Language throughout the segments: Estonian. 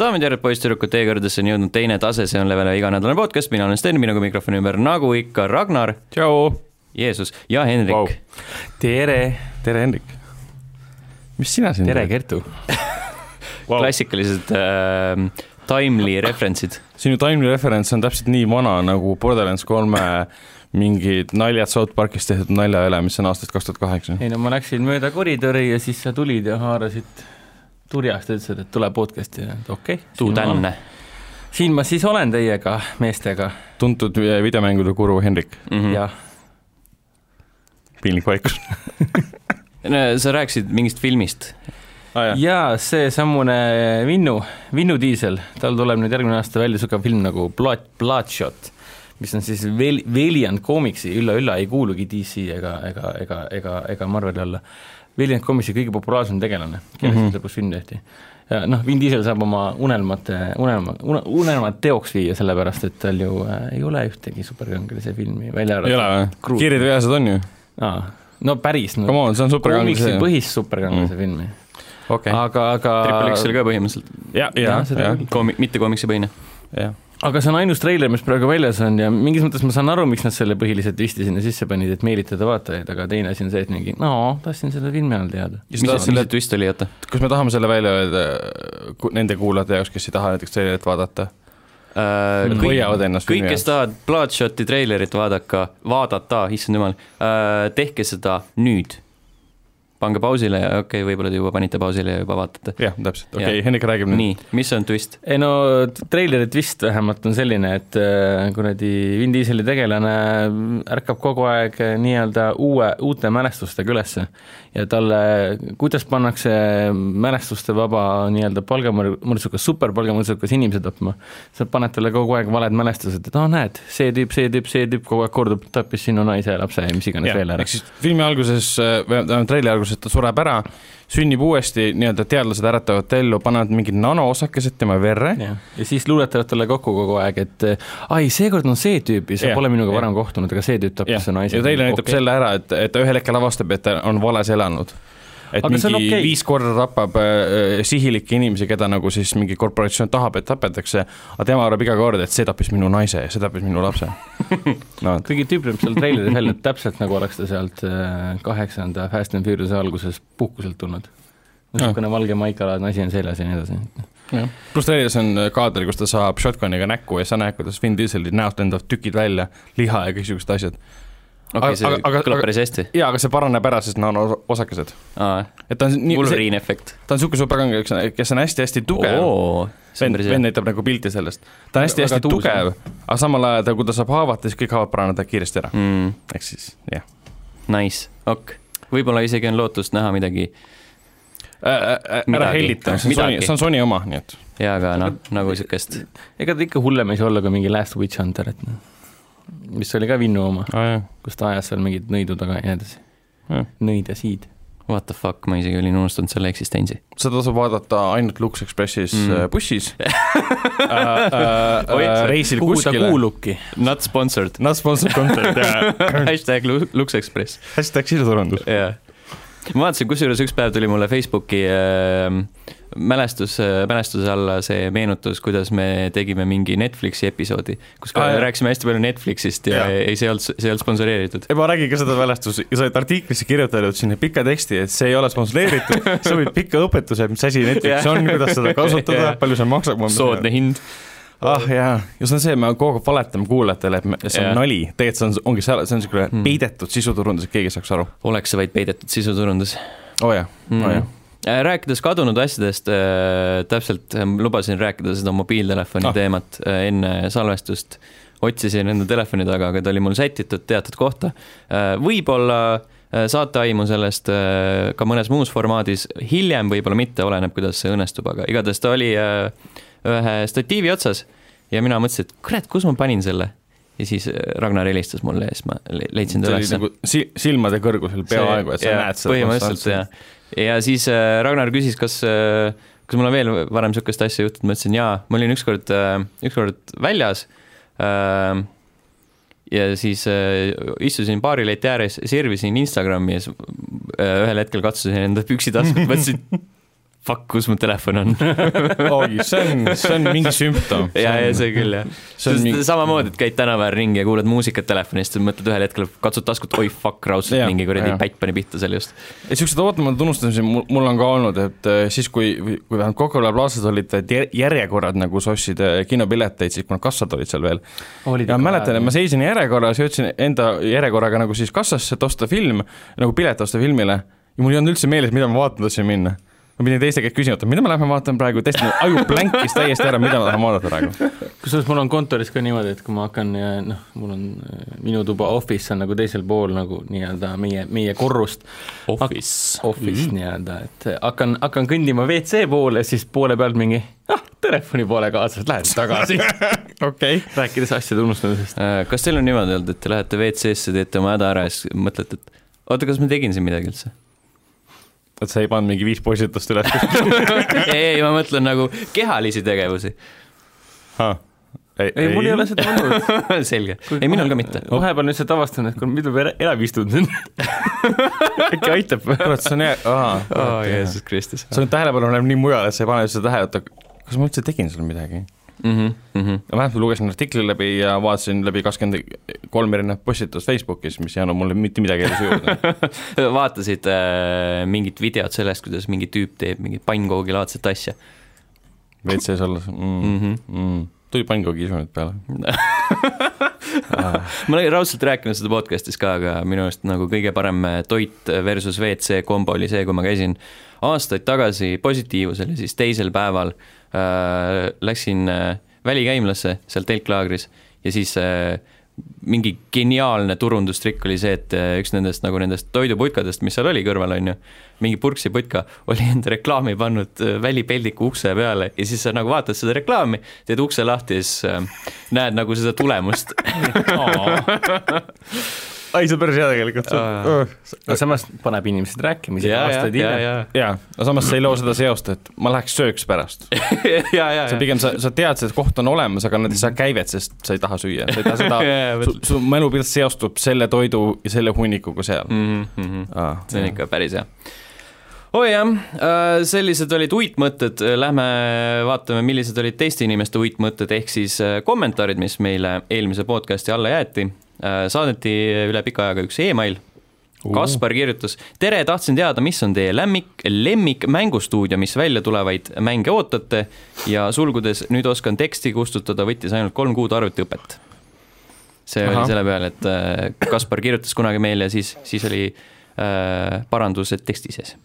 daamid ja härrad , poisssüdrukud , teie kõrgedesse on jõudnud teine tase , see on Levele iganädalane podcast , mina olen Sten , minuga mikrofoni ümber , nagu ikka , Ragnar , tšau . Jeesus ja Henrik Vau. wow. . tere , tere , Hendrik . mis sina siin tere Kertu . Vau. klassikalised äh, timely referentsid . sinu Timely reference on täpselt nii vana nagu Borderlands kolme mingid naljad South Parkis tehtud nalja üle , mis on aastast kaks tuhat kaheksa . ei no ma läksin mööda koridori ja siis sa tulid ja haarasid turjast ja ütlesid , et tule podcast'i ja okei Tuu . tänne . siin ma siis olen teiega , meestega tuntud vi- videomängude guru Henrik , mm. ja piinlik vaikus . sa rääkisid mingist filmist . Ah, jah. jaa , seesamune Vinnu , Vinnu Diisel , tal tuleb nüüd järgmine aasta välja niisugune film nagu Blood , Bloodshot , mis on siis Vel- , Valiant Comicsi , ülla-ülla ei kuulugi DC ega , ega , ega , ega , ega Marveli alla , Valiant Comicsi kõige populaarsem tegelane , kellest Mhm. mm -hmm. lõpuks film tehti . ja noh , Vin Diesel saab oma unelmate , unelma , unelmad teoks viia , sellepärast et tal ju äh, ei ole ühtegi superkangelase filmi välja ei ole või ? Kruut. kiired vihased on ju ? aa , no päris , Come no on , see on komiksi superkangelase . põhist superkangelase mm. filmi , okei , aga , aga Triple X oli ka põhimõtteliselt ja , ja Ah, jah, , seda ja , küll. koomi- , mitte koomiksipõhine . ja . aga see on ainus treiler , mis praegu väljas on ja mingis mõttes ma saan aru , miks nad selle põhiliselt visti sinna sisse panid , et meelitada vaatajaid , aga teine asi on see , et mingi no tahtsin selle filmi all teada . Ja mis sa tahad see selle- selle twist oli , oota ? kas me tahame selle välja öelda äh, ku- nende kuulajate jaoks , kes ei taha näiteks treilerit vaadata ? Nad hoiavad ennast Äh, Mm. kõik , filmi kes tahavad Bloodshoti treilerit vaadata , vaadata , issand jumal , tehke seda nüüd . pange pausile ja okei okay, , võib-olla te juba panite pausile ja juba vaatate . jah , täpselt , okei Jah. okay, , Henrik räägib nüüd . nii , mis on twist ? ei no treileri twist vähemalt on selline , et äh, kuradi Vin Dieseli tegelane ärkab kogu aeg äh, nii-öelda uue , uute mälestustega ülesse ja talle , kuidas pannakse mälestuste vaba nii-öelda palgamõrtsukas , superpalgamõrtsukas inimesi tapma , sa paned talle kogu aeg valed mälestused , et aa oh, näed , see tüüp , see tüüp , see tüüp kogu aeg kordub , tappis sinu naise ja lapse ja mis iganes veel ära ehk . siis filmi alguses äh, või tähendab treili alguses ta sureb ära , sünnib uuesti , nii-öelda teadlased äratavad ta ellu , panevad mingid nanoosakesed tema verre ja siis luuletavad talle kokku kogu aeg , et äh, ai , seekord on see tüüp ja sa Jah, pole minuga jah. varem kohtunud , aga see tüüp ja, tappis su ja naise . treili näitab okay. selle ära , et , et ta ühel hetkel avastab , et ta on vales elanud . et Aga Aga see on mingi okay. okei. viis korda tapab äh, sihilikke inimesi , keda nagu siis mingi korporatsioon tahab , et tapetakse , aga tema arvab iga kord , et see tappis minu naise ja see tappis minu lapse . no vot. kuigi tüüp näeb seal treileris välja täpselt nagu oleks ta sealt äh, kaheksanda Fast and Furious'e alguses puhkuselt tulnud . niisugune valge maikalaadne asi on seljas ja nii edasi . pluss treilis on kaader , kus ta saab shotgun'iga näkku ja sa näed , kuidas Vin Dieseli näost lendavad tükid välja , liha ja kõik siuksed asjad . okei okay, , see Aga- aga- kõlab aga- päris hästi . jaa , aga see paraneb ära , sest nad on osakesed . et ta on nii , Wolverine efekt . ta on niisugune superkange , kes on hästi-hästi tugev . see on vend , päris vend hea . näitab nagu pilti sellest . ta on Väga hästi-hästi tuus, tugev , aga samal ajal ta , kui ta saab haavata , siis kõik haavad paranevad kiiresti ära . ehk siis jah . Mm, Nice , ok . võib-olla isegi on lootust näha midagi ära Midagi. hellita , see on Sony , Midagi. see on Sony oma , nii et hea , aga noh , nagu niisugust ega ta ikka hullem ei saa olla kui mingi Last Witch Hunter , et noh , mis oli ka Vinnu oma , ah, . kus ta ajas seal mingeid nõidu taga ja nii edasi Mm. . nõid ja siid . what the fuck , ma isegi olin unustanud selle eksistentsi . seda saab vaadata ainult Lux Expressis Mm. mm. bussis äh, . Oi, Äh, see- reisil kuhu ta kuskile . kuulubki ? Not sponsored , Not sponsored content ja hashtag Lu- Lux Express . hashtag siseturundus . jaa . ma vaatasin , kusjuures üks päev tuli mulle Facebooki äh, mälestus äh, , mälestuse alla see meenutus , kuidas me tegime mingi Netflixi episoodi , kus ka Aa, Ah, jah. rääkisime hästi palju Netflixist ja, ja. Jah. ei , see ei olnud , see ei olnud sponsoreeritud . ei , ma nägin ka seda mälestust ja sa oled artiklisse kirjutanud sinna pika teksti , et see ei ole sponsoreeritud , sa võid pika õpetuse , mis asi Netflix on , kuidas seda kasutada Jah. , palju see maksab . soodne . hind . ah jaa , ja see on see , me kogu aeg valetame kuulajatele , et me, see on Jah. ja. nali , tegelikult see on , ongi seal , see on niisugune Hmm. hmm. peidetud sisuturundus , et keegi saaks aru . oleks see vaid peidetud sisuturundus oo jaa , oo jaa . Äh, rääkides kadunud asjadest , täpselt äh, lubasin rääkida seda mobiiltelefoni ah. Ah. teemat äh, enne salvestust . otsisin enda telefoni taga , aga ta oli mul sätitud teatud kohta . võib-olla äh, saate aimu sellest äh, ka mõnes muus formaadis , hiljem võib-olla mitte , oleneb , kuidas see õnnestub , aga igatahes ta oli äh, ühe statiivi otsas ja mina mõtlesin , et kurat , kus ma panin selle . ja siis äh, Ragnar helistas mulle ja siis ma le- leidsin see ta oli ülesse nagu si- , silmade kõrgusel peaaegu , et sa jaa, näed seda . põhimõtteliselt jah . ja siis äh, Ragnar küsis , kas äh, , kas mul on veel varem niisugust asja juhtunud , ma ütlesin jaa , ma olin ükskord äh, , ükskord väljas äh, ja siis äh, istusin baarileiti ääres , sirvisin Instagrami ja siis äh, ühel hetkel katsusin enda püksitaskut , mõtlesin fuck , kus mu telefon on . oi , see on , see on mingi sümptom . ja , ja see küll jah . see on sest mingi- mingi... samamoodi , et käid tänaval ringi ja kuulad muusikat telefonist , mõtled ühel hetkel , katsud taskut , oi fuck , raudselt Jah, mingi kuradi jah. pätt pani pihta seal just . et siuksed ootamatud unustamised mul , mul on ka olnud , et eh, siis , kui , kui vähemalt Coca-Cola plaasas olid et jär- järjekorrad nagu sossid eh, kinopileteid , siis kuna kassad olid seal veel . ja ma mäletan , et ma seisin järjekorras ja ütlesin enda järjekorraga nagu siis kassasse , et osta film , nagu pilet osta filmile ja mul ei olnud üldse meeles , mida ma vaatama tahtsin minna . ma pidin teiste käest küsima , et mida me lähme vaatame praegu , täiesti mu aju blankis täiesti ära , mida ma tahan vaadata praegu . kusjuures mul on kontoris ka niimoodi , et kui ma hakkan ja noh , mul on äh, minu tuba office on nagu teisel pool nagu nii-öelda meie , meie korrust . Office . Office mm. nii-öelda , et hakkan , hakkan kõndima WC poole , siis poole pealt mingi ah, telefoni poole kaasas , lähen tagasi , okei . rääkides asjade unustamisest . Äh, kas teil on niimoodi olnud , et te lähete WC-sse , teete oma häda ära ja siis mõtlete , et oota , kas ma tegin siin midagi üldse ? et sa ei pannud mingi viis postitust üles ei , ei , ma mõtlen nagu kehalisi tegevusi . ah. ? ei , mul ei ole seda olnud . selge , ei minul ka mitte . vahepeal nüüd lihtsalt avastan , et kuule , mida ma elab istun siin . äkki aitab . kurat , see on hea , aa . oh Jeesus Kristus . sul tähelepanu läheb nii mujale , et sa ei pane üldse tähele , et kas ma üldse tegin seal midagi . Mhm, vähemalt ma lugesin artikli läbi ja vaatasin läbi kakskümmend kolm erinevat postitust Facebookis , mis ei andnud mulle mitte midagi elus juurde . vaatasid äh, mingit videot sellest , kuidas mingi tüüp teeb mingit pannkoogilaadset asja WC-s olles mm, . mm . -hmm. Mm. tuli pannkoogi isu nüüd peale . ma olin raudselt rääkinud seda podcast'is ka , aga minu arust nagu kõige parem toit versus WC kombo oli see , kui ma käisin aastaid tagasi positiivusel ja siis teisel päeval äh, läksin äh, välikäimlasse seal telklaagris ja siis äh, mingi geniaalne turundustrikk oli see , et äh, üks nendest nagu nendest toiduputkadest , mis seal oli kõrval , on ju , mingi purksiputka oli enda reklaami pannud äh, välipeldiku ukse peale ja siis sa nagu vaatad seda reklaami , teed ukse lahti ja siis äh, näed nagu seda tulemust ei , see on päris hea tegelikult Aa. . aga samas paneb inimesed rääkima , isegi ja , ja , aastaid ja , hiljem . ja , jaa , aga samas sa ei loo seda seost , et ma läheks sööks pärast . ja , ja , sa pigem , sa , sa tead , see koht on olemas , aga nad ei saa käivet , sest sa ei taha süüa . sa ei taha seda Jaa, , su, su mälupilt seostub selle toidu ja selle hunnikuga seal ja . ah, . see on ikka päris hea . oi jah , sellised olid uitmõtted , lähme vaatame , millised olid teiste inimeste uitmõtted , ehk siis äh, kommentaarid , mis meile eelmise podcast'i alla jäeti . saadeti üle pika ajaga üks email . Kaspar kirjutas , tere , tahtsin teada , mis on teie lemmik , lemmik mängustuudio , mis välja tulevaid mänge ootate ja sulgudes nüüd oskan teksti kustutada , võttis ainult kolm kuud arvutiõpet . see Aha. Ahah. oli selle peale , et äh, Kaspar kirjutas kunagi meile ja siis , siis oli äh, parandused teksti sees .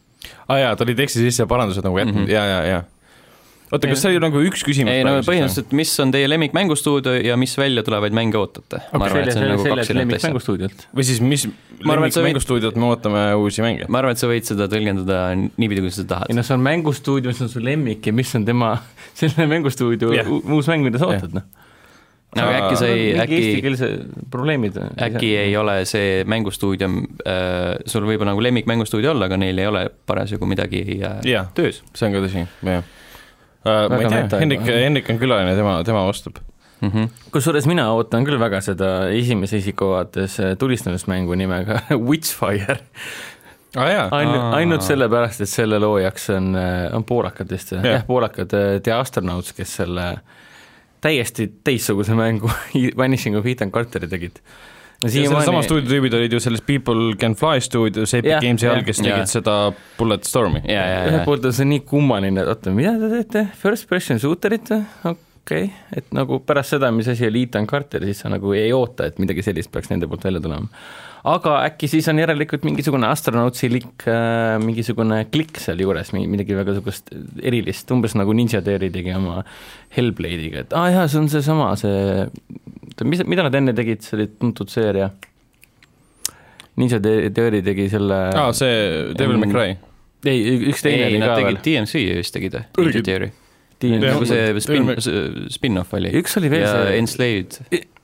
aa ah, jaa , ta oli teksti sisse ja parandused nagu jätnud mm , -hmm. jaa , jaa , jaa . oota , kas see oli nagu üks küsimus ? ei no põhimõtteliselt , mis on teie lemmik mängustuudio ja mis välja tulevaid mänge ootate okay, ? ma arvan , et see on nagu kaks erinevat asja . mängustuudiot . või siis mis Ma arvan, et sa võid- lemmikmängustuudiot me ootame uusi mänge ? ma arvan , et sa võid seda tõlgendada niipidi , kuidas sa ei tahad . noh , see on mängustuudio , mis on su lemmik ja mis on tema , selle mängustuudio Jah. yeah. uus mäng , mida sa Jah. ootad , noh . aga Nagu äkki sa ei , äkki eestikeelse probleemid . äkki ei ole see mängustuudio äh, , sul võib nagu lemmikmängustuudio olla , aga neil ei ole parasjagu midagi äh, jaa , töös . see on ka tõsi , jah . Äh, ma ei Väga tea meta , Hendrik , juba. Hendrik on külaline , tema , tema vastab . Mm -hmm. kusjuures mina ootan küll väga seda esimese isiku vaates äh, tulistamismängu nimega Witchfire . aa Ah, jaa , ainult , Aa. ainult sellepärast , et selle loojaks on , on poolakad vist või ? Jah. jah , poolakad , The Astronauts , kes selle täiesti teistsuguse mängu Vanishing of Ethan Carteri tegid . selle sama stuudio tüübid olid ju selles People Can Fly stuudios , Epic Jah, Games'i all , jah. kes Jaa. tegid seda Bullet Stormi . ja , ja , ja ühelt , poolt on see nii kummaline , et oota , mida te teete , first person shooterit või , okei okay. , et nagu pärast seda , mis asi oli Ethan Carter , siis sa nagu ei oota , et midagi sellist peaks nende poolt välja tulema . aga äkki siis on järelikult mingisugune astronautsilik äh, mingisugune klikk sealjuures , midagi väga niisugust erilist , umbes nagu Ninja Theory tegi oma Hellblade'iga , et aa ah, jaa , see on seesama , see , oota , mis , mida nad enne tegid , see oli tuntud seeria ? Ninja Theory Theory tegi selle aa , Ah, see Devil May Cry . ei , üks teine ei , oli nad ka veel tegid . DMC vist tegid Tegid. või ? Team Jah. nagu see spin Tegime- , spin-off oli . Üks oli veel ja see- Enslaved .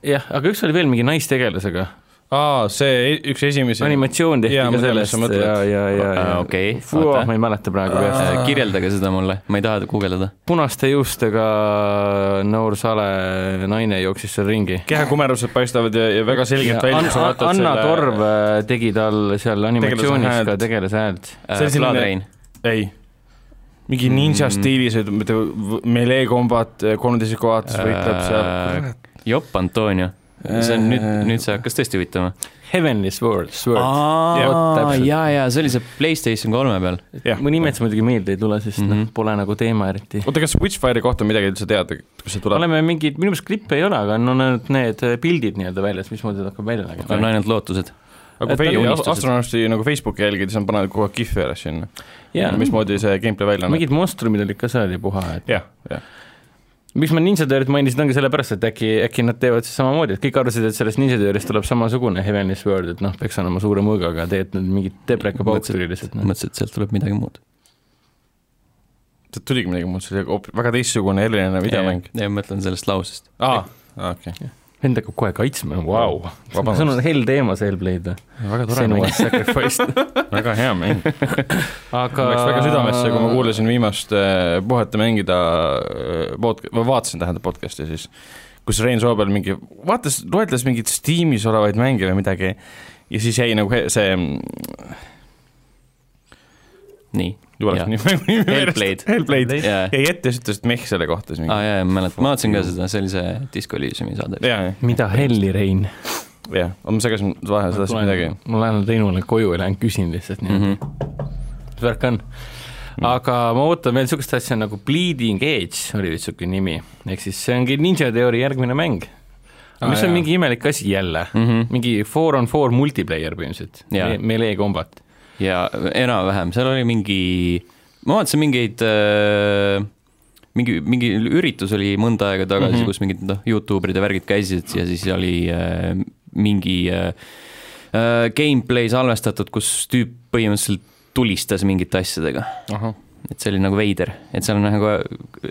jah , aga üks oli veel mingi naistegelasega , aa , see e- üks esimesi . animatsioon tehti Jaa, ma ka tean, mis sellest sa mõtled. Ah, ja , ja , ja , ja Aa, okei, Fuh, vaata. ma ei mäleta praegu peast . Nagu, kirjeldage seda mulle , ma ei taha guugeldada . punaste juustega noor sale naine jooksis seal ringi . kehakumerused paistavad ja , ja väga selgelt välja , kui sa vaatad Anna Torv äh, tegi tal seal tegelase animatsioonis häält. Äh, ka tegelase häält . See on selline- Flaadrein , ei . mingi ninja mm. stiilis, et mitte melee kombat , kolmeteisiku vaates võitleb seal . Äh, Jopp Antonio , see on nüüd , Äh. Äh. nüüd see hakkas tõesti huvitama . Heavenly Sword , Ah, Sword . Vot aa , täpselt. jaa , jaa , see oli see Playstation kolme peal . jah. mu nimed muidugi meelde ei tule , sest mm -hmm. Mhm. noh , pole nagu teema eriti . oota , kas Witchfire'i kohta midagi üldse tead , kus see tuleb ? oleme mingid , minu meelest klippe ei ole , aga on ainult need pildid nii-öelda väljas , mismoodi ta hakkab välja nägema . on ainult lootused . aga et kui on fe- unistused. astronauti nagu Facebooki jälgida , siis on panenud kogu aeg kihve üles sinna . jaa , mismoodi see gameplay välja näeb . mingid monstrumid olid ka seal ja puha , et jah , jah . miks ma Ninja Theory't mainisin , ongi sellepärast , et äkki , äkki nad teevad siis samamoodi , et kõik arvasid , et sellest Ninja Theory'st tuleb samasugune Heavenly Sword , et noh , peaks olema suure mõõgaga , tegelikult need mingid tebreka pauksid olid lihtsalt noh. mõtlesin , et sealt tuleb midagi muud . sealt tuligi midagi muud , see oli hoopis väga teistsugune , eriline videomäng . ei , ma mõtlen sellest lausest . aa , okei . vend hakkab kohe kaitsma , vau . Vabandust. see on hell teema , see Hellblade . väga tore mäng , Senua's Sacrifice , väga hea mäng . aga läks väga südamesse , kui ma kuulasin viimast äh, Puhata mängida äh, pod- , ma vaatasin tähendab podcast'i siis , kus Rein Soobel mingi , vaatas , loetles mingeid Steamis olevaid mänge või midagi ja siis jäi nagu he- see , nii . jumala jaa , nimi , Hellblade. Ah, Hellblade , jaa , jäi ette ja siis ütles , et meh selle kohta siis mingi jaa , ma mäletan , ma vaatasin ka seda , see oli see Disco Elysiumi saade . jaa , mida helli , Rein ? jah , ma segasin vahele sedasi midagi . ma lähen Reinule koju ja lähen küsin lihtsalt niimoodi mm . Mhm, -hmm. värk on . Mm. aga ma ootan veel niisugust asja nagu Bleeding Edge oli vist niisugune nimi , ehk siis see ongi Ninja Theory järgmine mäng . Aa, mis on jaa. mingi imelik asi jälle mm , -hmm. mingi four on four multiplayer põhimõtteliselt Mhm. Jaa. Me , melee kombat . ja enam-vähem , seal oli mingi , ma vaatasin mingeid äh, mingi , mingi üritus oli mõnda aega tagasi Mhm. mm , -hmm. kus mingid noh , Youtuberid ja värgid käisid ja siis oli äh, mingi äh, äh, gameplay salvestatud , kus tüüp põhimõtteliselt tulistas mingite asjadega . et see oli nagu veider , et seal on nagu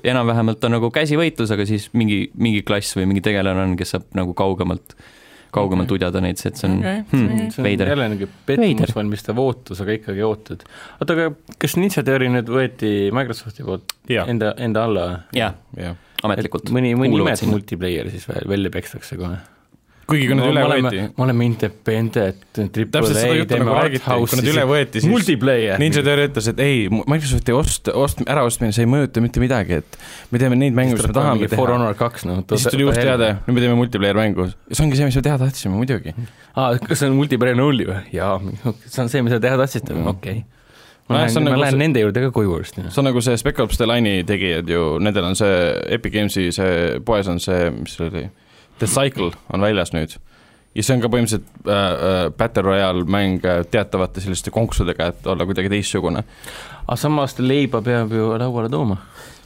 enam-vähemalt on nagu käsivõitlus , aga siis mingi , mingi klass või mingi tegelane on , kes saab nagu kaugemalt , kaugemalt udjada neid , et see on okay. hmm, see on veider . jälle niisugune Veider. pettumus valmistav ootus , aga ikkagi ootad . oota , aga kas Ninja Theory nüüd võeti Microsofti poolt Jaa. enda , enda alla või ? jah , jah , ametlikult . mõni , mõni imet multiplayer siis väl- välja pekstakse kohe kuigi kui nad me üle oleme võeti ,, me oleme independent , triple täpselt seda A , juttu teeme nagu art räägiti , kui nad üle house'i , võeti , siis multiplayer . Ninja Theory ütles , et ei , Microsofti ost , ost , äraostmine , see ei mõjuta mitte midagi , et me teeme neid mänge , mis me tahame For teha . Honor kaks , noh . ja siis tuli uus teade , nüüd me teeme multiplayer mängu . see ongi see , mis me teha tahtsime , muidugi . aa , kas see on multiplayer only või ? jaa , see on see , mida teha tahtsite või ? okei . ma Nojah, see on lähen , ma nagu lähen see- nende juurde ka koju varsti . noh. see on nagu see Spec Ops The Line'i tegijad ju , nendel on see Epic Games'i see poes on see , mis see oli , The Cycle on väljas nüüd . ja see on ka põhimõtteliselt äh, äh, Battle Royale mäng äh, teatavate selliste konksudega , et olla kuidagi teistsugune . aga samas leiba peab ju lauale tooma .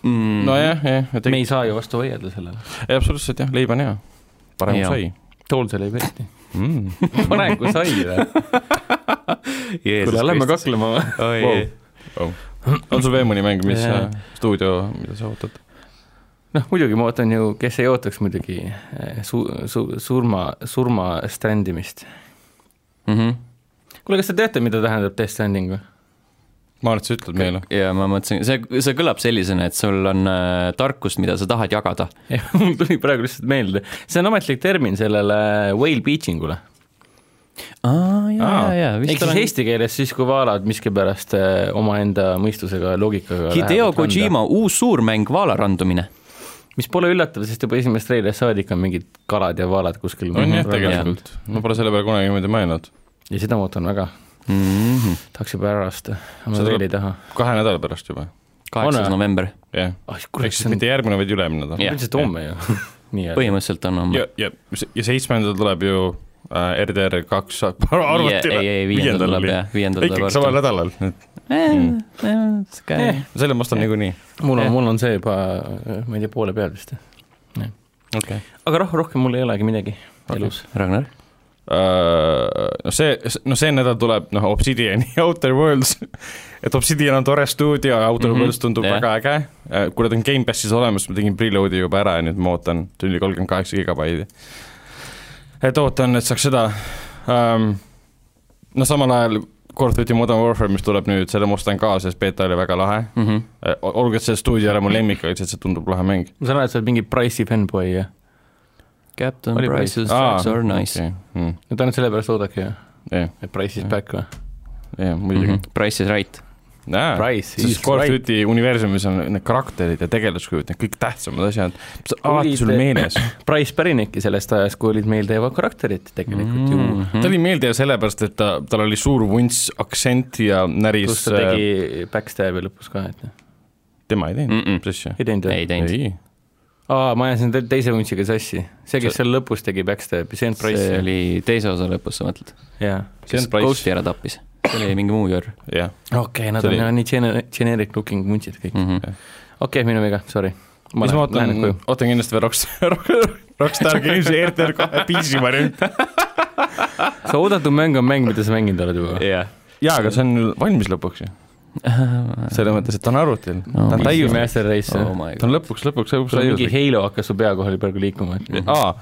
mm, . nojah , jah , et me ei , ei saa ju vastu hoiada sellele . absoluutselt jah , leib on hea , parem Jaa. kui sai tool seal ei peeti . mm. . parem kui sai või ? kuule , lähme . kaklema või ? Wow. Oh. on sul veel mõni mäng , mis Jaa. yeah. stuudio , mida sa ootad ? noh , muidugi ma ootan ju , kes ei ootaks muidugi eh, su- , su- , surma , surma ständimist . Mhm. kuule , kas te teate , mida tähendab death standing või ? ma arvan , et sa ütled meile . ja ma mõtlesin , see , see kõlab sellisena , et sul on äh, tarkust , mida sa tahad jagada . mul tuli praegu lihtsalt meelde , see on ametlik termin sellele whale beachingule . aa , Aa. jaa , jaa , ehk vist siis olen... olen . eesti keeles siis , kui vaalad miskipärast eh, omaenda mõistusega , loogikaga Hideo lähevad randa. Kojima uus suurmäng Vaala randumine . mis pole üllatav , sest juba esimest reilist saadik on mingid kalad ja vaalad kuskil on jah , rannas. tegelikult . ma pole selle peale kunagi niimoodi mõelnud . ja seda ma ootan väga , Mhm. tahaks juba ära lasta , See aga ma tuleb- veel ei taha . kahe nädala pärast juba , kaheksas On, november , jah . ah ehk kurat , siis see on mitte järgmine , vaid ülemine nädal . Jah. üldiselt homme ju . nii , põhimõtteliselt on homme ja , ja , ja seitsmendal tuleb ju äh, RDR kaks , Viie- arvati ei , ei viiendal tuleb jah , viiendal ikkagi samal tuleb Mhm. nädalal , et arvuti . selle ma ostan niikuinii . mul jah. on , mul on see juba , ma ei tea , poole peal vist . okei . aga roh- , rohkem mul ei olegi midagi Okei. elus . Ragnar , Äh, no see , no see nädal tuleb noh , Obsidiani Outer Worlds , et Obsidian on tore stuudio , Outer mm Mhm. -hmm. Worlds tundub Jah. yeah. väga äge , kuna ta on Gamepassis olemas , ma tegin preload'i juba ära ja nüüd ma ootan , tuli kolmkümmend kaheksa gigabaidi . et ootan , et saaks seda um, , no samal ajal Call of Duty Modern Warfare , mis tuleb nüüd , selle ma ostan ka , sest beeta oli väga lahe , Mhm. olgu , et see stuudio ei ole mu lemmik , aga lihtsalt see tundub lahe mäng . ma saan aru , et sa oled mingi Price'i fännboi ja Captain Oli Price's tracks are nice . Hmm. no ta nüüd sellepärast oodabki ju , jah , et Price is back või ? Mhm. jah , muidugi . Price is right . Price is sest Call of right. Duty universumis on need karakterid ja tegelaskujud , need kõik tähtsamad asjad , mis on alati Olid- sul meeles . Price pärinebki sellest ajast , kui olid meeldejäävad karakterid tegelikult mm -hmm. ju , Mhm. ta oli meeldejääv sellepärast , et ta , tal oli suur vunts aktsent ja näris kus ta , tegi backstab'i lõpus ka , et noh. tema ei teinud Mm-mm. mm -mm. asja . ei teinud või ? ei teinud . ei , aa , ma ajasin te- teise vuntsiga sassi . see , kes See- seal lõpus tegi backstab'i , see on Price see . oli teise osa lõpus , sa mõtled ? jaa . see kes on Price , Ghosti ära tappis , see oli mingi muu jörr . jah . okei , nad See on oli- jah nii gene- , generic looking vuntsid Mm. kõik . Mhm. okei , minu viga , sorry . mis ma ootan , ootan kindlasti veel Rockstar , Rockstar Games'i ERTR kahe PC variant . sa oodatud mäng on mäng , mida sa mänginud oled juba ? jah . jaa , aga see on ju valmis lõpuks ju . Oh selles mõttes , et ta on arvutil No, no, , ta on mis- Taiu täius , Master Race oh oh, , my ta on god . lõpuks , lõpuks , lõpuks sul mingi täiuslik . Halo hakkas su pea kohal praegu liikuma , Mhm. et aa ,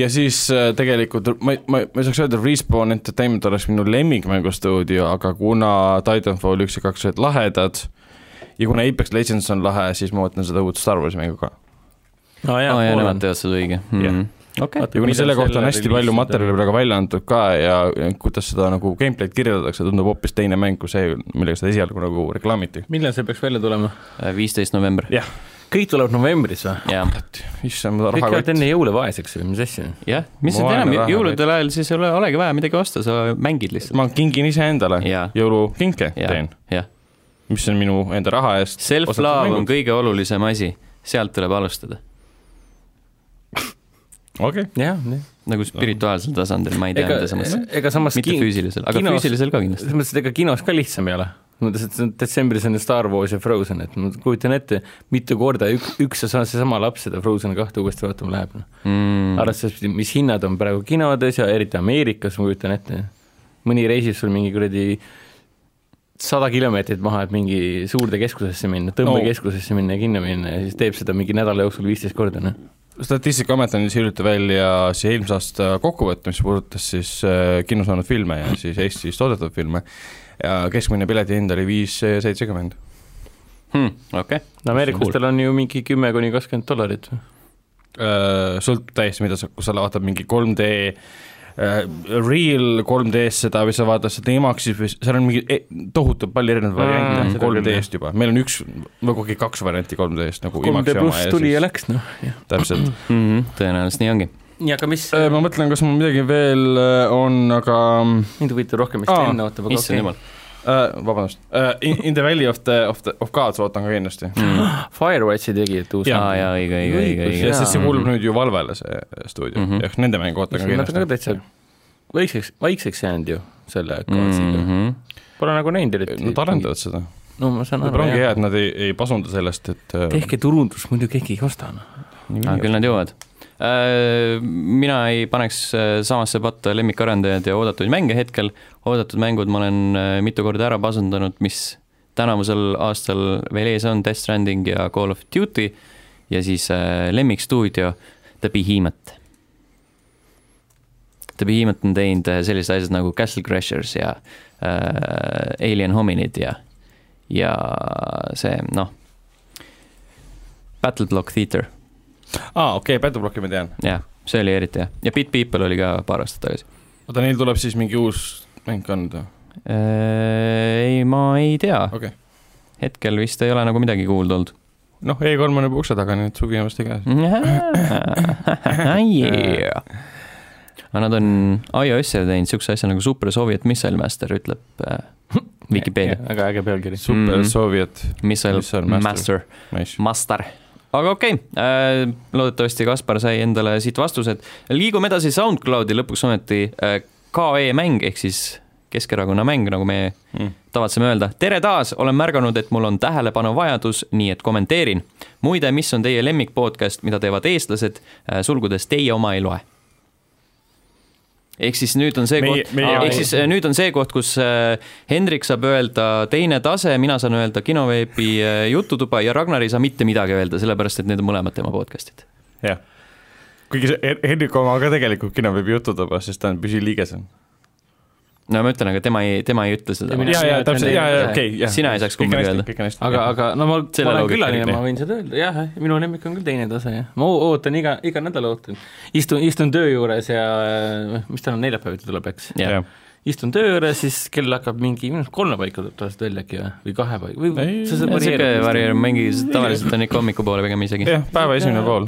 ja siis äh, tegelikult ma , ma , ma ei saaks öelda , et Respawn Entertainment oleks minu lemmikmängustuudio , aga kuna Titanfall üks ja kaks olid lahedad ja kuna Apex Legends on lahe , siis ma ootan seda uut Star Warsi mängu ka . aa aa jaa , Oh, nemad teevad seda õige . Mhm. Jah. okei . ja kuna selle kohta on hästi palju materjali praegu välja antud ka ja ja kuidas seda nagu gameplay'd kirjeldatakse , tundub hoopis teine mäng kui see , millega seda esialgu nagu reklaamiti . millal see peaks välja tulema ? Äh, viisteist november . jah , kõik tuleb novembris või ? jah , issand , kõik jäävad rahakott . enne jõule vaeseks või mis asja ? jah , mis Ma nüüd vaene enam , raha jõulude ajal siis ei ole , olegi vaja midagi osta , sa mängid lihtsalt . ma kingin iseendale Jaa. jõulukinke jah teen ,, jah . mis on minu enda raha eest . Self-love on . kõige olulisem asi , sealt tuleb alustada . okei , jah , jah . nagu spirituaalsel tasandil , ma ei tea , ega mida sa mõtlesid ., ega samas mitte kin- füüsilisel , aga kinos- füüsilisel ka kindlasti . selles mõttes , et ega kinos ka lihtsam ei ole . mõttes , et see on- detsembris on ju Star Wars ja Frozen , et ma kujutan ette , mitu korda üks , üks ja sama , seesama laps seda Frozen kahte uuesti vaatama läheb no. mm. . arvestades , mis hinnad on praegu kinodes ja eriti Ameerikas , ma kujutan ette , mõni reisib sul mingi kuradi sada kilomeetrit maha , et mingi suurde keskusesse minna , tõmbekeskusesse minna ja kinno minna ja siis teeb seda mingi nädala jooksul viisteist korda , noh . statistikaamet andis hiljuti välja siis eelmise aasta kokkuvõtte , mis puudutas siis äh, kinos olnud filme ja siis Eestis toodetud filme ja keskmine piletihind oli viis seitsekümmend . Hmm, okei . ameeriklastel on ju mingi kümme kuni kakskümmend dollarit või ? Äh, sõltub täiesti , mida sa , kui sa vaatad mingi 3D äh, Real 3D-s seda või sa vaatad seda IMAX-is või s- seal on mingi e- tohutult palju erinevaid variante Mm, mm, seda küll, 3D-st juba , meil on üks või kogu aeg kaks varianti 3D-st nagu 3D IMAX-i oma pluss ja tuli ja siis läks , noh . täpselt . Mhm. tõenäoliselt nii ongi . nii , aga mis Äh, ma mõtlen , kas mul midagi veel äh, on , aga mm, mind huvitab rohkem , mis ta Aa, enne ootab , aga issand okei jumal . äh, vabandust äh, , In in the Valley of the , of the , of Gods ootan ka kindlasti . Mm. okay. . Firewatchi tegijad uus . aa jaa , õige , õige , õige , Õigus, ja õige . jaa. sest see kuulub nüüd ju Valvele , see stuudio mm Mhm. -hmm. , ehk nende mäng ootan ka Nad on ka kindlasti . täitsa vaikseks , vaikseks jäänud ju selle Mhm. kaatsiga mm . -hmm. Pole nagu näinud eriti . Nad arendavad seda , no ma saan aru võib-olla , ongi hea , et nad ei , ei pasunda sellest , et äh, tehke turundus , muidu keegi ei osta , noh . aga küll nad jõuavad . Mina ei paneks äh, samasse patta lemmikarendajaid ja oodatud mänge hetkel , oodatud mängud ma olen äh, mitu korda ära pasundanud , mis tänavusel aastal veel ees on , Death Stranding ja Call of Duty ja siis äh, lemmikstuudio The Behemoth . The Behemoth on teinud äh, sellised asjad nagu Castle Crashers ja äh, Alien Hominid ja , ja see noh , Battle Block Theater aa , okei , Battleblocki ma tean . jah , see oli eriti hea ja Bit People oli ka paar aastat tagasi . oota , neil tuleb siis mingi uus mäng ka nüüd või ? Äh, ei , ma ei tea , okei okay. . hetkel vist ei ole nagu midagi kuulda olnud . noh , E3 on juba ukse taga , nii et suvi on varsti Mm. käes . aga nad on iOS-ile teinud niisuguse asja nagu Super Soviet Missile Master , ütleb äh, Vikipeedia . väga äge pealkiri . Super mm Mhm. -hmm. Soviet , Missile Missile Master. Master , nice . Master . aga okei okay. , loodetavasti Kaspar sai endale siit vastused . liigume edasi SoundCloudi lõpuks ometi äh, KE mäng ehk siis Keskerakonna mäng , nagu me tavatseme öelda . tere taas , olen märganud , et mul on tähelepanuvajadus , nii et kommenteerin . muide , mis on teie lemmik podcast , mida teevad eestlased , sulgudes teie oma ei loe ? ehk siis nüüd on see Meie- koht , meie ehk oma. siis eh, nüüd on see koht , kus eh, Hendrik saab öelda teine tase , mina saan öelda kinoveebi eh, jututuba ja Ragnar ei saa mitte midagi öelda , sellepärast et need on mõlemad tema podcast'id . jah . kuigi see Hen- Hendrik oma ka tegelikult kino võib jututaba , sest ta on püsiliige seal . no ma ütlen , aga tema ei , tema ei ütle seda Ja . mina- jaa , jaa , täpselt , jaa , jaa , okei , jah . Sina ei saaks kumbagi öelda. kõik on hästi . aga , aga no ma , Selle ma olen loogika külaline , järgi. ma võin seda öelda , jah , minu lemmik on küll teine tase , jah . ma oo- ootan iga , eh, iga nädal ootan . istun , istun töö juures ja äh, mis tal on , neljapäeviti tuleb , eks ? jah , jah , istun töö juures , siis kell hakkab mingi , minu arust kolme paiku tuleb tavaliselt välja äkki või , või kahe paiku või Ei, see- see sihuke varieerub. varieerub mingi , tavaliselt on ikka hommikupoole pigem isegi . jah , äh, päeva esimene pool .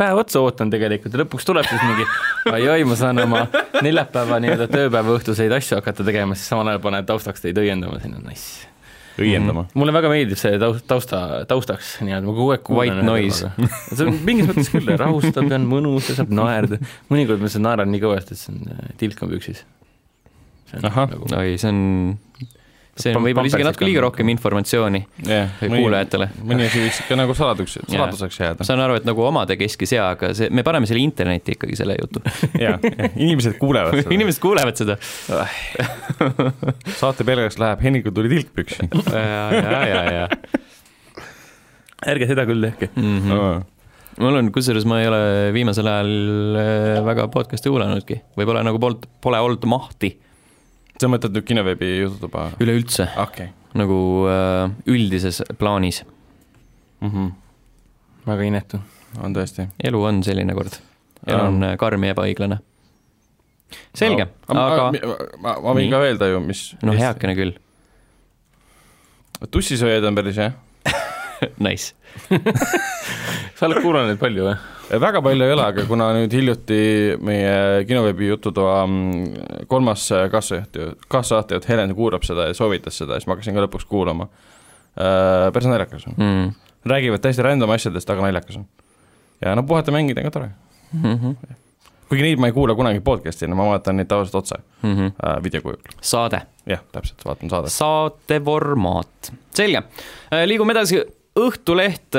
päev otsa ootan tegelikult ja lõpuks tuleb siis mingi oi-oi , ma saan oma neljapäeva nii-öelda tööpäeva õhtuseid asju hakata tegema , siis samal ajal panen taustaks teid õiendama sinna , nice . õiendama . mulle väga meeldib see taust , tausta , taustaks nii-öelda , ma kogu aeg White noise. . see on mingis mõttes küll rahustav ja on mõnus ja saab naerda , mõnikord ma lihtsalt naeran nii kõvasti , et see on äh, tilk on püksis . Ahah. oi , see on , see on Pam- võib-olla isegi pampersid natuke liiga on. rohkem informatsiooni jah , kuulajatele . mõni asi võiks ikka nagu saladuseks , Jah. saladuseks jääda . saan aru , et nagu omade keskis jaa , aga see , me paneme selle internetti ikkagi , selle jutu . jaa , inimesed kuulevad seda . inimesed kuulevad seda . saate peljaks läheb , Hennikul tuli tilk püksi . ja , ja , ja , ja . ärge seda küll tehke . Mhm. Mhm. mul on , kusjuures ma ei ole viimasel ajal äh, väga podcast'e kuulanudki , võib-olla nagu polnud , pole olnud mahti sa mõtled nüüd kinoveebi jututuba ? üleüldse Ah, okei . nagu äh, üldises plaanis . Mhm. väga inetu . on tõesti . elu on selline kord , elu on äh, karm ja ebaõiglane . selge , aga ma , ma võin Nii. ka öelda ju , mis . noh ,. heakene küll , tussisööjad on päris hea . nice . sa oled kuulanud neid palju või ? väga palju ei ole , aga kuna nüüd hiljuti meie kinoveebi jututoa mm, kolmas kaasjuht , kaassaatejuht Helen kuulab seda ja soovitas seda , siis ma hakkasin ka lõpuks kuulama . päris naljakas on , Mm räägivad täiesti random asjadest , aga naljakas on . ja no puhata mängida on ka tore , -hmm. kuigi neid ma ei kuula kunagi podcast'ina , ma vaatan neid tavaliselt otse Mm -hmm. äh, videokujul , saade , jah , täpselt , vaatan saadet . saate formaat , selge , liigume edasi Õhtuleht ,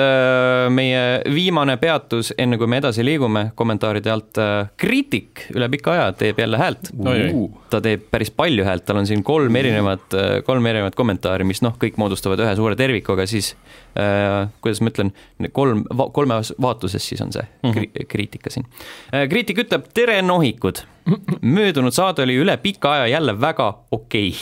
meie viimane peatus , enne kui me edasi liigume , kommentaaride alt äh, kriitik üle pika aja teeb jälle häält Oi-oi. . ta teeb päris palju häält , tal on siin kolm erinevat , kolm erinevat kommentaari , mis noh , kõik moodustavad ühe suure terviku , aga siis äh, kuidas ma ütlen , kolm , kolmes vaatuses siis on see kri- , kriitika siin . kriitik ütleb , tere nohikud , möödunud saade oli üle pika aja jälle väga okei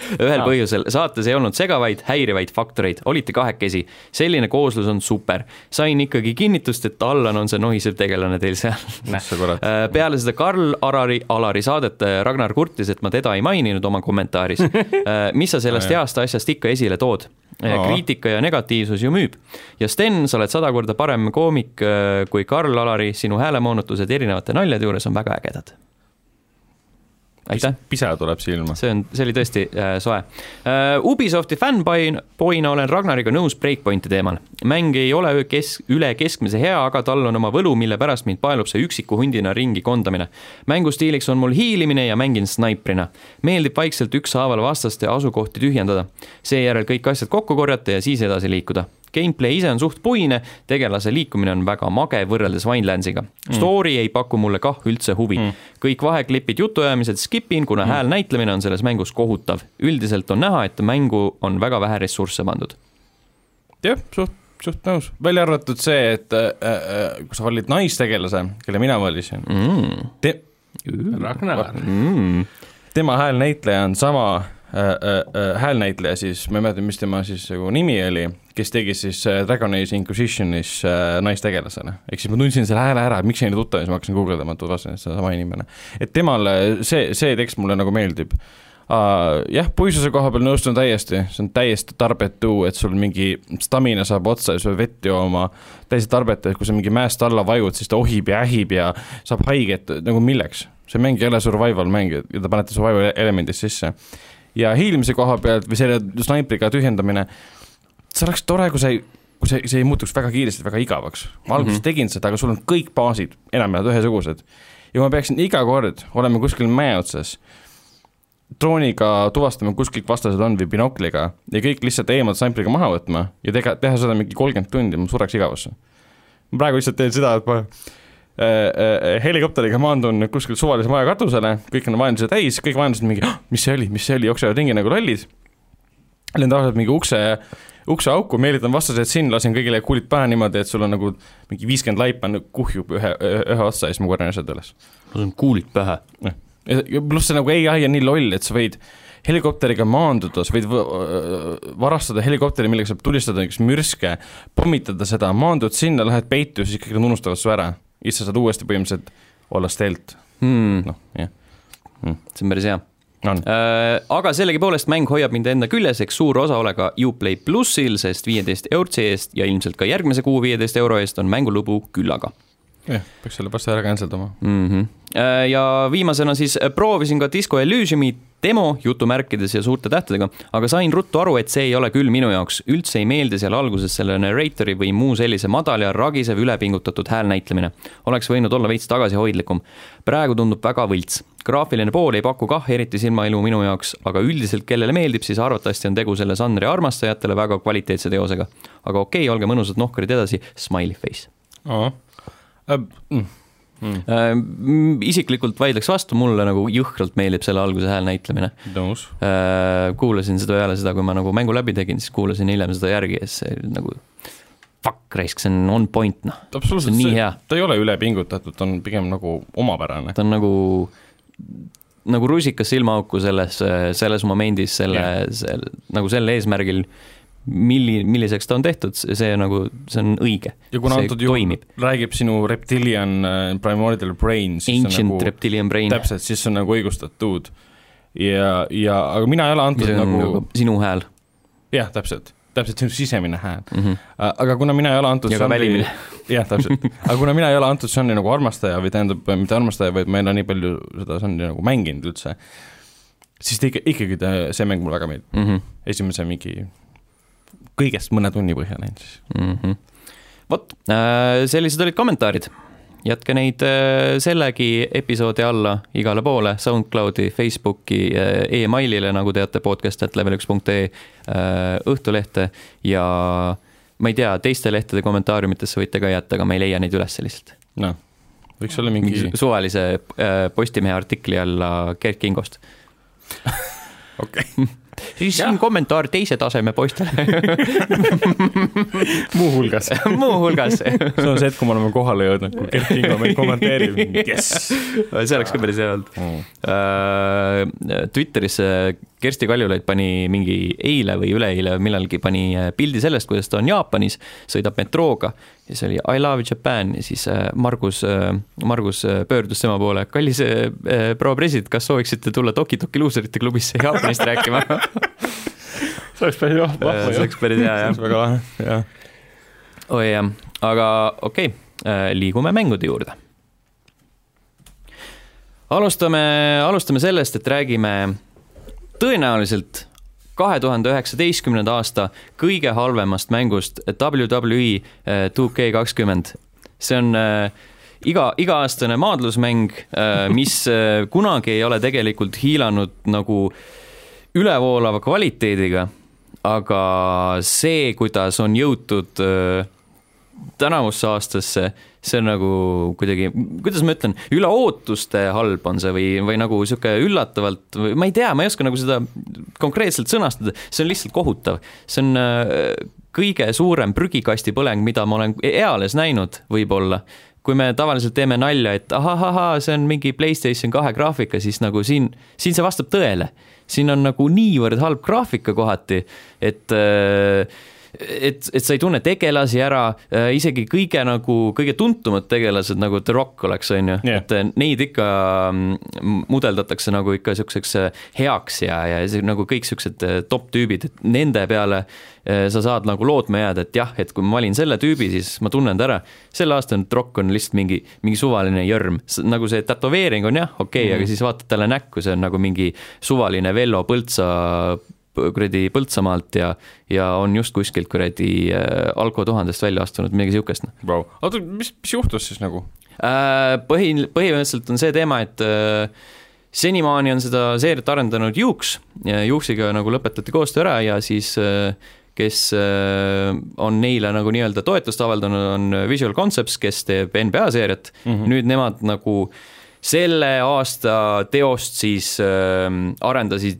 ühel põhjusel , saates ei olnud segavaid , häirivaid faktoreid , olite kahekesi . selline kooslus on super . sain ikkagi kinnitust , et Allan on see nohisev tegelane teil seal . issand kurat , Äh, peale seda Karl Arari , Alari saadet äh, Ragnar kurtis , et ma teda ei maininud oma kommentaaris . mis sa sellest heast asjast ikka esile tood ? Aa. kriitika ja negatiivsus ju müüb . ja Sten , sa oled sada korda parem koomik äh, kui Karl Alari , sinu häälemoonutused erinevate naljade juures on väga ägedad . aitäh , pisa tuleb silma . see on , see oli tõesti äh, soe . Ubisofti fännpoina olen Ragnariga nõus Breakpointi teemal . mäng ei ole öö kes- , üle keskmise hea , aga tal on oma võlu , mille pärast mind paelub see üksiku hundina ringi kondamine . mängustiiliks on mul hiilimine ja mängin snaiprina . meeldib vaikselt ükshaaval vastaste asukohti tühjendada . seejärel kõik asjad kokku korjata ja siis edasi liikuda gameplay ise on suht puine , tegelase liikumine on väga mage võrreldes Vinelandsiga . Story mm. ei paku mulle kah üldse huvi mm. . kõik vaheklipid , jutuajamised skip in , kuna mm. hääl näitlemine on selles mängus kohutav . üldiselt on näha , et mängu on väga vähe ressursse pandud . jah , suht , suht nõus , välja arvatud see , et äh, äh, kui sa valid naistegelase , kelle mina valisin Mm. te, , Ragnar . Mm. tema häälnäitleja on sama äh, äh, äh, häälnäitleja siis , ma ei mäleta , mis tema siis nagu nimi oli , kes tegi siis äh, Dragon Age Inquisitionis äh, naistegelasena . ehk siis ma tundsin selle hääle ära , et miks see nii tuttav ja siis ma hakkasin guugeldama , et vaatasin , et see on sama inimene . et temale see , see tekst mulle nagu meeldib uh, . jah , puisuse koha peal nõustun täiesti , see on täiesti tarbetu , et sul mingi stamina saab otsa ja sa pead vett jooma , täiesti tarbetu , et kui sa mingi mäest alla vajud , siis ta ohib ja ähib ja saab haiget , nagu milleks ? see mäng ei ole survival mäng ja te panete survival elemendid sisse . ja hiilimise koha pealt või selle snaipriga tühjendamine , see oleks tore , kui sa ei kui see , see ei muutuks väga kiiresti , väga igavaks . ma alguses Mhm. mm -hmm. tegin seda , aga sul on kõik baasid enam-vähem ühesugused . ja kui ma peaksin iga kord olema kuskil mäe otsas drooniga tuvastama , kus kõik vastased on või binokliga ja kõik lihtsalt eemalt sampliga maha võtma ja tega, teha seda mingi kolmkümmend tundi , ma sureks igavusse . ma praegu lihtsalt teen seda , et ma äh, äh, helikopteriga maandun kuskil suvalise maja katusele , kõik on vaenlase täis , kõik vaenlased mingi , mis see oli , mis see oli , jooksevad ringi nagu lollid . lendan tavaliselt mingi ukse , ukseauku , meelitan vastaseid sinna , lasen kõigile kuulid pähe niimoodi , et sul on nagu mingi viiskümmend laipa nagu kuhjub ühe , ühe otsa ja siis ma korjan asjad üles . mul on kuulid pähe . Noh, Ja- ja pluss see nagu ai on nii loll , et sa võid helikopteriga maanduda , sa võid võ- äh, varastada helikopteri , millega saab tulistada näiteks mürske , pommitada seda , maandud sinna , lähed peitu , siis kõik nad unustavad su ära . ja siis sa saad uuesti põhimõtteliselt olla stelt , Hmm. noh , jah . see on päris hea . on . aga sellegipoolest mäng hoiab mind enda küljes, eks suur osa ole ka Uplay plussil , sest viieteist eurtsi eest ja ilmselt ka järgmise kuu viieteist euro eest on mängulubu küllaga jah , peaks selle pärast ära cancel dama . mm . -hmm. ja viimasena siis äh, proovisin ka Disco Elysiumi demo jutumärkides ja suurte tähtedega , aga sain ruttu aru , et see ei ole küll minu jaoks , üldse ei meeldi seal alguses selle narratori või muu sellise madal ja ragisev ülepingutatud hääl näitlemine . oleks võinud olla veits tagasihoidlikum . praegu tundub väga võlts . graafiline pool ei paku kah eriti silmailu minu jaoks , aga üldiselt , kellele meeldib , siis arvatavasti on tegu selle žanri armastajatele väga kvaliteetse teosega . aga okei okay, , olge mõnusad nohkrid edasi , smiley face . mm. Äh, m- isiklikult vaidleks vastu , mulle nagu jõhkralt meeldib selle alguse hääl näitlemine . nõus . kuulasin seda peale seda , kui ma nagu mängu läbi tegin , siis kuulasin hiljem seda järgi ja siis see oli nagu fuck raisk , see on on point noh , see absoluutselt , on nii see , hea , ta ei ole ülepingutatud , ta on pigem nagu omapärane . ta on nagu nagu rusikas silmaauku selles , selles momendis , selle Jah. yeah. , selle , nagu sel eesmärgil , milli- , milliseks ta on tehtud , see nagu , see on õige . ja kuna see antud juhul toimib. räägib sinu reptilian äh, primordial brain , siis see on Ancient nagu nagu... reptilian brain , täpselt , siis see on nagu õigustatud . ja , ja aga mina ei ole antud mis on nagu, nagu nagu... , sinu hääl jah , täpselt , täpselt sinu sisemine hääl . mm . -hmm. aga kuna mina ei ole antud ja ka žanri- välimine . jah , täpselt , aga kuna mina ei ole antud žanri nagu armastaja või tähendab , mitte armastaja , vaid ma ei ole nii palju seda žanri nagu mänginud üldse , siis ta ikka , ikkagi ta , see mäng mulle väga meeldib , Mm -hmm. esimese mingi kõigest mõne tunni põhjal ainult siis . mm . -hmm. vot , sellised olid kommentaarid . jätke neid äh, sellegi episoodi alla igale poole , SoundCloudi , Facebooki , emailile , nagu teate , podcast.level1.ee , äh, Õhtulehte ja ma ei tea , teiste lehtede kommentaariumitesse võite ka jätta , aga ma ei leia neid üles lihtsalt . noh , võiks olla mingi, mingi mingi... suvalise äh, Postimehe artikli alla Gerd Kingost . okei siis siin kommentaar teise taseme poistele , muuhulgas . muuhulgas . see on see hetk , kui me oleme kohale jõudnud , kui Gert Kingo meil kommenteerib , jess see oleks ka päris hea olnud . mm. . Äh, Twitterisse Kersti Kaljulaid pani mingi eile või üleeile millalgi pani äh, pildi sellest , kuidas ta on Jaapanis , sõidab metrooga ja see oli I love Japan ja siis äh, Margus , Margus äh, pöördus tema poole , kallis äh, äh, proua president , kas sooviksite tulla Toki Toki luuserite klubisse Jaapanist rääkima ? see oleks päris jah , Äh, vahva see ju . oleks päris hea see oleks jah . väga lahe , jah . oi jah , aga okei okay, , liigume mängude juurde . alustame , alustame sellest , et räägime tõenäoliselt kahe tuhande üheksateistkümnenda aasta kõige halvemast mängust WWE eh, 2K kakskümmend . see on eh, iga , iga-aastane maadlusmäng , mis eh, kunagi ei ole tegelikult hiilanud nagu ülevoolava kvaliteediga , aga see , kuidas on jõutud eh, tänavusse aastasse , see on nagu kuidagi , kuidas ma ütlen , üle ootuste halb on see või , või nagu sihuke üllatavalt või ma ei tea , ma ei oska nagu seda konkreetselt sõnastada , see on lihtsalt kohutav . see on äh, kõige suurem prügikasti põleng , mida ma olen eales näinud , võib-olla . kui me tavaliselt teeme nalja , et ahahahaa , see on mingi Playstation kahe graafika , siis nagu siin , siin see vastab tõele . siin on nagu niivõrd halb graafika kohati , et äh, et , et sa ei tunne tegelasi ära , isegi kõige nagu , kõige tuntumad tegelased nagu The Rock oleks , on ju Jah. et neid ikka mm, mudeldatakse nagu ikka niisuguseks heaks ja , ja see, nagu kõik niisugused top tüübid , et nende peale eh, sa saad nagu lootma jääda , et jah , et kui ma valin selle tüübi , siis ma tunnen ta ära . sel aastal nüüd Rock on lihtsalt mingi , mingi suvaline jörm , nagu see tätoveering on jah , okei okay, , aga siis vaatad talle näkku , see on nagu mingi suvaline Vello Põltsa p- kuradi Põltsamaalt ja , ja on just kuskilt kuradi eh, Alko tuhandest välja astunud , midagi niisugust , noh . Vau , oota , mis , mis juhtus siis nagu ? Äh, põhi , põhimõtteliselt on see teema , et äh, senimaani on seda seeriat arendanud Juuks , Juuksiga nagu lõpetati koostöö ära ja siis äh, kes äh, on neile nagu nii-öelda toetust avaldanud , on Visual Concepts , kes teeb NBA seeriat mm , Mhm. -hmm. nüüd nemad nagu selle aasta teost siis äh, arendasid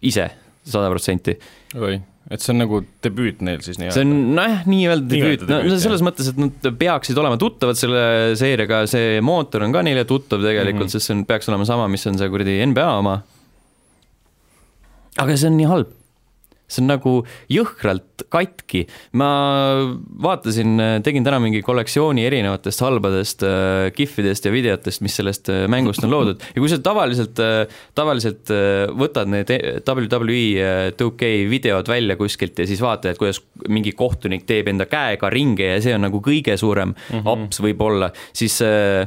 ise sada protsenti . oi , et see on nagu debüüt neil siis see nii-öelda ? on nojah , nii-öelda debüüt , Nii-öelda no debüüt, selles mõttes , et nad peaksid olema tuttavad selle seeriaga , see mootor on ka neile tuttav tegelikult mm , Mhm. -hmm. sest see on , peaks olema sama , mis on see kuradi NBA oma . aga see on nii halb . see on nagu jõhkralt katki. ma vaatasin, tegin täna mingi kollektsiooni erinevatest halbadest äh, kihvidest ja videotest, mis sellest äh, mängust on loodud ja kui sa tavaliselt äh,, tavaliselt äh, võtad need e- WWE äh, 2K videod välja kuskilt ja siis vaatad, et kuidas mingi kohtunik teeb enda käega ringe ja see on nagu kõige suurem mm -hmm. aps võib-olla, siis äh,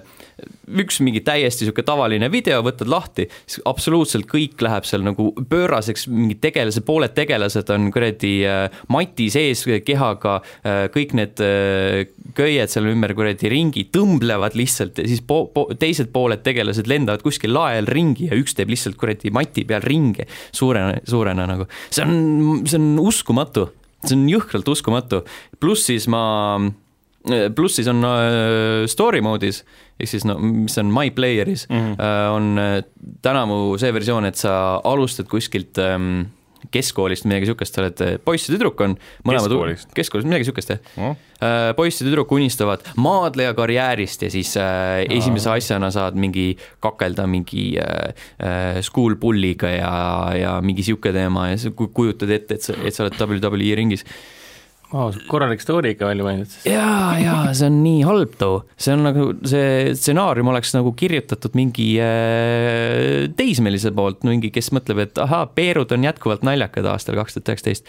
üks mingi täiesti niisugune tavaline video, võtad lahti, siis absoluutselt kõik läheb seal nagu pööraseks, mingid tegelased, pooled tegelased on kuradi äh, mati sees kehaga äh,, kõik need äh, köied seal ümber kuradi ringi tõmblevad lihtsalt ja siis po po teised pooled tegelased lendavad kuskil lae all ringi ja üks teeb lihtsalt kuradi mati peal ringe suurena, suurena nagu. see on, see on uskumatu, see on jõhkralt uskumatu, pluss siis ma pluss siis on äh, story mode'is, ehk siis no mis on My Player'is mm, -hmm. äh, on äh, tänavu see versioon, et sa alustad kuskilt ähm, keskkoolist, midagi niisugust, sa oled äh, poiss ja tüdruk on mõlemad Keskkoolist? keskkoolist , midagi niisugust jah noh , Äh, poiss ja tüdruk unistavad maadleja karjäärist ja siis äh, esimese asjana saad mingi kakelda mingi äh, äh, school bulliga ja , ja mingi niisugune teema ja sa ku- kujutad ette , et sa , et sa oled WWE ringis Vau , korralik story ikka välja mõeldud siis . jaa , jaa , see on nii halb too , see on nagu see stsenaarium oleks nagu kirjutatud mingi äh, teismelise poolt , mingi , kes mõtleb , et ahaa , Peerud on jätkuvalt naljakad aastal kaks tuhat üheksateist .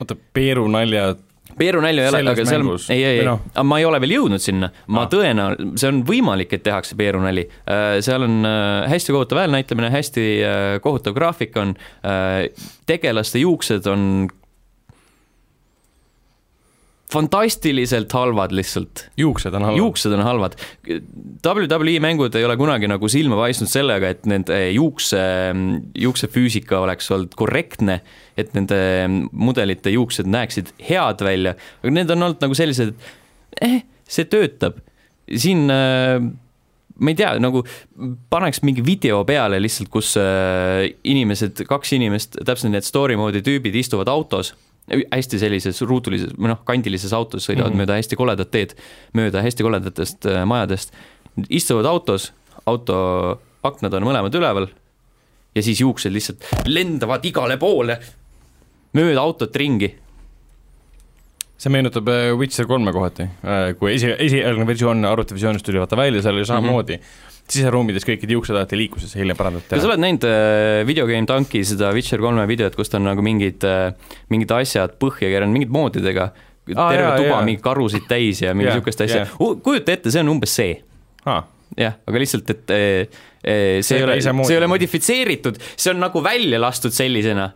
oota , Peeru naljad , Peerunälja ei ole , Selles aga seal , mängus? ei , ei , Või ei noh. , Ah. aga ma ei ole veel jõudnud sinna , ma tõenäol- , see on võimalik , et tehakse Peerunäli . seal on äh, hästi kohutav häälnäitlemine , hästi äh, kohutav graafik on , tegelaste juuksed on fantastiliselt halvad lihtsalt juuksed on halvad . juuksed on halvad . WWE mängud ei ole kunagi nagu silma paistnud sellega , et nende juukse , juuksefüüsika oleks olnud korrektne , et nende mudelite juuksed näeksid head välja , aga need on olnud nagu sellised , et eh, see töötab . siin äh, ma ei tea , nagu paneks mingi video peale lihtsalt , kus äh, inimesed , kaks inimest , täpselt need story mode'i tüübid istuvad autos , hästi sellises ruutulises või noh , kandilises autos sõidavad mm -hmm. mööda hästi koledat teed , mööda hästi koledatest äh, majadest , istuvad autos , auto aknad on mõlemad üleval ja siis juuksed lihtsalt lendavad igale poole mööda autot ringi . see meenutab äh, Witcher kolme kohati , kui esi , esialgne versioon arvutivisioonist tuli vaata välja , seal oli samamoodi mm -hmm. siseruumides kõikide juuksed alati liikusid , hiljem parandati kas sa ära . oled näinud äh, Video Game Tanki seda Witcher kolme videot , kus ta on nagu mingid , mingid asjad põhja keeranud , mingid moodidega , Aa, terve jaa, tuba jaa. mingi karusid täis ja mingi Jah, niisugust asja jah. , kujuta ette , see on umbes see aa , jah , aga lihtsalt , et eh, eh, see See ei ei ole , ole ise see moodi. ei ole modifitseeritud , see on nagu välja lastud sellisena .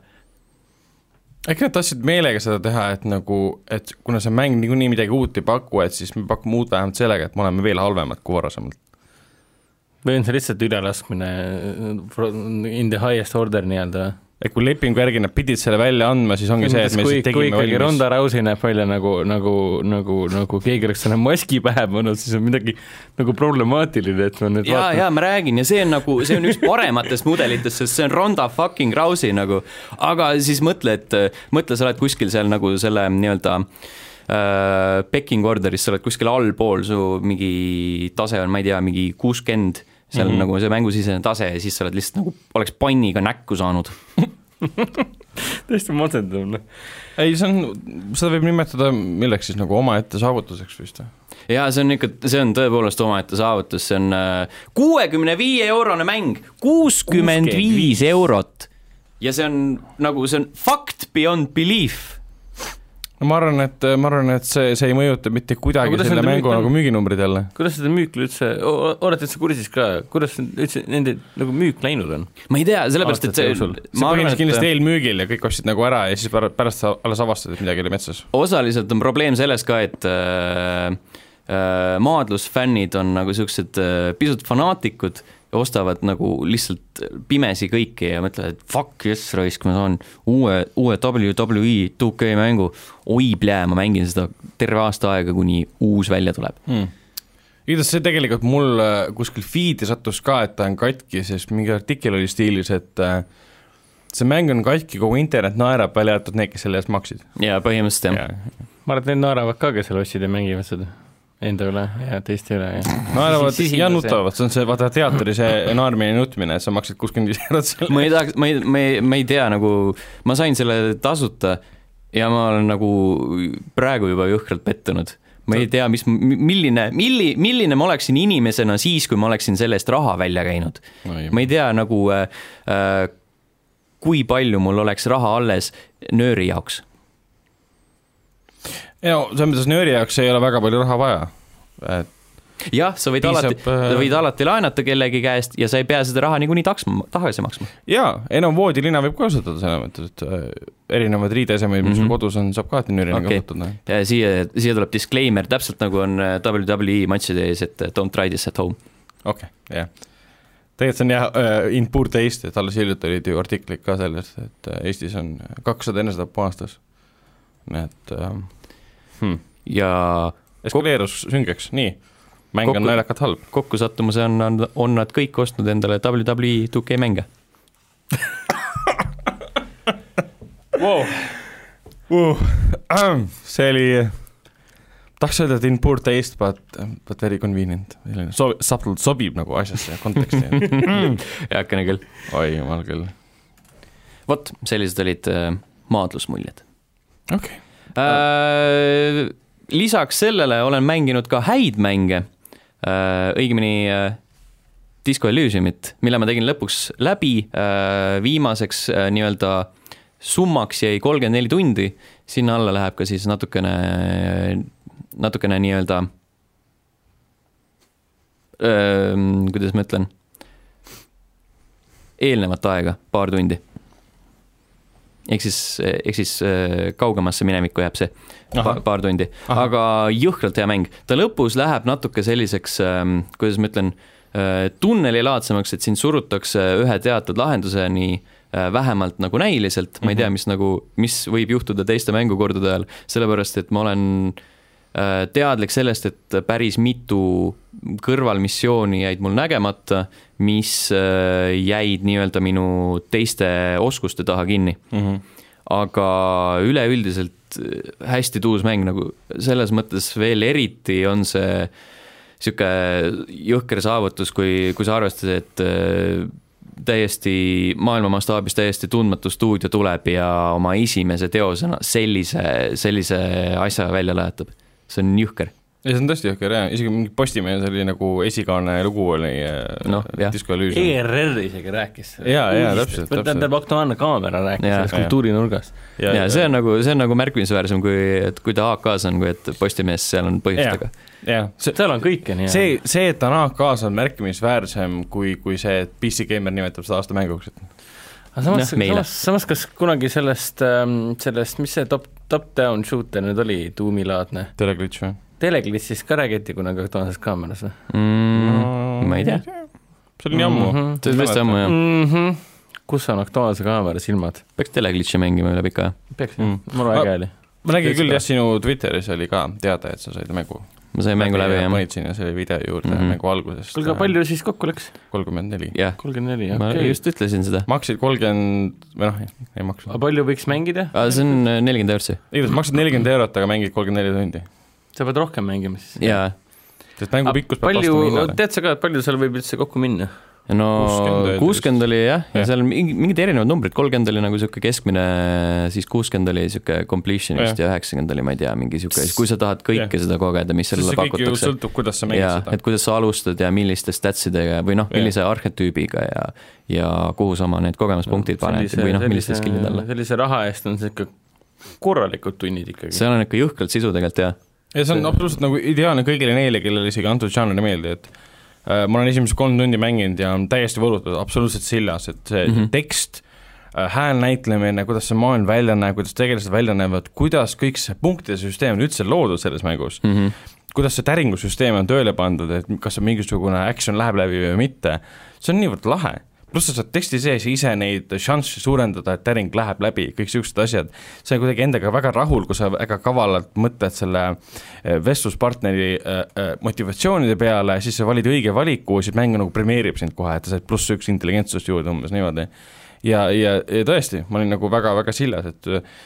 äkki nad tahtsid meelega seda teha , et nagu , et kuna see mäng niikuinii midagi uut ei paku , et siis me pakume uut vähemalt sellega , et me oleme veel halvemad kui varasemalt . või on see lihtsalt ülelaskmine fro- in the highest order nii-öelda ? et kui lepingu järgi nad pidid selle välja andma , siis ongi see , et me kui , lihtsalt kui tegime ikkagi valmis Ronda . Rousey näeb välja nagu , nagu , nagu , nagu keegi oleks selle maski pähe pannud , siis on midagi nagu problemaatiline , et ma nüüd ja , vaatan . ja ma räägin ja see on nagu , see on üks parematest mudelitest , sest see on Ronda fucking Rousey nagu , aga siis mõtle , et eh, mõtle , sa oled kuskil seal nagu selle nii-öelda äh, pecking order'is , sa oled kuskil allpool , su mingi tase on , ma ei tea , mingi kuuskümmend , seal mm -hmm. nagu see mängusisene tase ja siis sa oled lihtsalt nagu oleks panniga näkku saanud . täiesti masendav , noh . ei , see on , seda võib nimetada milleks siis nagu omaette saavutuseks vist või ? jaa , see on ikka , see on tõepoolest omaette saavutus , see on äh, kuuekümne viie eurone mäng , kuuskümmend viis eurot . ja see on nagu , see on fact beyond belief . no ma arvan , et , ma arvan , et see , see ei mõjuta mitte kuidagi Aga kuidas selle nende mängu müük on? nagu müüginumbrid jälle . kuidas seda müük üldse , olete üldse kursis ka , kuidas üldse nende nagu müük läinud on ? ma ei tea , sellepärast et Aastate see jooksul. , see ma arvan , põhines kindlasti et eelmüügil ja kõik ostsid nagu ära ja siis pära- pärast sa alles avastad , et midagi oli metsas . osaliselt on probleem selles ka , et äh, äh, maadlusfännid on nagu siuksed äh, pisut fanaatikud ja ostavad nagu lihtsalt pimesi kõiki ja mõtlevad , et fuck yes raisk , ma saan uue , uue WWE 2K mängu . oi plää , ma mängin seda terve aasta aega , kuni uus välja tuleb . igatahes see tegelikult mul äh, kuskil feed'i sattus ka , et ta on katki , sest mingi artikkel oli stiilis , et äh, see mäng on katki , kogu internet naerab , välja arvatud need , kes selle eest maksid . ja põhimõtteliselt jah . see ma arvan , et need naeravad ka , kes seal ostsid ja mängivad seda . Enda üle ja teiste üle ja naeravad Siis- siis ja hindas, nutavad , see on see , vaata teatri see naermine ja nutmine , et sa maksad kuuskümmend viis eurot selle ma ei tahaks , ma ei , ma ei , ma ei tea nagu , ma sain selle tasuta ja ma olen nagu praegu juba jõhkralt pettunud . ma ei tea , mis , milline , milli- , milline ma oleksin inimesena siis , kui ma oleksin selle eest raha välja käinud . ma ei tea nagu äh, , äh, kui palju mul oleks raha alles nööri jaoks . ei no selles mõttes nööri jaoks ei ole väga palju raha vaja . et jah , sa võid Piisab, alati , sa äh, võid alati laenata kellegi käest ja sa ei pea seda raha niikuinii taksma , tagasi maksma . jaa , ei no voodilina võib kasutada selles mõttes , et äh, erinevaid riideesemeid , mis sul Mhm. kodus on , saab ka alati nöörina Okei. okay. kasutada . noh. siia , siia tuleb disclaimer , täpselt nagu on äh, WWE matšide ees , et äh, don't try this at home . okei okay, , jah . tegelikult see on jah äh, in poor taste , et alles hiljuti olid ju artiklid ka sellest , et äh, Eestis on kakssada enesetappu aastas . nii et äh, hmm. ja eskaleerus süngeks , nii . mäng Kokku- on naljakalt halb . kokkusattumuse on , on , on nad kõik ostnud endale WWE 2K mänge . wow. uh, see oli , tahaks öelda , et in poor taste but , but very convenient . selline so- , subtle sobib nagu asjasse ja konteksti . heakene küll . oi jumal küll . vot , sellised olid äh, maadlusmuljed okei okay. . äh, . lisaks sellele olen mänginud ka häid mänge äh, , õigemini äh, Disco Elysiumit , mille ma tegin lõpuks läbi äh, , viimaseks äh, nii-öelda summaks jäi kolmkümmend neli tundi , sinna alla läheb ka siis natukene , natukene nii-öelda äh, , kuidas ma ütlen , eelnevat aega , paar tundi . ehk siis , ehk siis äh, kaugemasse minevikku jääb see pa ahah , paar tundi , Ahah. aga jõhkralt hea mäng . ta lõpus läheb natuke selliseks , kuidas ma ütlen , tunnelilaadsemaks , et sind surutakse ühe teatud lahenduseni äh, vähemalt nagu näiliselt , ma ei Mhm. tea , mis nagu , mis võib juhtuda teiste mängukordade ajal , sellepärast et ma olen äh, teadlik sellest , et päris mitu kõrvalmissiooni jäid mul nägemata , mis äh, jäid nii-öelda minu teiste oskuste taha kinni Mhm. aga üleüldiselt äh, hästi tuus mäng nagu selles mõttes veel eriti on see sihuke jõhker saavutus , kui , kui sa arvestad , et äh, täiesti maailma mastaabis täiesti tundmatu stuudio tuleb ja oma esimese teosena sellise , sellise asja välja lähetab . see on jõhker . ei see on tõesti jõhker jah , isegi mingi Postimehes oli nagu esikaane lugu oli äh, Noh, jah. Disco Elysium . ERR E isegi rääkis . Jaa, jaa, täpselt, täpselt. tähendab , Aktuaalne Kaamera rääkis Jaa. sellest kultuurinurgast . ja see on nagu , see on nagu märkimisväärsem , kui , et kui ta AK-s on , kui et Postimehes seal on põhjust , aga jah , see , seal on kõike nii . see , see , et ta on AK-s , on märkimisväärsem kui , kui see , et PC Gamer nimetab seda aasta mänguks , et aga samas , Jah, meile. samas , samas kas kunagi sellest , sellest , mis see top , top-down shooter nüüd oli , tuumilaadne , teleglitš või ? teleklitsis ka räägiti kunagi Aktuaalses Kaameras või mm, ma ei tea ,. see oli nii ammu Mhm. . see on tõesti ammu jah , mm ? -hmm. kus on Aktuaalse Kaamera silmad ? peaks teleglitši mängima üle pika aja . peaks Mm. mm. , mul Ma- väga hea oli . ma nägin Tõesti küll ka. jah , sinu Twitteris oli ka teada , et sa said mängu . ma sain mängu läbi jah . panid sinna selle video juurde mm Mhm. -hmm. mängu algusest . kuulge , palju siis kokku läks ? kolmkümmend neli . jah , kolmkümmend neli , ma okei . just ütlesin seda . maksid kolmkümmend , või noh , ei aga maksnud . palju võiks mängida ? see on äh, nelikümmend eurtsi igatahes maksad nelikümmend eurot , aga mängid kolmkümmend neli tundi . sa pead rohkem mängima siis . ja sest mängu pikkus peab palju vastama , hinnale . tead sa ka , et palju seal võib üldse kokku minna ? no 60 oli kuuskümmend oli jah , ja Jah. seal mingi- mingid erinevad numbrid , kolmkümmend oli nagu sihuke keskmine , siis kuuskümmend oli sihuke completion vist ja üheksakümmend oli , ma ei tea , mingi sihuke , kui sa tahad kõike Jah. seda kogeda , mis sest sulle see kõik ju pakutakse . sõltub , kuidas sa mängid ja seda et . kuidas sa alustad ja milliste statsidega või noh , Jah. millise arhetüübiga ja , ja kuhu sa oma need kogemuspunktid paned või noh , milliste skill'ide alla . sellise raha eest on see ikka korralikud tunnid ikkagi . seal on ikka jõhkralt sisu tegelikult jah , ja see on absoluutselt nagu ideaalne kõigile neile , kellele isegi antud žanr ei meeldi , et äh, ma olen esimesed kolm tundi mänginud ja on täiesti võlutud , absoluutselt sillas , et see mm Mhm. -hmm. tekst äh, hääl näitlemine , kuidas see maailm välja näeb , kuidas tegelased välja näevad , kuidas kõik see punktide süsteem on üldse loodud selles mängus mm , -hmm. kuidas see täringusüsteem on tööle pandud , et kas on mingisugune action läheb läbi või mitte , see on niivõrd lahe pluss sa saad teksti sees ise neid šansse suurendada , et täring läheb läbi , kõik siuksed asjad . sa oled kuidagi endaga väga rahul , kui sa väga kavalalt mõtled selle äh, vestluspartneri äh, äh, motivatsioonide peale , siis sa valid õige valiku , siis mäng nagu premeerib sind kohe , et sa said pluss üks intelligentsust juurde umbes niimoodi . ja, ja, ja tõesti, ma olin nagu väga-väga sillas, et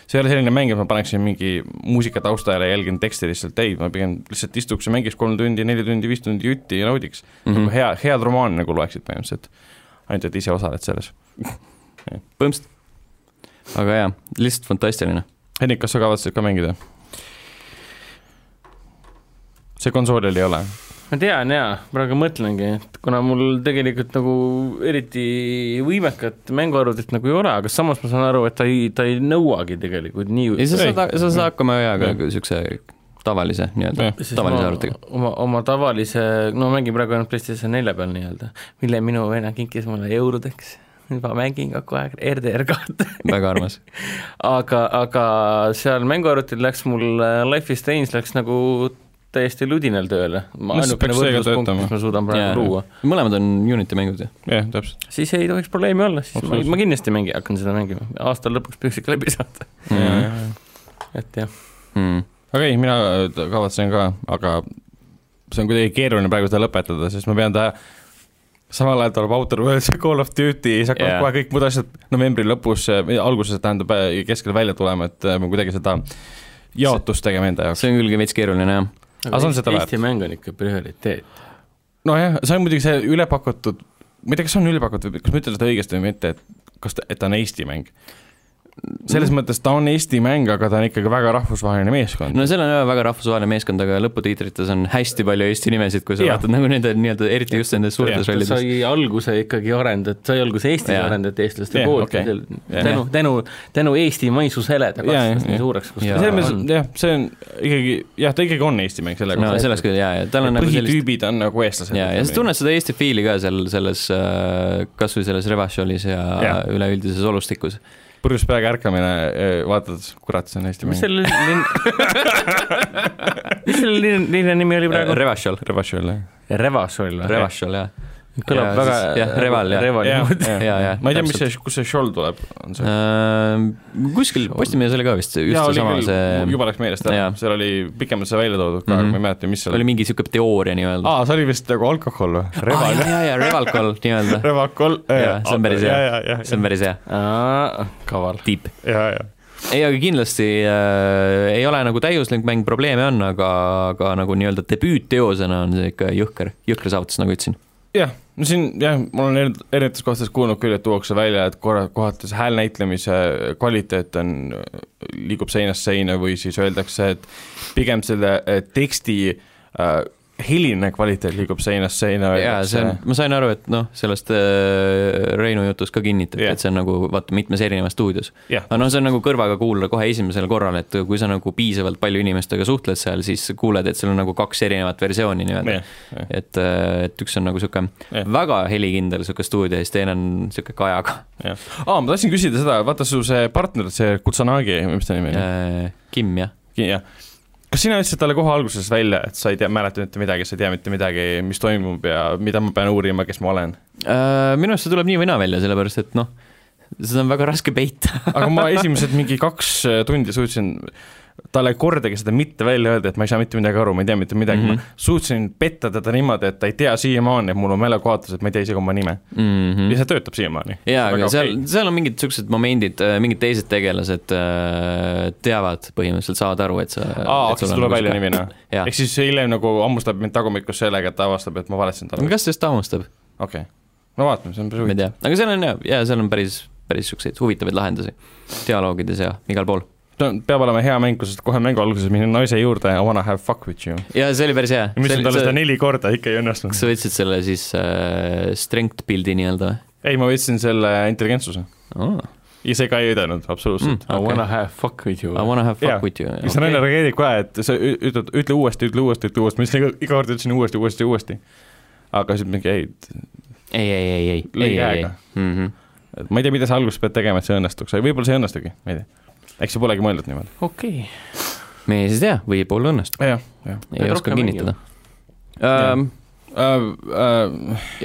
see ei ole selline mäng, et ma paneksin mingi muusika taustajale ja jälgin teksti lihtsalt, ei, ma pigem lihtsalt istuks ja mängiks kolm tundi, neli tundi, viis tundi jutti ja naudiks mm. -hmm. nagu hea, head romaani nagu loeksid põhimõtteliselt, ainult et ise osaled selles põhimõtteliselt. aga jaa, lihtsalt fantastiline. Henrik, kas sa kavatsed ka mängida? see konsoolil ei ole? ma tean jaa, praegu mõtlengi, et kuna mul tegelikult nagu eriti võimekat mänguarvutit nagu ei ole, aga samas ma saan aru, et ta ei, ta ei nõuagi tegelikult nii ei, sa saad, sa saad hakkama ajaga niisuguse tavalise nii-öelda, Siis tavalise ma arvutiga . oma, oma tavalise , no ma mängin praegu ainult PlayStation nelja peal nii-öelda , mille minu vena kinkis mulle jõuludeks , juba mängin kogu aeg RDR kahte , väga armas . aga , aga seal mänguarvutil läks mul äh, Life is Strange läks nagu täiesti ludinal tööle . Lihtsalt ainukene peaks seega võrdluspunkt , töötama. mis ma suudan praegu luua . mõlemad on Unity mängud ju . jah , täpselt siis ei tohiks probleemi olla , siis ma, Absoluutselt. ma kindlasti mängi , hakkan seda mängima , aasta lõpuks püüaks ikka läbi saada , mm. . Mhm. jah , jah , et jah . Hmm. aga ei , mina äh, kavatsen ka , aga see on kuidagi keeruline praegu seda lõpetada , sest ma pean ta samal ajal tuleb autor , Call of Duty , siis hakkavad Jaa. yeah. kohe kõik muud asjad novembri lõpus , alguses tähendab äh, keskel välja tulema , et äh, ma kuidagi seda jaotust tegema enda jaoks . see on küll veits keeruline jah . Aga see on seda Eesti mäng on ikka prioriteet . nojah , see on muidugi see ülepakutud , ma ei tea , kas see on ülepakutud või kas ma ütlen seda õigesti või mitte , et kas ta , et ta on Eesti mäng . selles mõttes ta on Eesti mäng , aga ta on ikkagi väga rahvusvaheline meeskond no, . no seal on jah väga rahvusvaheline meeskond , aga lõputiitrites on hästi palju Eesti nimesid , kui sa Jah. vaatad nagu nende nii-öelda , eriti just nendes Jah, suurtes ta rollides . sai alguse ikkagi arendatud , sai alguse Eestis Jaa. arendatud eestlaste Jah, poolt okei. okay. , Jah. tänu , tänu , tänu Eesti maisusele ta Jaa, jah, kasvas nii jah. suureks , kus Jaa. ta selles mõttes on . jah , see on ikkagi jah , ta ikkagi on Eesti mäng sellega no no, . selles küll jaa , ja tal on nagu sellist põhitüübid on nagu eestlased . ja , ja sa tunned seda Eesti fiili ka seal selles , kas või selles Revachiolis ja, ja. Jah. üleüldises olustikus . purjus peaga ärkamine , vaatad , kurat , see on Eesti mis mäng . selle linn , mis selle linn , linna nimi oli praegu ? Revachiol , Revašil jah . Revašol või ? Revachiol jah . kõlab Ja väga siis- jah, Reval, jah. Revali jah , moodi . jah , Jaa, jaa, jah . ma ei tea , mis täpselt. see , kus see šol tuleb , on see ? Äh, kuskil Postimehes oli ka vist see- just seesama see , juba läks meelest Jaa. ära , seal oli pikemalt see välja toodud ka , aga Mhm. ma ei mäleta , mis seal oli mingi sihuke teooria nii-öelda . aa , see oli vist nagu alkohol või ? aa Reval , jaa , jaa , Revalcol nii-öelda , Revacol . Jaa, see on päris hea. ja , ja , see on päris hea , kaval . tiip . ja , ja . ei , aga kindlasti äh, ei ole nagu täiuslik mäng , probleeme on , aga , aga nagu nii-öelda debüütteosena on see ikka jõhker , jõhker saavutus , nagu ütlesin . jah , no siin jah , ma olen eri- erinevates kohtades kuulnud küll , et tuuakse välja , et korra , kohati see hääl näitlemise kvaliteet on , liigub seinast seina või siis öeldakse , et pigem selle eh, teksti äh, hiline kvaliteet liigub seinast seina . jaa , see on , ma sain aru , et noh , sellest äh, Reinu jutust ka kinnitati Jah. yeah. , et see on nagu vaata mitmes erinevas stuudios . jah , aga noh , see on nagu kõrvaga kuulda kohe esimesel korral , et kui sa nagu piisavalt palju inimestega suhtled seal , siis kuuled , et seal on nagu kaks erinevat versiooni nii-öelda . jah , jah . et , et üks on nagu sihuke Jah. väga helikindel sihuke stuudio ja siis teine on sihuke kajaga . aa , ma tahtsin küsida seda , vaata su see partner , see Kutsanagi , mis ta nimi on ? Äh, Kim , jah ? jah . kas sina ütlesid talle kohe alguses välja , et sa ei tea , mäleta mitte midagi , sa ei tea mitte midagi , mis toimub ja mida ma pean uurima , kes ma olen ? Äh, minu arust see tuleb nii või naa välja , sellepärast et noh , seda on väga raske peita . aga ma esimesed mingi kaks äh, tundi suutsin talle kordagi seda mitte välja öelda , et ma ei saa mitte midagi aru , ma ei tea mitte midagi mm , Mhm. -hmm. ma suutsin petta teda niimoodi , et ta ei tea siiamaani , et mul on mälekohatus , et ma ei tea isegi oma nime mm. . Mhm. ja see töötab siiamaani . jaa , aga seal , seal on mingid niisugused momendid , mingid teised tegelased äh, teavad põhimõtteliselt , saavad aru , Äh, et sa aa , siis tuleb välja nimi , noh . jah , ehk siis hiljem nagu hammustab mind tagumikust sellega , et ta avastab , et ma valetasin talle . kas sellest hammustab , okei okay. . no vaatame , see on päris ma huvitav . ei tea , aga seal on jaa , jaa , seal on päris , päris niisuguseid huvitavaid lahendusi dialoogides ja igal pool . no peab olema hea mäng , kus kohe mängu alguses minna naise juurde ja I wanna have fuck with you . ja see oli päris hea . mis on talle seda neli korda ikka ei õnnestunud kas . sa võtsid selle siis äh, strength build'i nii-öelda ei , ma võtsin selle intelligentsuse . või oh, ? ja see ka ei aidanud , absoluutselt . I Okei. wanna have fuck with you I . wanna have fuck Jaa. yeah. with you . see naine reageerib kohe , et sa ü- ütled , ütle uuesti , ütle uuesti , ütle uuesti , ma siis iga, iga kord ütlesin uuesti , uuesti , uuesti . aga siis mingi ei , ei , ei , ei , ei , ei , Lõi ei , Mhm. käega. ei . et ma ei tea , mida sa alguses pead tegema , et see õnnestuks , võib-olla see ei õnnestugi , ma ei tea . eks see polegi mõeldud niimoodi . okei . me ei siis tea , võib-olla õnnestub , jah , jah . ei Pead oska rohkem kinnitada .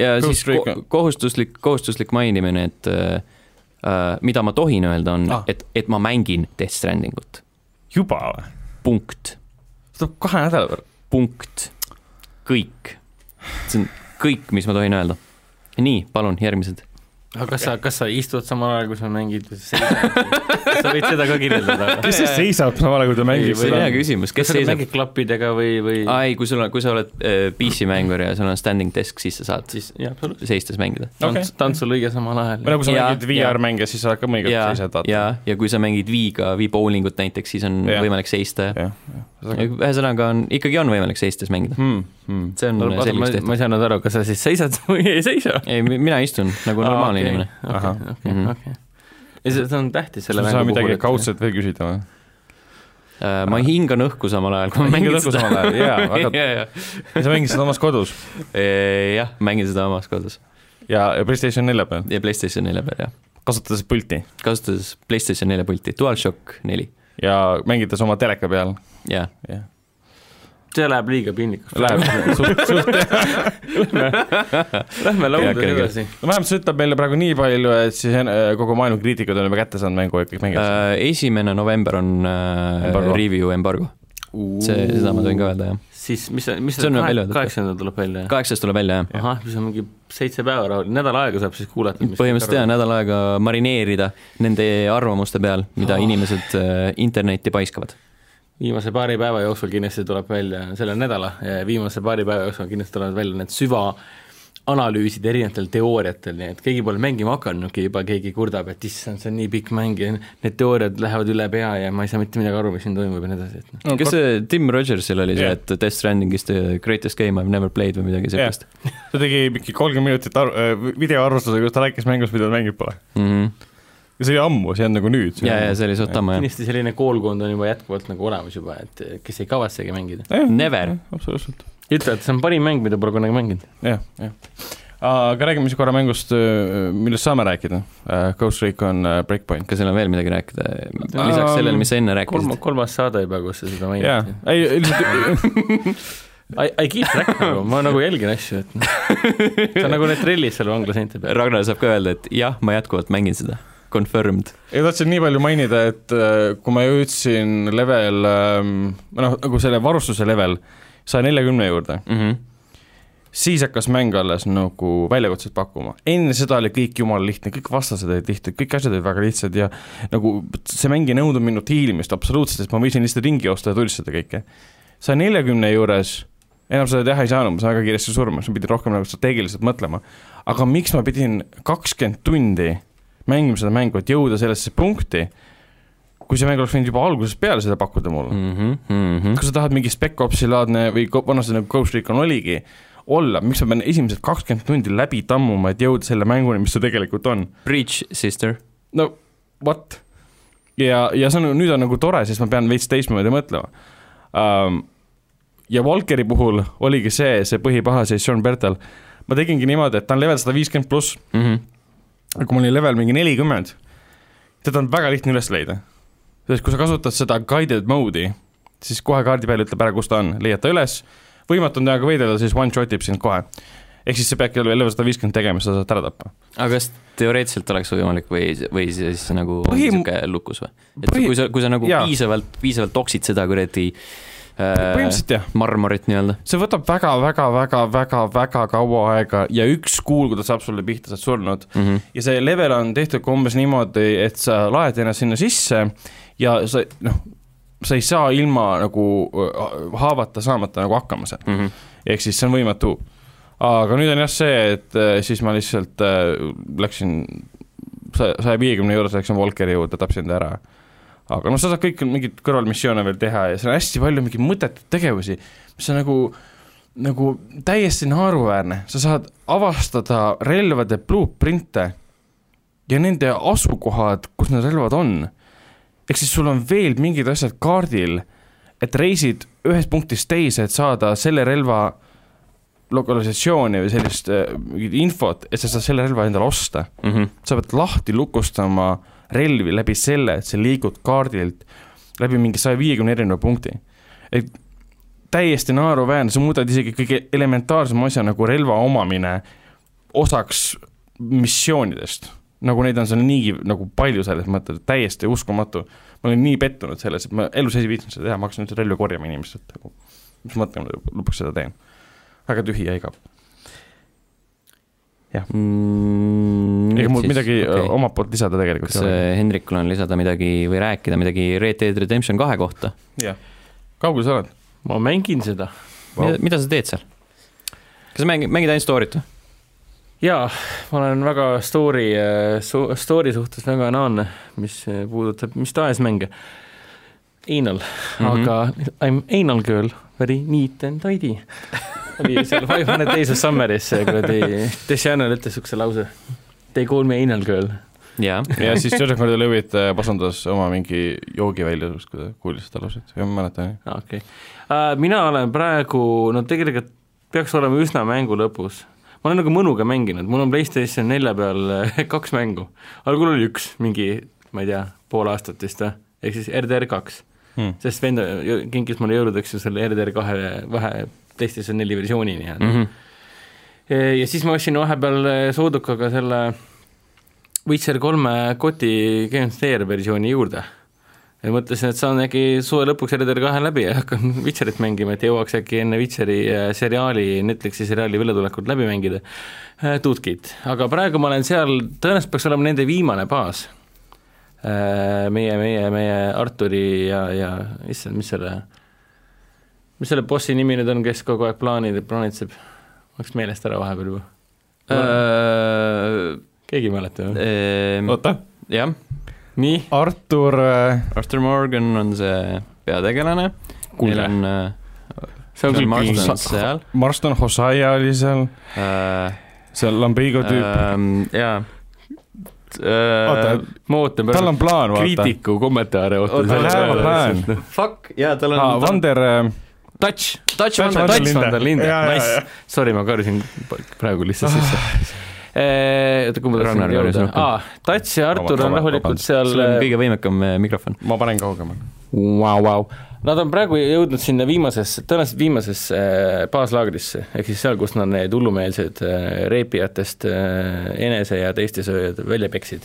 Äh, ja Ghost siis ko- Recon. kohustuslik , kohustuslik mainimine , et äh, äh, mida ma tohin öelda , on Ah. ah. , et , et ma mängin Death Strandingut , juba või ? punkt , see tuleb kahe nädala võrra . punkt , kõik . see on kõik , mis ma tohin öelda . nii , palun , järgmised . aga kas sa , kas sa istud samal ajal , kui sa mängid või sa seisad ? sa võid seda ka kirjeldada . kes siis seisab samal ajal , kui ta mängib see on hea küsimus , kas kes sa seisab ? mängid klappidega või , või aa ei , kui sul on , kui sa oled äh, PC-mängur ja sul on standing desk , siis sa saad siis jah , absoluutselt . seistes mängida . Okei. tants , tantsulõige samal või ajal . nagu sa Jaa, jaa. mängid VR-mänge , siis sa ka mõnikord ja , seisad , vaata . ja , ja kui sa mängid Wii-ga , Wii bowlingut näiteks , siis on Jah. ja. võimalik seista . jah . ühesõnaga on , ikkagi on võimalik seistes mängida . Hmm, see on ma selgeks ma tehtud . ei saanud aru , kas sa siis seisad või ei seisa ? ei , mina istun nagu normaalne okay. inimene . Ahah. okei , okei , Mhm. okei . ja see , see on tähtis sa selle ei saa mängu midagi et- kaudselt veel küsida või ? Äh, ma hingan õhku samal ajal , kui ma mängin õhku samal ajal , jaa , seda . aga ja sa mängid seda omas kodus Äh, jah , mängin seda omas kodus ja , ja Playstation nelja peal , ja Playstation nelja peal , jah . kasutades pulti kasutades Playstation nelja pulti , DualShock neli , ja mängides oma teleka peal . jah . see läheb liiga piinlikuks . Läheb suht , suht , Lähme Jah, lauda okei, edasi . no vähemalt see ütleb meile praegu nii palju , et siis äh, kogu maailma kriitikud on juba kätte saanud mängu ja kõik mängivad seda . Äh, esimene november on äh, Embargo. review embargo , see , seda ma võin ka öelda , jah . siis mis , mis See on veel välja kahe- võtta. kaheksandal tuleb välja , jah ? kaheksas tuleb välja , jah . ahah , siis on mingi seitse päeva rahul , nädal aega saab siis kuulata , mis põhimõtteliselt jaa , nädal aega marineerida nende arvamuste peal , mida Ah. oh. inimesed äh, internetti paiskavad . viimase paari päeva jooksul kindlasti tuleb välja , selle nädala eh, viimase paari päeva jooksul kindlasti tulevad välja need süvaanalüüsid erinevatel teooriatel , nii et keegi pole mängima hakanudki , juba keegi kurdab , et issand , see on nii pikk mäng ja need teooriad lähevad üle pea ja ma ei saa mitte midagi aru , mis siin toimub ja nii edasi , et noh . kas see Tim Rogersil oli see Jah. yeah. , et Death Strandingist äh, greatest game I have never played või midagi Jah. sellist ta tegi mingi kolmkümmend minutit aru- äh, videoarvustuse , kus ta rääkis mängust , mida ta mänginud pole . yeah. ? ja see oli ammu , see on nagu nüüd . Mhm. ja , ja see oli suht ammu , jah . kindlasti selline koolkond on juba jätkuvalt nagu olemas juba , et eh, kes ei kavatsegi mängida . Never. . absoluutselt , ütlevad , see on parim mäng , mida pole kunagi mänginud . jah , jah . aga räägime siis korra mängust , millest saame rääkida . Ghost Recon äh, Breakpoint . kas seal on veel midagi rääkida , lisaks sellele , mis sa enne kolm rääkisid ?, kolmas saade juba , kus sa seda mainid jaa yeah. ., ei , lihtsalt I , I keep track nagu , ma nagu jälgin asju , et noh see on nagu need trellid seal vangla seinte peal . Ragnar saab ka öelda , et jah , ma jätkuvalt mängin seda . Confirmed . ei tahtsin nii palju mainida , et äh, kui ma jõudsin level , noh nagu selle varustuse level saja neljakümne juurde , siis hakkas mäng alles nagu väljakutset pakkuma . enne seda oli kõik jumala lihtne , kõik vastased olid lihtsad , kõik asjad olid väga lihtsad ja nagu see mäng ei nõudnud minut hiilimist absoluutselt , sest ma võisin lihtsalt ringi joosta ja tulistada kõike . saja neljakümne juures enam seda teha ei saanud , ma sain väga kiiresti surma , siis ma pidin rohkem nagu strateegiliselt mõtlema . aga miks ma pidin kakskümmend tundi mängima seda mängu , et jõuda sellesse punkti , kui see mäng oleks võinud juba algusest peale seda pakkuda mulle . Mhm. kui sa tahad mingi Spec Opsi laadne või ko- vanasti nagu Ghost Recon oligi , olla , miks ma pean esimesed kakskümmend tundi läbi tammuma , et jõuda selle mänguni , mis ta tegelikult on ? Breach sister . no what ? ja , ja see on , nüüd on nagu tore , sest ma pean veits teistmoodi mõtlema um, . ja Valkeri puhul oligi see , see põhipahaseis , Sean Bertel , ma tegingi niimoodi , et ta on level sada viiskümmend pluss , Mhm. aga kui mul oli level mingi nelikümmend , teda on väga lihtne üles leida . sest kui sa kasutad seda guided mode'i , siis kohe kaardi peal ütleb ära , kus ta on , leiad ta üles , võimatu on temaga võidelda , siis one shot ib sind kohe . ehk siis sa peadki veel level sada viiskümmend tegema , sa saad ta ära tappa . aga kas teoreetiliselt oleks võimalik või , või siis nagu Põhim- Põhim... niisugune lukus või ? et Põhi- Põhim... kui sa , kui sa nagu jaa. Jaa. piisavalt , piisavalt toksid seda kuradi äh, põhimõtteliselt jah , marmorit nii-öelda . see võtab väga-väga-väga-väga-väga kaua aega ja üks kuul , kui ta saab sulle pihta , sa oled surnud . Mm -hmm. ja see level on tehtud ka umbes niimoodi , et sa laed ennast sinna sisse ja sa noh , sa ei saa ilma nagu äh, haavata saamata nagu hakkama seal , Mm -hmm. ehk siis see on võimatu . aga nüüd on jah see , et äh, siis ma lihtsalt äh, läksin saja , saja viiekümne juures läksin Volkeri juurde , tapsin ta ära . aga noh , sa saad kõik mingeid kõrvalmissioone veel teha ja seal on hästi palju mingeid mõttetuid tegevusi , mis on nagu nagu täiesti naeruväärne , sa saad avastada relvade blueprint'e ja nende asukohad , kus need relvad on . ehk siis sul on veel mingid asjad kaardil , et reisid ühest punktist teise , et saada selle relva lokalisatsiooni või sellist äh, mingit infot , et sa saad selle relva endale osta . Mm -hmm. sa pead lahti lukustama relvi läbi selle , et sa liigud kaardilt läbi mingi saja viiekümne erineva punkti . et täiesti naeruväärne , sa muudad isegi kõige elementaarsema asja nagu relva omamine osaks missioonidest . nagu neid on seal niigi nagu palju selles mõttes , täiesti uskumatu . ma olin nii pettunud selles , et ma elus ei viitsinud seda teha , ma hakkasin üldse relva korjama inimestelt nagu , mis mõte ma lõpuks seda teen . väga tühi ja igav . jah mm, . ega mul midagi äh, okay. omalt poolt lisada tegelikult kas äh, Hendrikul on lisada midagi või rääkida midagi Red Dead Redemption kahe kohta jah , kaugel sa oled ? ma mängin seda Vau. wow. ? mida sa teed seal ? kas sa mängid , mängid ainult story't või ? jaa , ma olen väga story , story suhtes väga naanne , mis äh, puudutab mis tahes mänge . Anal mm , -hmm. aga I m anal girl , very neat and tidy . oli seal Five Hundred Days of Summeris see kuradi , Deshanel ütles niisuguse lause . They call me anal girl . jaa , ja siis Joseph Gordon-Lewitt äh, pasundas oma mingi joogi välja , kui ta kuulis seda lauset , ma mäletan jah . okei okay. uh, . mina olen praegu , no tegelikult peaks olema üsna mängu lõpus . ma olen nagu mõnuga mänginud , mul on PlayStation nelja peal äh, kaks mängu . algul oli üks , mingi , ma ei tea , pool aastat vist või , ehk siis RDR kaks Hmm. sest vend jõ- kinkis mulle jõuludeks ju selle RDR kahe vahe PlayStation neli versiooni nii-öelda mm . -hmm. ja siis ma ostsin vahepeal eh, soodukaga selle Witcher kolme koti Game Steer versiooni juurde . ja mõtlesin , et saan äkki suve lõpuks RDR kahe läbi ja hakkan Witcherit mängima , et jõuaks äkki enne Witcheri eh, seriaali , Netflixi seriaali väljatulekut läbi mängida . Tutkit , aga praegu ma olen seal , tõenäoliselt peaks olema nende viimane baas Äh, meie , meie , meie Arturi ja , ja issand , mis selle , mis selle bossi nimi nüüd on , kes kogu aeg plaanib , plaanitseb , läks meelest ära vahepeal juba , keegi ei mäleta või ? oota , Äh, ehm, jah , nii , Artur äh, Arthur Morgan on see peategelane , neil kuule , on äh, see on John küll Marston piinlik . on seal Marston Hosaia oli seal , äh, , see Lambigo tüüp äh, , jaa . äh, oota , ma ootan tal praegu on plaan , vaata . kriitiku kommentaare , ootan Oota, tal on see- hea plaan . Fuck , jaa , tal aa , on , Vander äh, , Touch , Touch Touch Wonder , Wonder Touch Linde. Wonder Linde Jaa, , jaa, nice jaa. . Sorry , ma karjusin praegu lihtsalt sisse . Ah. oota , kuhu ma Ragnar tahtsin karjus jõuda , rohkem. aa , Touch ja Artur Vabandust, on rahulikult vabandust. seal eh, sul on kõige võimekam äh, mikrofon . ma panen kaugemale . wow, . Wow. Nad on praegu jõudnud sinna viimasesse , tõenäoliselt viimasesse äh, baaslaagrisse , ehk siis seal , kus nad need hullumeelsed äh, reepijatest äh, enese ja teiste sööjad välja peksid .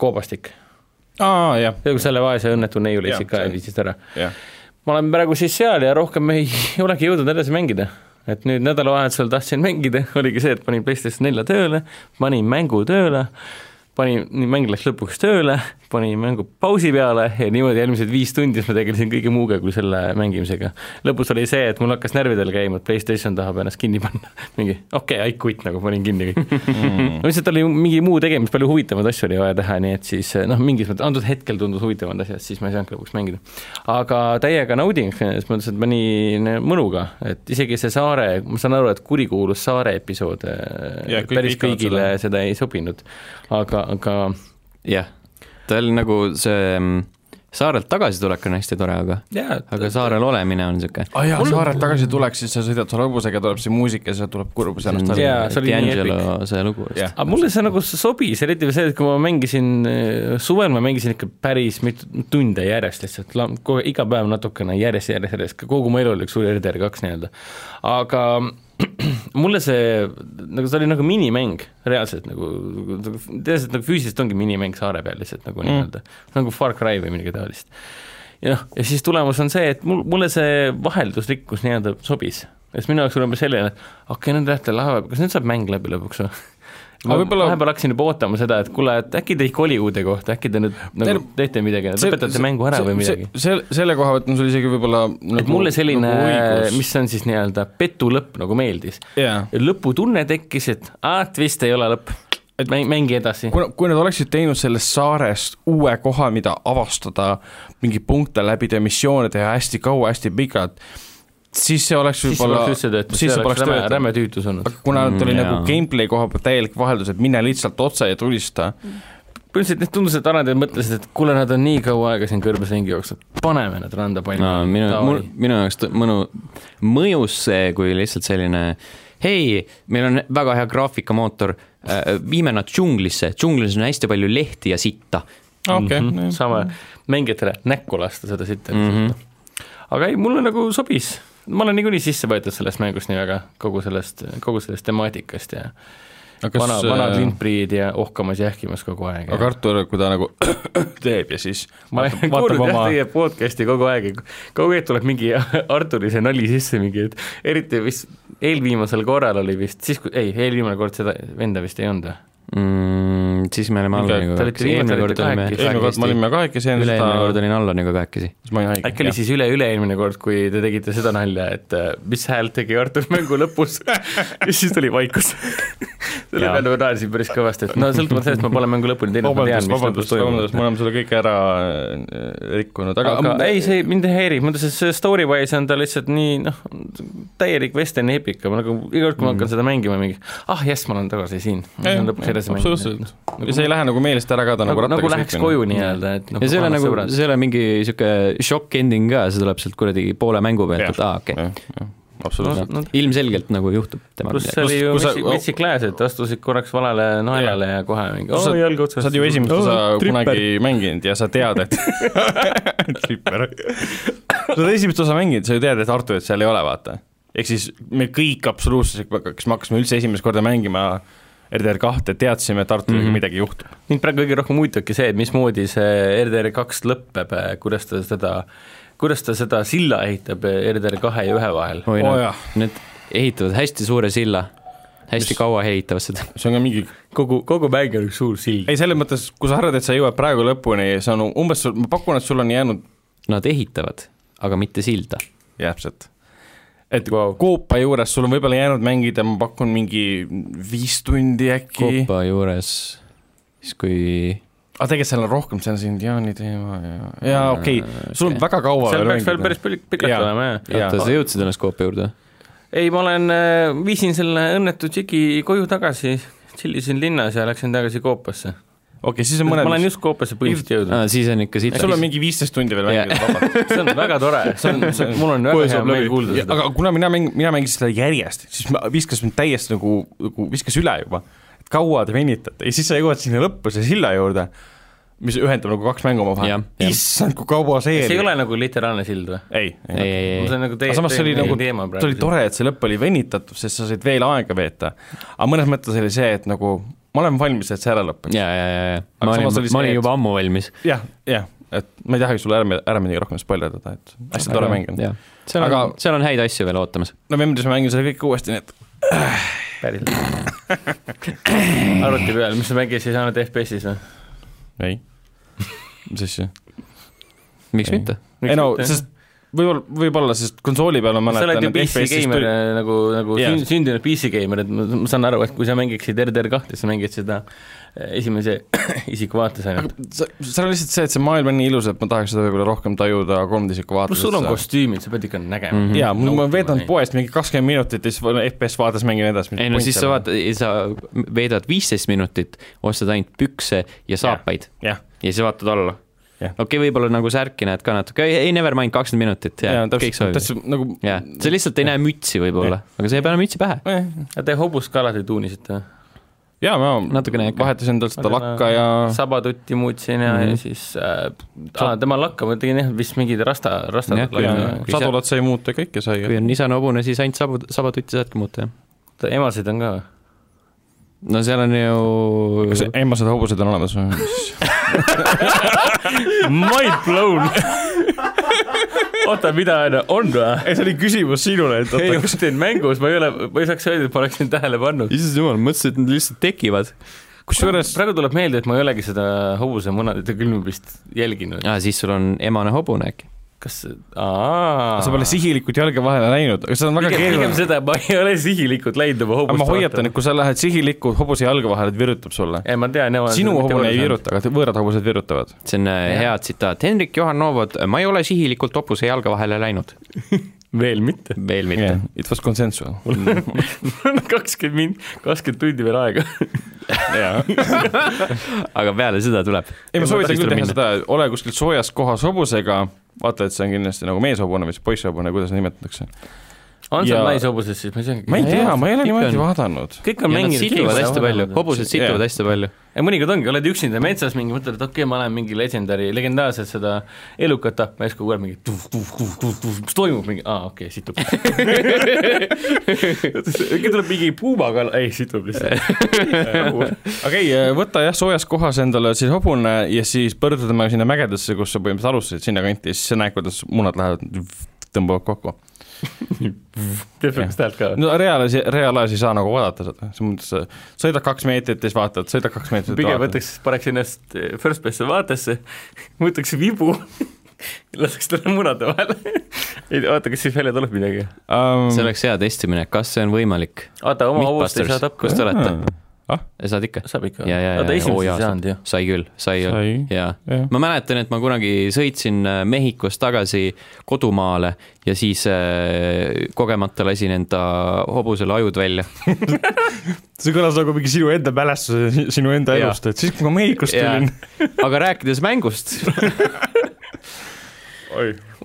koobastik , aa , jah , see kui selle vaese õnnetu neiu Jah, leidsid ka ja see- viisid ära . jah . ma olen praegu siis seal ja rohkem ei olegi jõudnud edasi mängida . et nüüd nädalavahetusel tahtsin mängida , oligi see , et panin PlayStation nelja tööle , panin mängu tööle , panin , mäng läks lõpuks tööle , panin mängu pausi peale ja niimoodi eelmised viis tundi siis ma tegelesin kõige muuga kui selle mängimisega . lõpus oli see , et mul hakkas närvidel käima , et PlayStation tahab ennast kinni panna . mingi okei okay, , I quit nagu panin kinni kõik . no lihtsalt oli mingi muu tegemist , palju huvitavaid asju oli vaja teha , nii et siis noh , mingis mõttes antud hetkel tundus huvitavad asjad , siis ma ei saanud lõpuks mängida . aga täiega nauding , selles mõttes , et ma nii mõnuga , et isegi see saare , ma saan aru , et kurikuulus saare episood Jah, ja, kõik päris vihkavad kõigile seda. seda ei sobinud , aga , aga jah , tal nagu see mm, saarelt tagasitulek on hästi tore , aga , jaa , aga saarel olemine on niisugune aa Ah, jaa , Saarelt tagasi tuleks , siis sa sõidad seal hobusega , tuleb see muusika ja seal tuleb kurb see see on nostalgia . Jaa, see oli nii D'Angelo see lugu Jah. vist . aga mulle see nagu sobis , eriti veel see , et kui ma mängisin äh, suvel , ma mängisin ikka päris mitu tunde järjest lihtsalt , kogu aeg- iga päev natukene järjest , järjest , järjest , kogu mu elu oli üks suur RDR kaks nii-öelda . aga mulle see , nagu see oli nagu minimäng reaalselt nagu , reaalselt nagu füüsiliselt ongi minimäng saare peal lihtsalt nagu mm. nii-öelda , nagu Far Cry või midagi taolist . ja noh , ja siis tulemus on see , et mul , mulle see vaheldusrikkus nii-öelda sobis . sest minu jaoks oli umbes selline , et okei okay, , nüüd lähete laeva , kas nüüd saab mäng läbi lõpuks või ? ma Aga võib-olla võib-olla- vahepeal hakkasin juba ootama seda , et kuule , et äkki te Hollywoodi kohta , äkki te nüüd nagu Ei, teete midagi , lõpetate mängu ära või midagi ?. selle , selle koha pealt on sul isegi võib-olla nagu, et mulle selline õigus. , mis on siis nii-öelda petu lõpp nagu meeldis . jaa , lõputunne tekkis , et aa , et vist ei ole lõpp , et mäng , mängi edasi . kuna , kui nad oleksid teinud sellest saarest uue koha , mida avastada , mingeid punkte läbida , missioone teha hästi kaua , hästi pikalt , siis see oleks siis võib-olla poleks üldse töötanud , see oleks räme , töötanud. räme tüütus olnud . aga kuna nad Mm, oli jaa. nagu gameplay koha pealt täielik vaheldus , et mine lihtsalt otse ja tulista , põhimõtteliselt need tundus , et arendajad mõtlesid , et kuule , nad on nii kaua aega siin kõrbes ringi jooksnud , paneme nad randa palli no minu , mul , minu jaoks tõ- mõnu , mõjus see , kui lihtsalt selline hei , meil on väga hea graafikamootor , viime nad džunglisse , džunglis on hästi palju lehti ja sitta . okei , Mhm. saame mängijatele näkku lasta seda sitta mm . Mhm. -hmm. aga ei , mulle nagu sobis , ma olen niikuinii sisse võetud sellest mängust nii väga , kogu sellest , kogu sellest temaatikast ja Aga kas- äh, vana , vanad lindpriid ja ohkamas ja ähkimas kogu aeg . aga Artur , kui ta nagu teeb ja siis ma vaatab- olen vaatab kuulnud jah oma- teie podcast'i kogu aeg , kogu aeg tuleb mingi Arturi see nali sisse mingi , et eriti vist eelviimasel korral oli vist siis , kui , ei , eelviimane kord seda venda vist ei olnud või ? mm, . siis me olime Mingi- Allaniga te olite kahekesi , eelmine viimati kord olite olime , kahekesi. eelmine kord me olime kahekesi ja siis üle-eelmine kord ta , olin Allaniga kahekesi . siis ma olin haige . äkki oli siis üle-üle-eelmine kord , kui te tegite seda nalja , et äh, mis häält tegi Artur mängu lõpus ja siis tuli vaikus . selle Jaa. peale ma naersin päris kõvasti , et no sõltumata sellest , ma pole mängu lõpuni teinud , ma tean , vabandust , mis lõpus vabandust , toimub vabandust , me oleme selle kõik ära äh, rikkunud , aga, aga ei , see mind ei häiri , muidu see- see story wise on ta lihtsalt nii noh , täielik western eepika , ma nagu iga kord , kui ma hakkan Mm. seda mängima , mingi ah jess , ma olen tagasi siin . Ei, ei, absoluutselt. ja see ei lähe nagu meelest ära ka , ta noh. nagu, nagu nagu rattaga läheks koju . nii-öelda , et ja see ei ole nagu , see ei ole mingi niisugune shock ending ka , see tuleb sealt kuradi poole mängu pealt , et aa , okei okay. . absoluutselt . no, ilmselgelt nagu juhtub temaga pluss see midagi . oli ju Kus sa- oh. metsik , metsik lääs , et astusid korraks valele naelale ja kohe mingi Oh. Kus sa- oo , jalg otsas . sa oled ju esimest Oh, osa kunagi mänginud ja sa tead , et tripper . sa oled esimest osa mänginud , sa ju tead , et Arturit seal ei ole , vaata . ehk siis me kõik absoluutselt , kes me hakkasime üldse esimest korda mängima RDR kahte , teadsime , et Arturiga mm Mhm. -hmm. midagi juhtub . mind praegu kõige rohkem huvitabki see , et mismoodi see RDR kaks lõpeb , kuidas ta seda , kuidas ta seda silla ehitab RDR kahe ja ühe vahel . oi oo noh jah. , need ehitavad hästi suure silla , hästi kaua ehitavad seda . see on ka mingi kogu , kogu mäng on üks suur sild . ei , selles mõttes , kui sa arvad , et sa jõuad praegu lõpuni , see on umbes , ma pakun , et sul on jäänud Nad ehitavad , aga mitte silda . täpselt . et wow. Vau. koopa juures sul on võib-olla jäänud mängida , ma pakun mingi viis tundi äkki . koopa juures , siis kui aga tegelikult seal on rohkem , seal on see indiaani teema ja , ja okei okay. , sul on väga kaua seal peaks veel päris pil- pikalt Jaa. olema , jah . Jaa. oota , sa jõudsid ennast koopa juurde ? ei , ma olen , viisin selle õnnetu tšiki koju tagasi , tšillisin linnas ja läksin tagasi Koopasse . okei okay, , siis on ma mõned Ah. olen , just Koopasse põhimõtteliselt jõudnud . aa , siis on ikka sul sita on . mingi viisteist tundi veel mängida , vabalt . see on väga tore , see on , see on , mul on väga Koju hea saab meel läbi. kuulda Ja- seda . aga kuna mina mäng- , mina mängisin seda järjest , siis ma- viskas mind täiesti nagu , nagu viskas üle juba . et kaua te venitate ja siis sa jõuad sinna lõppu , selle silla juurde , mis ühendab nagu kaks mängu Jah, omavahel . jah. issand , kui kaua see see ei oli . ole nagu literaalne sild või ? ei , ei , ei , ei , see on nagu aga teie , samas see oli nagu , teema see oli . tore , et see lõpp oli venitatud , sest sa said veel aega veeta . aga mõnes mõttes oli see , et nagu ma olen valmis , et see ära lõpeb . ja , ja , ja , ja , Aga ma olin samas oli , see, ma olin et- juba ammu valmis . jah , jah , et ma ei tahagi sulle ära , ära midagi rohkem spoilerdada , et hästi tore mäng on . seal on Aga- , seal on häid asju veel ootamas . novembris ma mängin selle kõik uuesti , nii et päriselt . arvuti peal , mis sa mängisid , ei saanud FPS-is või ? ei , mis asja ? miks Ei. mitte ? ei no , sest võib-olla , võib-olla , sest konsooli peal ma sa mäletan , oled ju PC geimer nagu , nagu Jaa. yeah. sündinud PC geimer , et ma ma saan aru , et kui sa mängiksid RDR kahte , sa mängid seda äh, esimese isiku vaates ainult . seal on lihtsalt see , et see maailm on nii ilus , et ma tahaks seda võib-olla rohkem tajuda kolmteisiku vaates . pluss sul on kostüümid , sa pead ikka nägema mm . jaa , mul , ma veedan . poest mingi kakskümmend minutit ja siis ma FPS vaates mängin edasi . ei no siis sa . vaata , sa veedad viisteist minutit , ostad ainult pükse ja saapaid jah , ja siis vaatad alla . Jah. okei okay, , võib-olla nagu särki näed ka natuke , ei , ei never mind , kakskümmend minutit ja, jaa ja , kõik täpselt , sobib . täpselt nagu jah , sa lihtsalt ei näe mütsi võib-olla , aga sa ei pane mütsi pähe . eh, aga te hobuskalad ei tuunisite või ? jaa , ma Natukene ikka. vahetasin endalt seda Aga- lakka ja sabatutti muutsin ja mm , Mhm. -hmm. ja siis äh, aa, tema lakka ma tegin jah , vist mingid rasta , Jah, rastad kui ja on- lakka . kui sa- sadulat sai muuta ja kõike sai . kui on isane hobune , siis ainult sabu , sabatutti saadki muuta , jah . emasid on ka või ? no seal on ju kas emased hobused on olemas või ? Mind blown . oota , mida on või ? ei , see oli küsimus sinule , et ei , ma teen mängus , ma ei ole , ma ei saaks öelda , et ma oleksin tähele pannud . issand jumal , mõtlesin , et nad lihtsalt tekivad . kusjuures praegu tuleb meelde , et ma ei olegi seda hobusemunadite külmumist jälginud . aa , Ah, siis sul on emane hobune äkki . kas , aa . sa pole sihilikult jalge vahele läinud , aga see on väga pigem , pigem keeruline . seda , ma ei ole sihilikult läinud aga oma hobust ma hoiatan ,. et kui sa lähed sihilikult hobuse jalge vahele , ta virutab sulle . ei , ma tean , nemad . sinu hobune ei . viruta , aga te- võõrad hobused virutavad . see on äh, hea tsitaat , Hendrik Johan Novod , ma ei ole sihilikult hobuse jalge vahele läinud . veel mitte . veel mitte . It was consensual . kakskümmend min- , kakskümmend tundi veel aega . ei , aga peale seda tuleb . ma soovitan küll teha minna. seda , ole kuskil soojas kohas hobusega , vaata , et see on kindlasti nagu meeshobune või siis poisshobune , kuidas seda nimetatakse . on seal Ja- naishobuses siis , ma ei teagi . ma ei tea , ma ei ole ikka niimoodi on. vaadanud . kõik ja on nad mänginud . situvad hästi palju , hobused situvad Jaa. hästi palju . ja mõnikord ongi , oled üksinda metsas mingi , mõtled , et okei okay, , ma lähen mingi legendari , legendaarset seda elukat tapma ja siis kogu aeg mingi tuh, tuh, tuh, tuh, tuh, mis toimub , mingi aa , okei okay, , situb . äkki tuleb mingi puumakala , ei , situb lihtsalt . okei , võta jah , soojas kohas endale siis hobune ja siis põrda tema sinna mägedesse , kus sa põhimõtteliselt alustasid , sinnakanti ja siis sa näed , kuidas munad lähevad , tõmbavad kokku . teeb sellist häält ka või ? no reaalas , reaalajas ei saa nagu vaadata seda , selles mõttes sa sõidad kaks meetrit ja siis vaatad , sõidad kaks meetrit . pigem võtaks , paneks ennast eh, first place'i vaatesse , võtaks vibu laseks talle munade vahele . ei vaata , kas siis välja tuleb midagi . see um, . oleks hea testimine , kas see on võimalik . vaata , oma hobust ei saa Mythbusters , tappa kus . te olete ? ah , saad ikka ? saab ikka ja , ja , ja , vaata oo esimesest jaa ei , saanud ju . sai küll , sai, sai. , sai , jaa jah . ma mäletan , et ma kunagi sõitsin äh, Mehhikost tagasi kodumaale ja siis äh, kogemata lasin enda hobusele ajud välja . see kõlas nagu mingi sinu enda mälestuse , sinu enda Jaa. elust , et siis , kui ma Mehhikost Jaa. tulin . aga rääkides mängust ,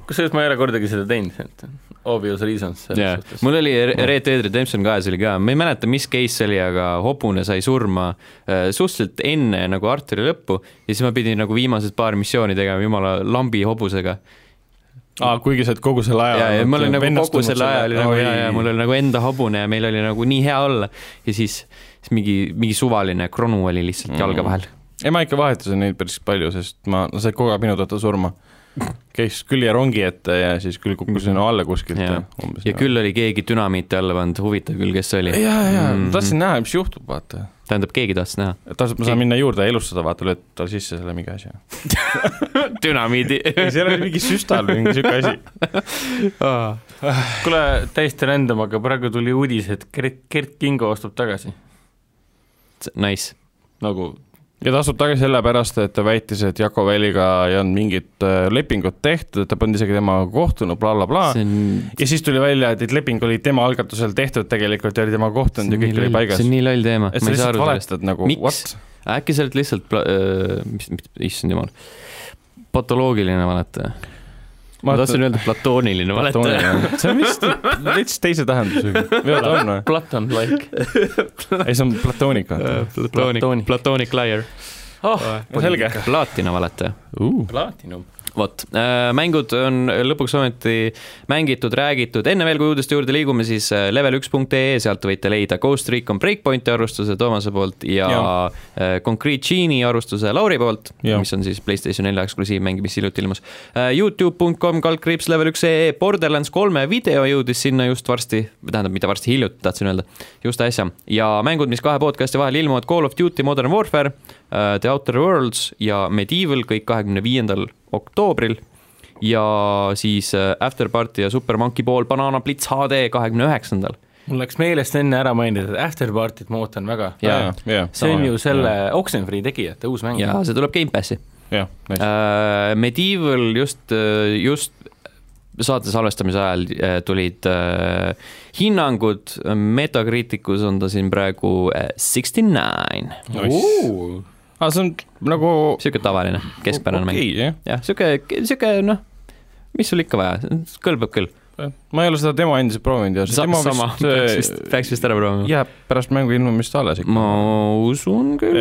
kusjuures ma ei ole kordagi seda teinud , et obvious reasons selles yeah. suhtes . mul oli Re- Red Dead Redemption kahes oli ka , ma ei mäleta , mis case see oli , aga hobune sai surma äh, suhteliselt enne nagu Arturi lõppu ja siis ma pidin nagu viimased paar missiooni tegema jumala lambi hobusega . aa , kuigi sa oled kogu selle aja ja , ja ma olin nagu kogu selle aja oli nagu ja , ja mul oli oli nagu enda hobune ja meil oli nagu nii hea olla ja siis , siis mingi , mingi suvaline kronu oli lihtsalt mm. jalge vahel . ei , ma ikka vahetasin neid päris palju , sest ma , nad said kogu aeg minu tõttu surma . käis külje rongi ette ja siis küll kukkusin alla kuskilt Mm. Jaa. ja umbes . ja küll oli keegi dünamiiti alla pannud , huvitav küll , kes see oli . ja , ja Mhm. ma tahtsin näha , mis juhtub , vaata . tähendab , keegi tahtis näha . tahtsin , et ma saan minna juurde ja elustada , vaata , lööd talle sisse selle mingi asja . dünamiidi . ei , seal oli mingi süstal või mingi siuke asi . kuule , täiesti random , aga praegu tuli uudis , et Gert , Gert Kingo astub tagasi . Nice . nagu ja ta astub tagasi sellepärast , et ta väitis , et Jako Väliga ei olnud mingit äh, lepingut tehtud , ta polnud isegi temaga kohtunud bla, , blablabla . see on ja siis tuli välja , et , et leping oli tema algatusel tehtud tegelikult ja oli tema kohtunud ja nii kõik oli loll , paigas see on . nii loll teema , et ma sa ei saa lihtsalt aru sellest . valetad nagu , Miks? what ? äkki sa oled lihtsalt pla- , mis , mis , issand jumal , patoloogiline valetaja . ma tahtsin öelda platooniline valetaja . see on vist veits teise tähendusega . või on ta on või ? Platon like . ei , see on platoonik vaata Platoonik , platoonik liar . oh , selge. . plaatina valetaja . uh. . platinum . vot , mängud on lõpuks ometi mängitud , räägitud , enne veel , kui uudiste juurde liigume , siis äh, level1.ee , sealt võite leida Ghost Recon Breakpointi arvustuse Toomase poolt ja, ja. Jaa. Concrete Genie arvustuse Lauri poolt , Jaa. mis on siis Playstation 4 eksklusiivmäng , mis hiljuti ilmus . Äh, Youtube.com kaldkriips level1.ee , E Borderlands kolme video jõudis sinna just varsti , tähendab , mitte varsti , hiljuti tahtsin öelda , just äsja . ja mängud , mis kahe podcast'i vahel ilmuvad , Call of Duty Modern Warfare , The Outer Worlds ja Medieval kõik kahekümne viiendal oktoobril ja siis äh, After Party ja Super Monkey Ball Banana Blitz HD kahekümne üheksandal . mul läks meelest enne ära mainida , et Afterpartyt ma ootan väga . ja , jah , see on ju selle Oxenfree tegijate uus mäng . ja see tuleb Gamepassi jah , näiteks . äh, . Medieval just , just saate salvestamise ajal äh, tulid äh, hinnangud , Metacriticus on ta siin praegu äh, sixty nine , aa , see on nagu sihuke tavaline , keskpärane mäng . okei , jah . jah , sihuke , sihuke noh , mis sul ikka vaja , kõlbab küll . ma ei ole seda demo endiselt proovinud ja see demo äh, sama , peaks vist , peaks vist ära proovima . jääb pärast mängu ilmumist alles ikka . ma usun Jah. küll .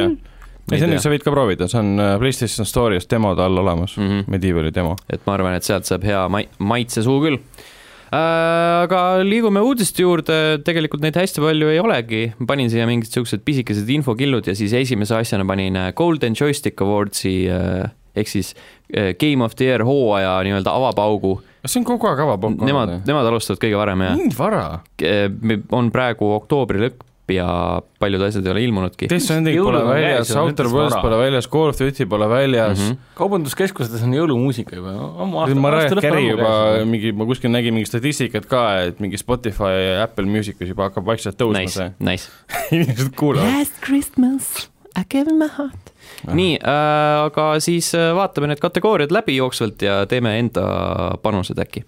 ei , see on , sa võid ka proovida , see on äh, PlayStation Store'is demode all olemas . mm . -hmm. Medievali demo . et ma arvan , et sealt saab hea mai- , maitse suhu küll . aga liigume uudiste juurde , tegelikult neid hästi palju ei olegi , panin siia mingid siuksed pisikesed infokillud ja siis esimese asjana panin äh, Golden Joystick Awardsi äh, ehk siis äh, Game of the Year hooaja nii-öelda avapaugu . kas see on kogu aeg avapokk ? Nemad , nemad alustavad kõige varem ja nii vara . on praegu oktoobri lõpp ja paljud asjad ei ole ilmunudki . Death Stranding pole Jõulud on väljas käes ja , Outer nüüd Worlds vara. Mhm. pole väljas , Call of Duty pole väljas mm . -hmm. kaubanduskeskustes on jõulumuusika juba , ammu Aasta, Mariah lõpp on Carey ammu juba käes. mingi , ma kuskil nägin mingit statistikat ka , et mingi Spotify ja Apple Musicus juba hakkab vaikselt tõusma nice. Nice , nice . see , inimesed kuulavad . Last Christmas, I gave him my heart. nii äh, , aga siis äh, vaatame need kategooriad läbi jooksvalt ja teeme enda panused äkki .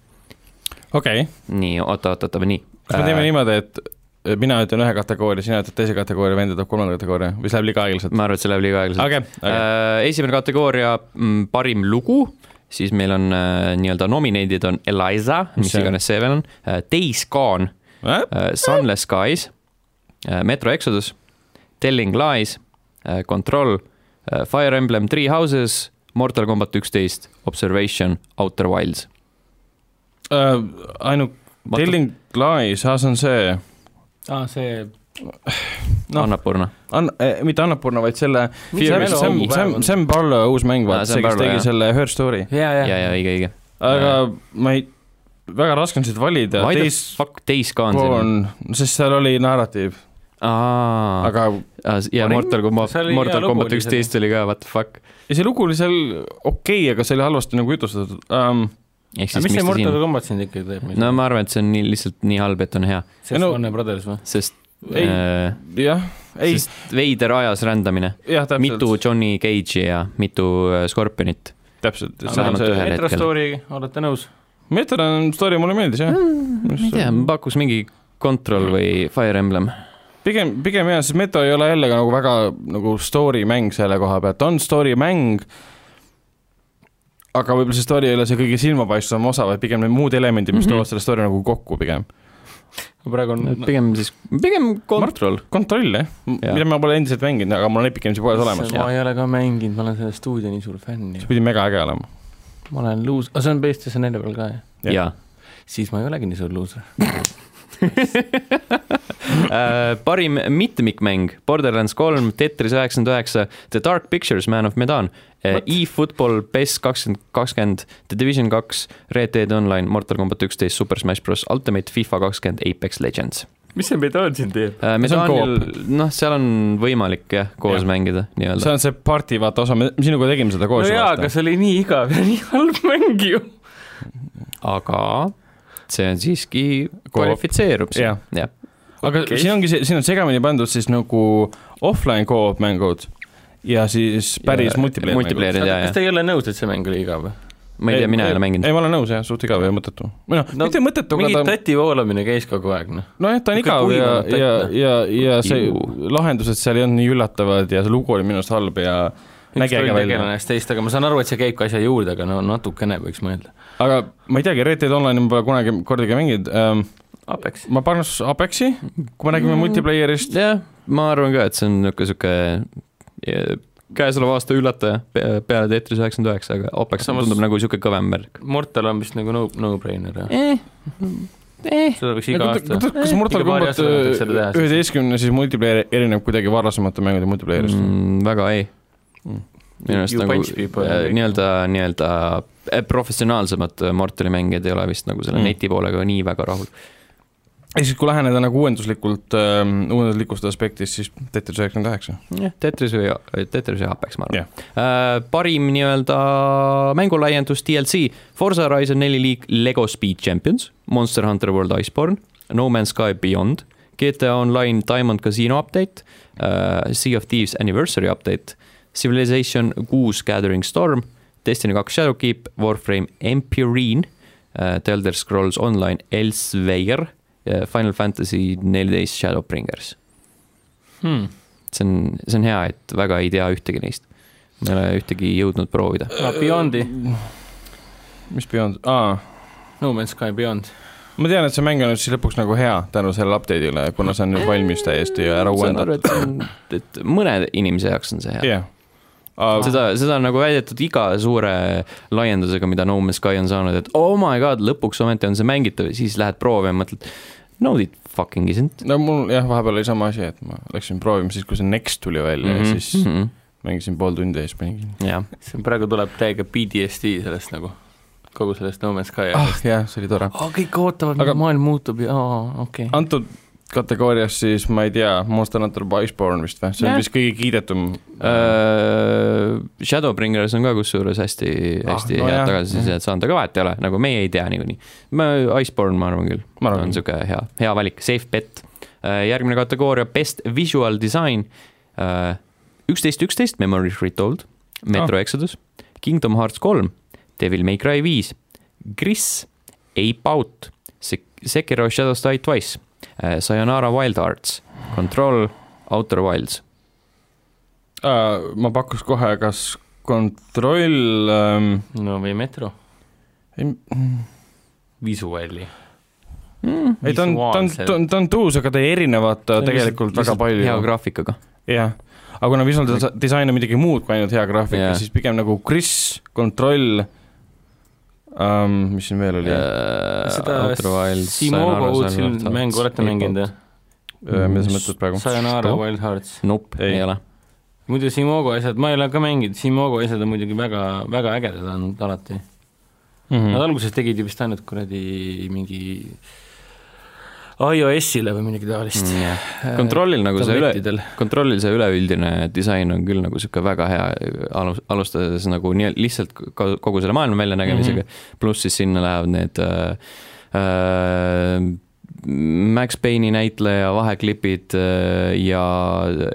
okei , nii , oota , oota , oota , nii . Äh. Äh, kas me teeme niimoodi , et mina ütlen ühe kategooria , sina ütled teise kategooria , vend ütleb kolmanda kategooria või see läheb liiga aeglaselt ? Äh. ma arvan , et see läheb liiga aeglaselt okei , okei , okay. . esimene kategooria , mm, parim lugu siis meil on äh, nii-öelda nominated on Eliza , mis see on? iganes see veel on , Days Gone , Äh, Sunless Skies , Metro Exodus , Telling Lies , Control , Fire Emblem Three Houses , Mortal Combat üksteist , Observation , Outer Wilds . äh, ainult Telling Lies , see on see , aa , Ah, see noh. noh. Annapurna . An- , eh, mitte Annapurna , vaid selle Miks Sam Melo , Sam , hoopäev Sam , on? Sam Parlo uus mäng , Aa, vaata Sam see , kes Barlow, tegi jah. selle Her Story . jaa , ja , jaa ja õige , õige . aga ma ei , väga raske on siit valida , Why the Days fuck Days Gone siin on ? Gone , sest seal oli narratiiv , aa , aga ja Ah, parim- Mortal Combat see oli , hea Mortal lugu Combat oli seal. üksteist oli ka what the fuck . ja see lugu oli seal okei okay, , aga see oli halvasti nagu jutustatud um, . ehk siis aga mis see miks ta siin Mortal ? Combat siin ikkagi teeb ? no ma arvan , et see on nii lihtsalt nii halb , et on hea , see on no- Warner Brothers või ? sest Ei. äh, jah , ei , sest veider ajas rändamine , jah , täpselt , mitu Johnny Cage'i ja mitu äh, Scorpionit . täpselt , see on Vähemalt ühe. see , hetkel. Metro Ah, Story , olete nõus ? Metron story mulle meeldis jah , Mhm, ma ei tea , pakuks mingi Control või Fire Emblem . pigem , pigem jah , sest Metro ei ole jälle ka nagu väga nagu story mäng selle koha pealt , on story mäng , aga võib-olla see story ei ole see kõige silmapaistvam osa , vaid pigem need muud elemendid , mis Mhm. toovad selle story nagu kokku pigem . praegu on pigem siis , pigem Control . kontroll jah , Jah. mida ma pole endiselt mänginud , aga mul on Epic Games'i poes olemas . ma ei ole ka mänginud , ma olen selle stuudio nii suur fänn ju see . pidi mega äge olema . ma olen luus- , aga see on PlayStation nelja peal ka ju . Jah. jaa . siis ma ei olegi nii suur luuser . Äh, parim mitmikmäng Borderlands kolm , Tetris üheksakümmend üheksa , The Dark Pictures , Man of Medan , E-Football , PES kakskümmend kakskümmend , The Division kaks , Red Dead Online , Mortal Combat üksteist , Super Smash Bros Ultimate , FIFA kakskümmend , Apex Legends . mis see Medan siin teeb ? See on Medanil , noh , seal on võimalik jah , koos Jah. ja. mängida see nii-öelda . on see party vaata osa , me me sinuga tegime seda no koos . jaa , aga see oli nii igav ja nii halb mäng ju . aga see on siiski , kvalifitseerub siin Jah. , jah . aga Okei. okay. siin ongi see , siin on segamini pandud siis nagu offline co-op mängud ja siis päris Ja ja, multiplayer, multiplayer. Jaa, jaa. kas te ei ole nõus , et see mäng oli igav ? ma ei tea , mina ei ole mänginud . ei , ma olen nõus jah , suht igav ja mõttetu . või noh No no, , mitte mõttetu , mingi aga ta , tati voolamine käis kogu aeg , noh . nojah , ta on ikka igav ja , ja , kuivanud tätt, ja , ja see Ju. lahendused seal ei olnud nii üllatavad ja see lugu oli minu arust halb ja üks nägi äge välja . tegelane ees teist , aga ma saan aru , et see käib ka asja juurde , aga no natukene võiks mõelda . aga ma ei teagi , Red Dead Online'i ma pole kunagi kordagi mänginud ähm, , Apex . ma panen Apexi , kui me räägime Mm. mm. multiplayer'ist , jah , ma arvan ka , et see on niisugune niisugune käesoleva aasta üllataja pe- peale Tetris üheksakümmend üheksa , aga Opex Samas... Samas- tundub nagu niisugune kõvem märk . Mortal on vist nagu no , no-brainer jah . Eh. Eh. seda võiks iga aasta kas kas Mortal Iga paari Combat aasta tagant võiks selle teha siis. üheteistkümne siis multiplayer erineb kuidagi varasemate mängude multiplayer'ist mm. ? Mm, väga ei Mm. mm. . minu arust You nagu punch people äh, and- nii-öelda , nii-öelda eh, professionaalsemad äh, Mortali mängijad ei ole vist nagu selle Mm. mm. neti poolega nii väga rahul . ja siis , kui läheneda nagu uuenduslikult ähm, , uuenduslikust aspektist , siis Tetris üheksakümmend üheksa . jah , Tetris või , Tetris või Apex , ma arvan Jah. yeah. . parim nii-öelda mängulaiendus DLC , Forza Horizon neli liik Lego Speed Champions , Monster Hunter World Iceborne , No Man's Sky Beyond , GTA Online Diamond Casino update uh, , Sea of Thieves Anniversary update , Civilization kuus Gathering Storm , Destiny kaks Shadowkeep , Warframe Empyrene uh, , The Elder Scrolls Online Elsewhere uh, , Final Fantasy neliteist Shadowbringers . hmm. . see on , see on hea , et väga ei tea ühtegi neist . ma ei ole ühtegi jõudnud proovida . no Beyondi , mis Beyond , aa , No Man's Sky Beyond . ma tean , et see mäng on nüüd siis lõpuks nagu hea tänu sellele update'ile , kuna see on nüüd valmis täiesti ja ära saan uuendatud . aru , et see on , et mõne inimese jaoks on see hea . jah . aga seda , seda on nagu väidetud iga suure laiendusega , mida No Man's Sky on saanud , et oh my god , lõpuks ometi on see mängitav ja siis lähed proovi ja mõtled , no it fucking isn't . no mul jah , vahepeal oli sama asi , et ma läksin proovima siis , kui see Next tuli välja mm -hmm. ja siis -hmm. mängisin pool tundi ja siis panin kinni . jah , see praegu tuleb täiega PTSD sellest nagu , kogu sellest No Man's Sky ah jah , see oli tore . oh, . kõik ootavad Aga- aga... , maailm muutub ja oh, okei okay. . antud kategoorias siis ma ei tea , Monster Hunter Iceborne vist või , see on Jah. vist kõige kiidetum Äh, Shadowbringers on ka kusjuures hästi , hästi ah, no no jah. head tagasisidet saanud , aga vahet ei ole , nagu meie ei tea niikuinii . ma , Iceborne ma arvan küll , Ma arvan on küll. niisugune hea , hea valik , safe bet . järgmine kategooria , best visual design . üksteist üksteist , Memories Retold , Metro ah. Exodus , Kingdom Hearts kolm , Devil May Cry viis , Gris , Ape Out , Sekiro Shadows Die Twice , Sayonara Wild Hearts , Control , Outer Wilds . Äh, ma pakuks kohe , kas kontroll ähm, , no või Metro , ei , visuaali . ei ta on , ta on , ta on , ta on tuus , aga ta ei erineva ta on tegelikult väga hea palju . graafikaga . jah , aga kuna visual disa- disain on midagi muud kui ainult hea graafika Jah. yeah. , siis pigem nagu Kris , kontroll um, , mis siin veel Äh, oli yeah. , Ah, seda Simogo uut siin mängu olete mänginud või ? Äh, mida sa mõtled praegu ? Sayonara Stop. Wild Hearts . Nope , Ei. ei ole . muidu Simogo asjad , ma ei ole ka mänginud , Simogo asjad on muidugi väga , väga ägedad olnud alati . Mhm. Nad alguses tegid ju vist ainult kuradi mingi iOS-ile või midagi taolist . kontrollil nagu see üle , tablettidel . kontrollil see üleüldine disain on küll nagu niisugune väga hea alus , alustades nagu nii lihtsalt ko- kogu selle maailma väljanägemisega mm -hmm. , pluss siis sinna lähevad need äh, äh, Max Payne'i näitleja vaheklipid äh, ja ,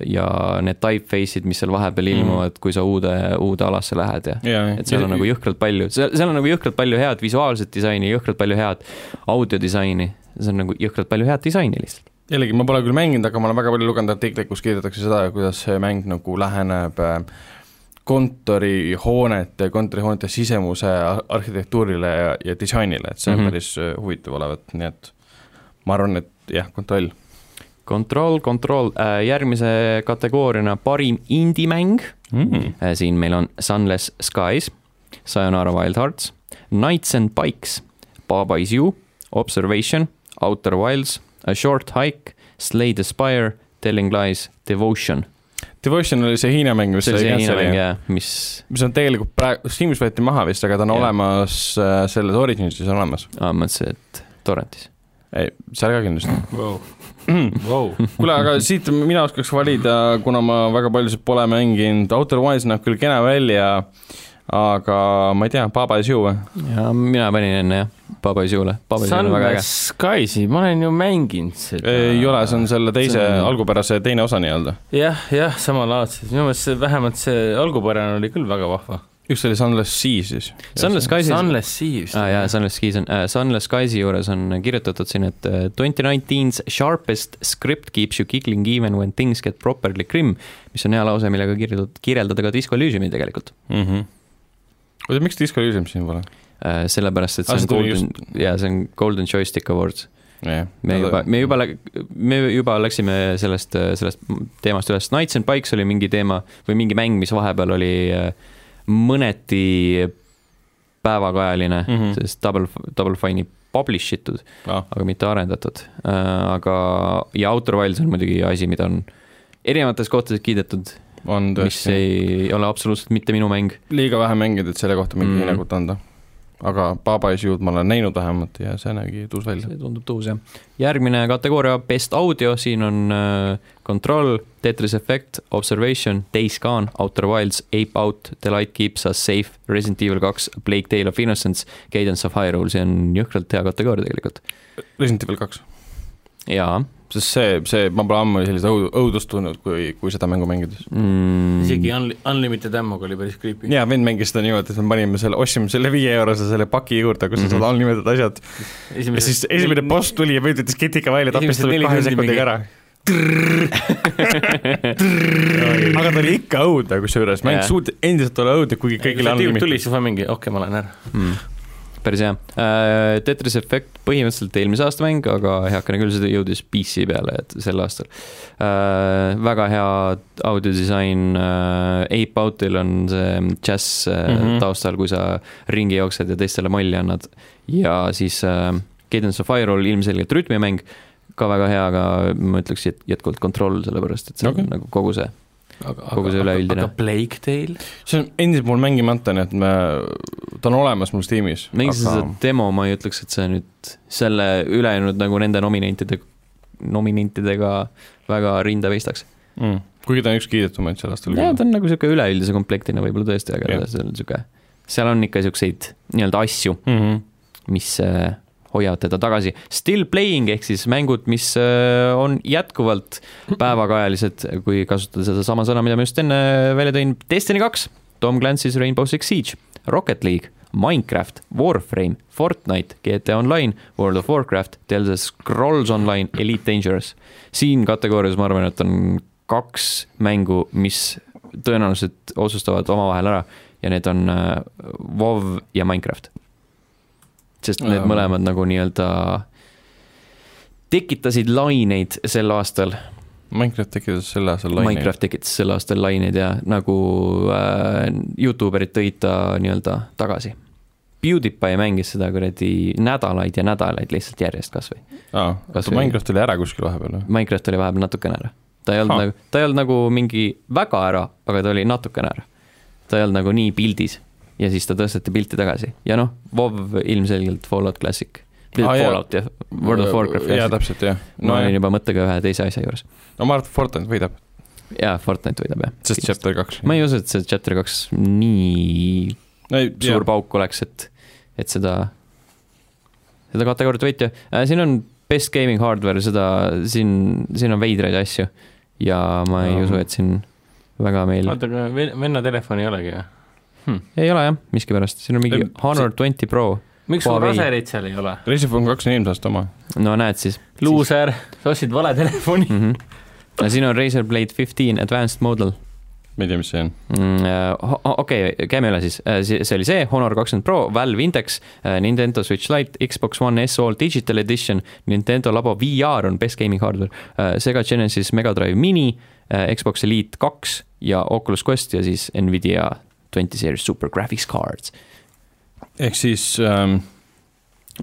ja need typeface'id , mis seal vahepeal Mhm. ilmuvad mm , -hmm. kui sa uude , uude alasse lähed ja jaa , et seal on nagu jõhkralt palju , seal , seal on nagu jõhkralt palju head visuaalset disaini , jõhkralt palju head audiodisaini , see on nagu jõhkralt palju head disaini lihtsalt . jällegi , ma pole küll mänginud , aga ma olen väga palju lugenud artikleid , kus kirjutatakse seda , kuidas see mäng nagu läheneb äh, kontorihoonete , kontorihoonete sisemuse ar- arhitektuurile ja , ja disainile , et see on mm Mhm. -hmm. päris äh, huvitav olevat , nii et ma arvan , et jah , kontroll . Control , Control , järgmise kategooriana parim indie-mäng , Mm. siin meil on Sunless Skies , Sayonara Wild Hearts , Knights and Pikes , Baba is you , Observation , Outer Wilds , A short hike , Slay the Spire , Telling lies , Devotion . Devotion oli see Hiina mäng , mis see oli sai see Hiina cancel'i. mäng jah , mis mis on tegelikult praegu , Steamis võeti maha vist , aga ta on Jah. yeah. olemas äh, selles Originsis olemas , ah, , ma mõtlesin , et torrentis . ei , seal ka kindlasti . Vau , kuule , aga siit mina oskaks valida , kuna ma väga paljusid pole mänginud , Outer Wilds näeb küll kena välja , aga ma ei tea , Baba is you või ? ja mina panin enne jah , Baba is you'le , Baba is you on väga äge Sunrise . Skies'i , ma olen ju mänginud seda . ei ole , see on selle teise see on- algupärase teine osa nii-öelda . jah , jah , samalaadselt , minu meelest see , vähemalt see algupärane oli küll väga vahva . üks oli Sunless Sea siis . Sunless Skies on Sunless Sea vist ah, . jaa , Sunless Skies on äh, , Sunless Skies'i juures on kirjutatud siin , et äh, 2019's sharpest script keeps you giggling even when things get properly grim , mis on hea lause , millega kirjeldada , kirjeldada ka Disco Elysiumi tegelikult . oota , miks Disco Elysium siin pole ? Äh, sellepärast , et Ah, see see on tuli Golden , jaa , see on Golden Joystick Awards . me juba , me juba , me juba läksime sellest , sellest teemast üles , Knights and Pikes oli mingi teema või mingi mäng , mis vahepeal oli äh, mõneti päevakajaline mm , Mhm. -hmm. sest Double , Double Fine'i publish itud . ah, aga mitte arendatud . aga , ja Outer Wilds on muidugi asi , mida on erinevates kohtades kiidetud , on mis tõesti ei ole absoluutselt mitte minu mäng . liiga vähe mänginud , et selle kohta mingit Mhm. hinnangut anda . aga Baba is you'd ma olen näinud vähemalt ja see nägi tuus välja . see tundub tuus , jah . järgmine kategooria , Best Audio , siin on äh, Control , Tetris Effect , Observation , Days Gone , Outer Wilds , Ape Out , The Light Keeps Us Safe , Resident Evil kaks , Plague Tale of Innocence , Cadence of Hyrule , see on jõhkralt hea kategooria tegelikult . Resident Evil kaks . jaa sest see , see , ma pole ammu sellist õud- , õudust tundnud , kui , kui seda mängu mängides . mm, . isegi Unli- , Unlimited Ammo'ga oli päris creepy . jaa , vend mängis seda niimoodi , et me panime selle , ostsime selle viieeurose selle paki juurde , kus on Mhm. seal allnimetatud asjad ja siis esimene . boss tuli ja püüdi disketika välja , tappis Esimesed ta neli kahe tundi mingi- sekundiga ära . aga ta oli ikka õudne , kusjuures mäng Jah. suut- endiselt olla õudne , kuigi kõigil on tüüp tuli , limit . siis ma mingi , okei okay, , ma lähen ära . mm. . päris hea uh, . Tetris Effect põhimõtteliselt eelmise aasta mäng , aga heakene küll , see jõudis PC peale , et sel aastal uh, . väga hea audiodisain uh, , Ape Outil on see džäss uh, mm Mhm. -hmm. taustal , kui sa ringi jooksed ja teistele malli annad . ja siis uh, Cadence of Firewall ilmselgelt rütmimäng , ka väga hea , aga ma ütleks jät- jätkuvalt Control , sellepärast et see okay. Okei. on nagu kogu see . Kogu see üleüldine. aga Plague Tale ? see on endiselt mul mängimata , nii et me , ta on olemas mul Steamis . mängisin aga... aga seda demo , ma ei ütleks , et see nüüd selle ülejäänud nagu nende nominentide , nominentidega väga rinda veistaks . Mm. kuigi ta on üks kiidetumaid sel aastal . jaa , ta on nagu niisugune üleüldise komplektina võib-olla tõesti , aga Jah. seal on niisugune , seal on ikka niisuguseid nii-öelda asju , on mis äh, hoiavad teda tagasi . Still playing ehk siis mängud , mis äh, on jätkuvalt päevakajalised , kui kasutada sedasama sõna , mida ma just enne välja tõin , Destiny kaks , Tom Clancy's Rainbow Six Siege , Rocket League , Minecraft , Warframe , Fortnite , GTA Online , World of Warcraft , Delta Scrolls Online , Elite Dangerous . siin kategoorias ma arvan , et on kaks mängu , mis tõenäoliselt otsustavad omavahel ära ja need on äh, WoW ja Minecraft. sest need Jaa. mõlemad nagu nii-öelda tekitasid laineid sel aastal Minecraft tekitas selle aasta laine . Minecraft tekitas sel aastal laineid ja nagu äh, Youtuberid tõid ta nii-öelda tagasi . PewDiePie mängis seda kuradi nädalaid ja nädalaid lihtsalt järjest kas või . aa , Kas oota või- Minecraft oli ära kuskil vahepeal või ? Minecraft oli vahepeal natukene ära . ta ei olnud Ha. nagu , ta ei olnud nagu mingi väga ära , aga ta oli natukene ära . ta ei olnud nagu nii pildis ja siis ta tõsteti pilti tagasi ja noh , WoW ilmselgelt Fallout Classic . Aa, Ah, jaa. Äh, Fallout jah , World of Warcraft jaa , Classic . täpselt jah . ma no olin jah. juba mõttega ühe teise asja juures . no ma arvan , et Fortnite võidab , jaa , Fortnite võidab jah . sest chapter kaks . ma ei usu , et see Chapter kaks nii ei , suur pauk oleks , et , et seda , seda kategooriat võita . siin on best gaming hardware , seda siin , siin on veidraid asju ja ma ei Jaa. usu , et siin väga meil , oota , aga ven- venna telefoni ei olegi või ? ei ole jah , miskipärast , siin on mingi Ei, Honor Twenty Pro , miks sul Huawei. rasereid seal ei ole ? Reisifon kaks on eelmise aasta oma . no näed siis . luuser , sa ostsid vale telefoni . mm . -hmm. ja siin on Razer Blade Fifteen Advanced Model ma ei tea , mis see on . mm, . okei okay, , käime üle siis , see oli see Honor kakskümmend Pro , Valve Index , Nintendo Switch Lite , Xbox One S All Digital Edition , Nintendo Labo VR on best gaming hardware , Sega Genesis Mega Drive Mini , Xbox Elite kaks ja Oculus Quest ja siis Nvidia Twenty Series Super Graphics Cards . ehk siis ähm,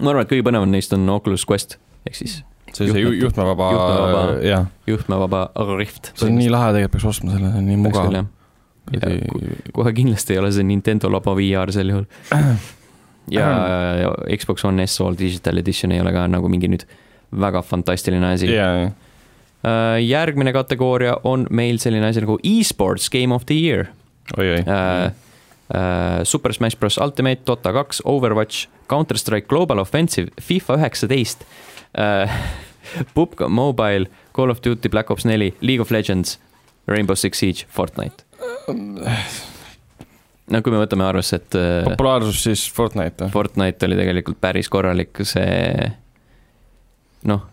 ma arvan , et kõige põnevam neist on Oculus Quest ehk siis see , see ju- Juhtme- juhtmevaba juhtmevaba- , jah , juhtmevaba Rift . see on nii lahe , tegelikult peaks ostma selle , see on nii mugav . kohe kindlasti ei ole see Nintendo Labo VR sel juhul . ja Xbox One S All Digital Edition ei ole ka nagu mingi nüüd väga fantastiline asi yeah. . jaa , järgmine kategooria on meil selline asi nagu e-sports Game of the Year . oi-oi . Äh, Super Smash Bros Ultimate , Dota kaks , Overwatch , Counter Strike Global Offensive , FIFA üheksateist , Pupka Mobile , Call of Duty Black Ops neli , League of Legends , Rainbow Six Siege , Fortnite . no kui me võtame arvesse , et äh, populaarsus siis Fortnite või ? Fortnite oli tegelikult päris korralik , see noh ,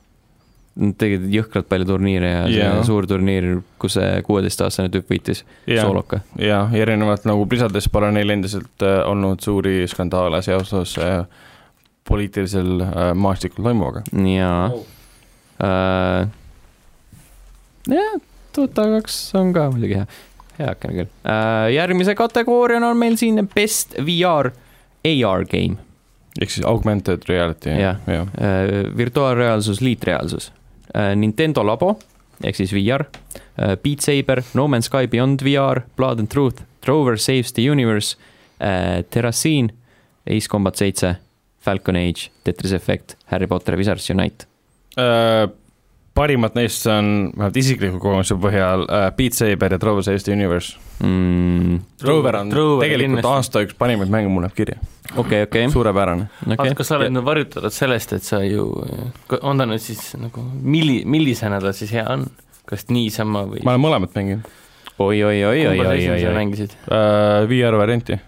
nad tegid jõhkralt palju turniire ja yeah. Jaa. see suur turniir , kus see kuueteistaastane tüüp võitis yeah. jaa , sooloka . jaa , erinevalt nagu Blizzardist pole neil endiselt äh, olnud suuri skandaale seoses äh, poliitilisel äh, maastikul toimuvaga . jaa Au. uh, . jah , Dota kaks on ka muidugi hea , heakene küll uh, . järgmise kategooriana on meil siin best VR , AR game ehk siis augmented reality , Jah. jah , jah . uh, , virtuaalreaalsus , liitreaalsus uh, , Nintendo Labo ehk siis VR uh, , Beat Saber , No Man's Sky Beyond VR , Blood and Truth , Rover Saves the Universe uh, , Terraceen , Ace Combat seitse , Falcon Age , Tetris Effect , Harry Potter ja Wizards Unite . Äh, parimad neist on vähemalt isikliku kogemuse põhjal äh, Beat Saber ja Trover Eesti Universe . Mm, Trover on Trover tegelikult kindlasti. aasta üks parimaid mänge , mul läheb kirja , okei , okei . suurepärane . Okay. kas sa oled nüüd varjutatud sellest , et sa ju , on ta nüüd siis nagu , milli- , millisena ta siis hea on ? kas niisama või ? ma olen mõlemat mänginud oi , oi , oi , oi , oi , oi , oi . mängisid ? äh, , VR varianti .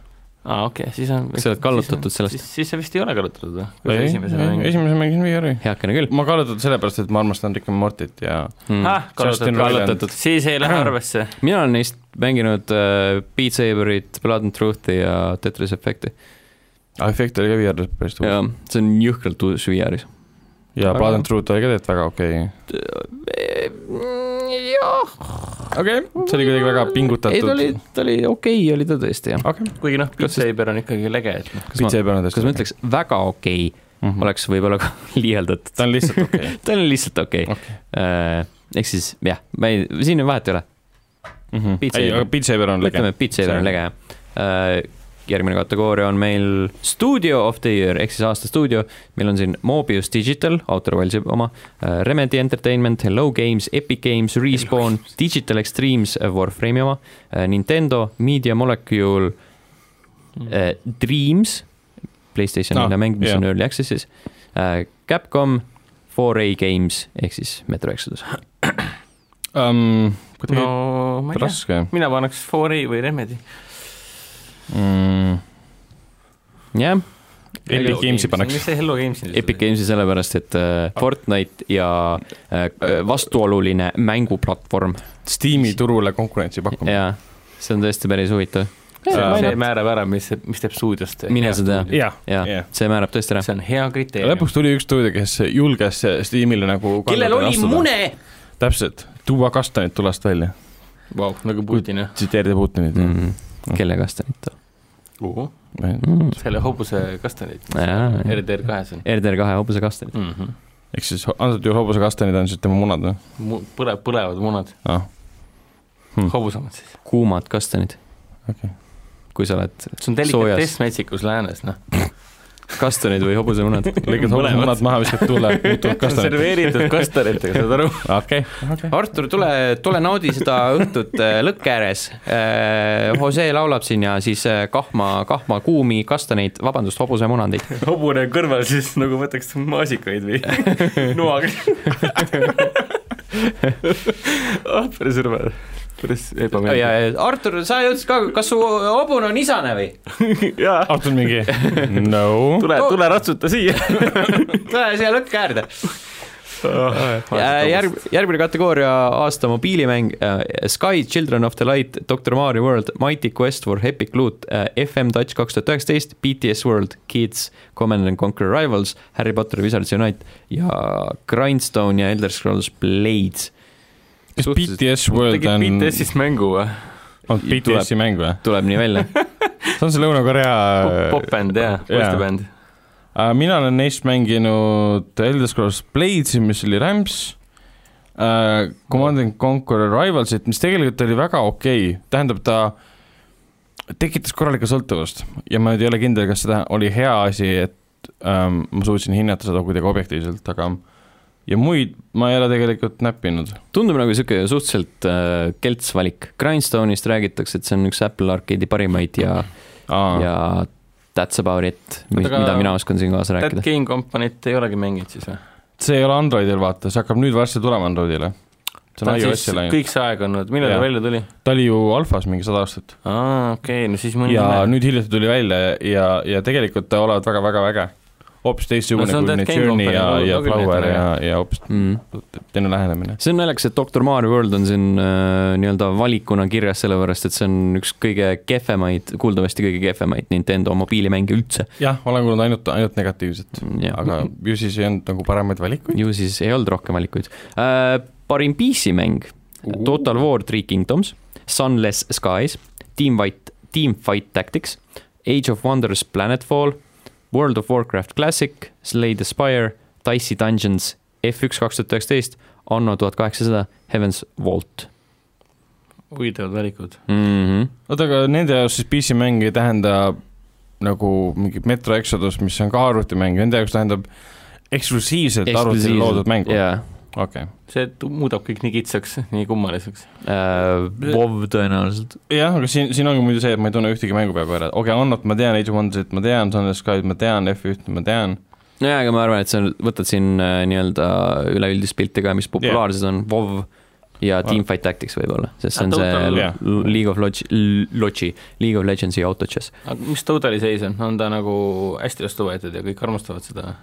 aa , okei okay, , siis on Kas sa oled kallutatud sellest? siis , siis sa vist ei ole kallutatud või ? kui sa esimesena mängid ? esimese mängisin VR-i . heakene küll ma kallutatud sellepärast , et ma armastan Rick and Mortit ja mm. . Justin Hmm. kallutatud , Roiland. kallutatud , siis ei lähe arvesse . mina olen neist mänginud uh, Beat Saberit , Blood and Truth'i ja Tetris Effect'i ah, efekt oli ka VR-is päris tuus ja see on jõhkralt uus VR-is . ja Väga- Blood and Truth oli ka tegelikult väga okei okay. . Mm, jah , okei okay. , see oli kuidagi väga ei ta pingutatud . oli , ta oli okei okay, , oli ta tõesti jah . okei okay. , kuigi noh , Beat Kas siis- Saber on ikkagi lege , et noh , kas ma , pitsi ei pannud kas ma ? ütleks väga okei okay, , oleks võib-olla ka liialdatud , Mhm. ta on lihtsalt okei okay. ta on lihtsalt okei okay. okay. . ehk siis jah , ma ei , siin vahet ei ole , mm -hmm. Beat ei , Saber. aga Beat Saber on lege . ütleme , et Beat Saber on lege jah . järgmine kategooria on meil Studio of the Year ehk siis aasta stuudio . meil on siin Mobius Digital , Outer Wildsi oma , Remedy Entertainment , Hello Games , Epic Games , Respawn , Digital Extremes , Warframe'i oma , Nintendo , Media Molecule , Hmm. Dreams , Playstationi Ah, ah, mäng , mis jah. yeah. on Early Access'is , Capcom , 4A Games ehk siis Metro Exodus . um, . kuidagi no no, ma ei tea , raske mina paneks 4A või Remedy . mm. . jah , Epic Games'i mis paneks . see Hello Games nüüd Epic ? Games'i sellepärast , et äh, Fortnite ja äh, vastuoluline mänguplatvorm Steam'i turule konkurentsi pakkumine . ja see on tõesti päris huvitav . see määrab ära , mis , mis teeb stuudiost . Mine sa tea. jah , jaa Jah. yeah. , see määrab tõesti ära . see on hea ja kriteerium . lõpuks tuli üks stuudio , kes julges Steamile nagu kellel oli mune ? täpselt , tuua kastanid tulest välja , Vau , nagu Putin jah . tsiteerida Putinit mm. . Mm. kelle kastanit on mm. ? selle hobuse kastanid , jaa , RDR kahes on RDR kahe hobuse kastanid . mm . -hmm. ehk siis ho- antud juhul hobuse kastanid on siis tema munad või ? Mu- , põle- , põlevad munad ah , mm. , hobusemad siis . kuumad kastanid . Okei. kui sa oled see on soojas delikatess metsikus läänes , noh . kastanid või hobusemunad . lõikad hobuse munad maha , viskad tuule , muutuvad kastanid . serveeritud kastanitega , saad aru ? okei , Artur , tule , tule naudi seda õhtut äh, lõkke ääres . Jose laulab siin ja siis äh, kahma , kahma kuumi kastaneid , vabandust , hobusemunandeid . hobune on kõrval , siis nagu võtaks maasikaid või noaga . ah , päris õrva , päris ja ebameeldiv . , Artur , sa ütlesid ka , kas su hobune on isane või ? jaa , Artur mingi no , tule , tule ratsuta siia . tule siia lõkke äärde . järg , järgmine kategooria , aasta mobiilimäng , Sky , Children of the Light , Doctor Mario World , Mighty Quest for Epic Loot , äh, FM Touch kaks tuhat üheksateist , BTS World , Kids , Command and Conquer Rivals , Harry Potter , Wizards Unite ja Grindstone ja Elder Scrolls Blades . kas suhteliselt- BTS World tegid on , BTS-ist mängu või ? on BTS-i mäng või ? tuleb nii välja , see on see Lõuna-Korea popbänd jaa , jaa. poistebänd . Äh, mina olen neist mänginud Elder Scrolls Blades'i , mis oli rämps äh, , Command and Conquer Rivalsit , mis tegelikult oli väga okei okay. , tähendab , ta tekitas korralikku sõltuvust ja ma nüüd ei ole kindel , kas seda oli hea asi , et ähm, ma suutsin hinnata seda kuidagi objektiivselt , aga ja muid ma ei ole tegelikult näppinud . tundub nagu niisugune suhteliselt äh, kelts valik , Grindstone'ist räägitakse , et see on üks Apple Arcade'i parimaid ja , ja that's about it , Oota, aga mida mina oskan siin kaasa Dead rääkida . Game Company't ei olegi mänginud siis või ? see ei ole Androidil , vaata , see hakkab nüüd varsti tulema Androidile . see on iOS-il ainult , kõik see aeg olnud , millal ta Jaa. välja tuli ? ta oli ju alfas mingi sada aastat . aa , okei , no siis mõni ja nime. nüüd hiljuti tuli välja ja- ja , ja tegelikult ta olevat väga-väga äge . hoopis No teistsugune see no, on kui Dead need Game Journey ja Company, , ja loogiline, Flower et on ja , ja hoopis Mm. teine lähenemine . see on naljakas , et Doctor Mario World on siin äh, nii-öelda valikuna kirjas , sellepärast et see on üks kõige kehvemaid , kuuldavasti kõige kehvemaid Nintendo mobiilimänge üldse . jah , olen kuulnud ainult , ainult negatiivset , aga aga ju siis ei olnud nagu paremaid valikuid . ju siis ei olnud rohkem valikuid äh, . parim PC-mäng , Total War Three Kingdoms , Sunless Skies , Team Fight , Team Fight Tactics , Age of Wonders Planetfall , World of Warcraft Classic , Slay the Spire , Dicey Dungeons , F1 kaks tuhat üheksateist , Anno tuhat kaheksasada , Heaven's Vault huvitavad valikud . mm . -hmm oota , aga nende jaoks siis PC-mäng ei tähenda nagu mingit Metro Exodus , mis on ka arvutimäng , nende jaoks tähendab eksklusiivselt arvutile loodud mängu , jaa okei . see tu- muudab kõik nii kitsaks , nii kummaliseks . äh, , WoW tõenäoliselt . jah , aga siin , siin ongi muidu see , et ma ei tunne ühtegi mängu peaaegu ära , okei okay, , Annot ma tean , Age of Wondersit ma tean , Sunrise Sky'd ma tean , F1-t ma tean , nojah , aga ma arvan , et sa võtad siin äh, nii-öelda üleüldist pilti ka , mis populaarsed yeah. on , WoW ja Ah. Teamfight Tactics võib-olla , sest see on Ah, see Total, jah. L- League of Lodge , Lodge'i , League of Legendsi autochess . aga mis Totali seis on , on ta nagu hästi vastu võetud ja kõik armastavad seda ?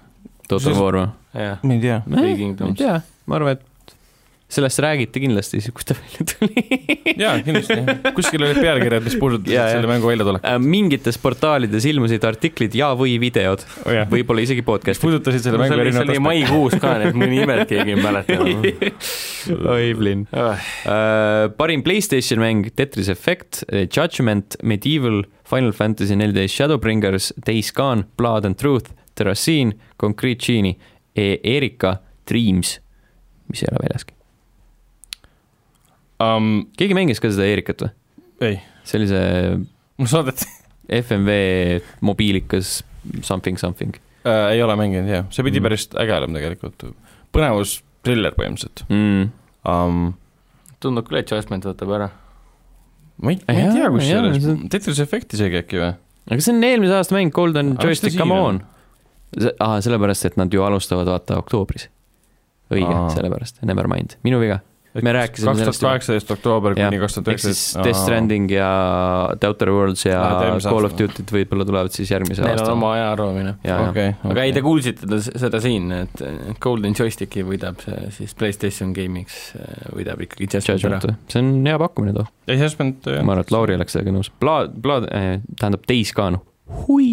Total Sest- War või ? jah , ma ei tea ma Three ei Kingdoms . tea , ma arvan , et sellest räägiti kindlasti siis , kui ta välja tuli . jaa , kindlasti , kuskil olid pealkirjad , mis Jaa, jaa. puudutasid selle mängu väljatulekut Äh, mingites portaalides ilmusid artiklid ja , või videod , oh, . võib-olla isegi podcast'id . puudutasid selle see mängu oli , see oli erinevat maikuus ka , nii et mõni imet keegi ei mäleta enam . oi , Blin . Äh, parim Playstationi mäng Tetris Effect , Judgment , Medieval , Final Fantasy neliteist , Shadowbringers , Days Gone , Blood and Truth , Terracine , Concrete Genie e , Erika , Dreams , mis ei ole väljaski . um, . keegi mängis ka seda Erikat või ? ei , see oli see mul saadeti FMV mobiilikas something something äh, , ei ole mänginud jah , see pidi Mm. mm. päris äge olema tegelikult , põnevus , triller põhimõtteliselt mm. . um, . tundub küll , et Judgment võtab ära . ma ei , ma ei Jaa, tea , kus see jaa, oli see- , Tetris Effect isegi äkki või ? aga see on eelmise aasta mäng , Golden Aga mis ta Joystick , siin come on? on . aa , sellepärast , et nad ju alustavad vaata oktoobris . õige Aa. , sellepärast , never mind , minu viga me rääkisime kaks tuhat sellest juba. kaheksateist oktoober Jah, kuni kaks tuhat ehk siis üheksateist . Death Stranding ja The Outer Worlds ja Aa, ta eelmise Call of aasta. Duty't võib-olla tulevad siis järgmise Neil on aasta . oma ajaarvamine . ja , ja , okei , aga ei , te kuulsite ta- seda siin , et et Golden Joysticki võidab see siis PlayStation Game'iks , võidab ikkagi Judgment ära Judgment ,. see on hea pakkumine too , ei , see aspend , ma arvan , et Lauri oleks sellega nõus . Pla- , pla- , tähendab Days Gone . hui .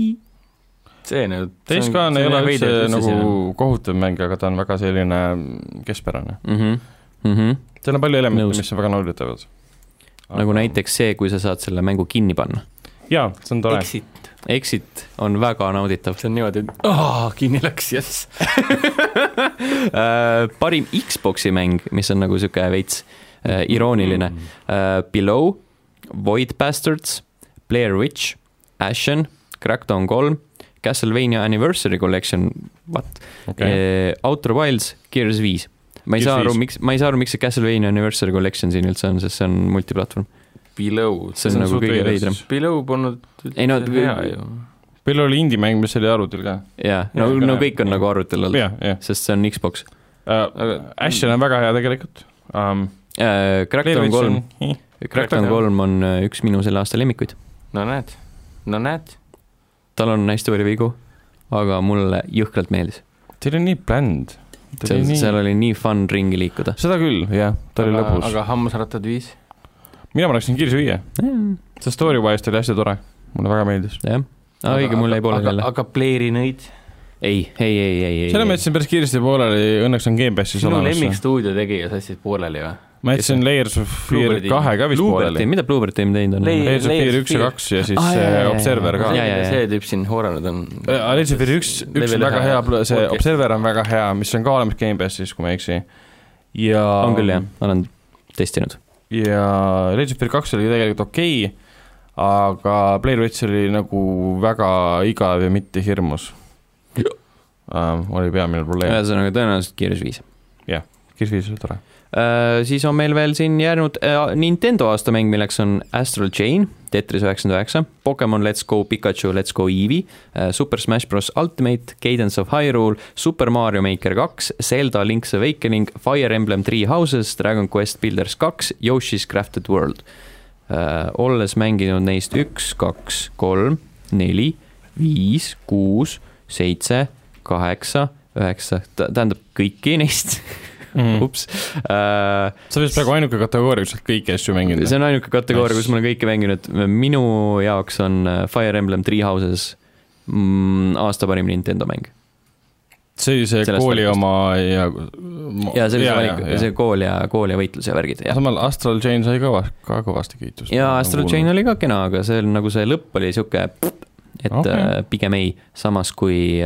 see nüüd . Days Gone ei ole üldse nagu kohutav mäng , aga ta on väga selline keskpärane . Mhm. mhmh , mhmh , seal on palju elemente , Nõus. mis on väga nauditavad . Mhm. nagu . näiteks see , kui sa saad selle mängu kinni panna . jaa , see on tore . Exit , Exit on väga nauditav . see on niimoodi , et aa , kinni läks , jess . Äh, parim Xbox'i mäng , mis on nagu sihuke veits äh, irooniline . Mm, Uh, Below , Void Bastards , Blair Witch , Ashen , Crackdown kolm , Castlevania Anniversary Collection , what okei , okay. , Outer Wilds , Gears viis . ma ei Gears saa aru , viis. miks , ma ei saa aru , miks see Castlevania Anniversary Collection siin üldse on , sest see on multiplatvorm . Below , see on nagu kõige veidram . Below polnud Ei no- üldse hea ju . meil oli indie-mäng , mis oli arvutil ka . jaa , no , Jah, no jah. kõik on nagu arvutil olnud , jah , jah . sest see on Xbox . Aga- Äh, Ashen on väga hea tegelikult um, . Uh, Crackdown kolm ,. Crackdown Crackdown. kolm on äh, üks minu selle aasta lemmikuid . no näed , no näed . tal on hästi palju vigu , aga mulle jõhkralt meeldis . see oli nii bland . ta seal oli , nii , seal oli nii fun ringi liikuda . seda küll , jah , ta oli lõbus . aga hammasrattad viis . mina paneksin Gears viie , see story wise ta oli hästi tore , mulle väga meeldis . jah , õige , mul jäi pooleli jälle . aga Playeri nõid . ei , ei , ei , ei , ei , selle ma jätsin päris kiiresti pooleli , õnneks on Gamepassis sinu olemas . lemmikstuudio tegija sassis pooleli või ? ma jätsin Layers of Fear Bluebirdi. kahe ka vist Bluebird pooleli Team , mida Bluebird Team teinud on Lei- ? Layers of Layers Fear of üks ja Fear. kaks ja siis Aa, jaa, see jaa, jaa. Observer ka Jaa, . Äh, jaa, jaa. see tüüp siin hooranud on . Layers of Fear üks , üks on väga hea , see Observer on väga hea , mis on ka olemas Gamepassis , kui ma ei eksi . ja . on küll jah , olen testinud . ja Age of Fear kaks oli tegelikult okei okay, , aga Blair Witch oli nagu väga igav ja mitte hirmus um, . oli peamine probleem , ühesõnaga tõenäoliselt Gears viis . Kirvis oli tore . Äh, siis on meil veel siin jäänud äh, Nintendo aastamäng , milleks on Astral Chain , Tetris üheksakümmend üheksa , Pokemon Let's Go Pikachu , Let's Go Eevee , Super Smash Bros Ultimate , Cadence of Hyrule , Super Mario Maker kaks , Zelda Link's Awakening , Fire Emblem Three Houses , Dragon Quest Builders kaks , Yoshi's Crafted World . olles mänginud neist üks , kaks , kolm , neli , viis , kuus , seitse , kaheksa , üheksa , tähendab kõiki neist , Mm. ups äh, . sa oled praegu ainuke kategooria , kus sa oled kõiki asju mänginud see . on ainuke kategooria , kus Nice. ma olen kõike mänginud , minu jaoks on äh, Fire Emblem Three Houses mm, aasta parim Nintendo mäng . see oli see sellest kooli valikust. oma ja . ja see oli see valik , see kool ja , kool ja võitlus ja värgid , jah . samal Astral Chain sai ka, ka kõvasti kiitust . Nagu ja Astral Chain oli ka kena , aga see on nagu see lõpp oli sihuke , et Okei. okay. pigem ei , samas kui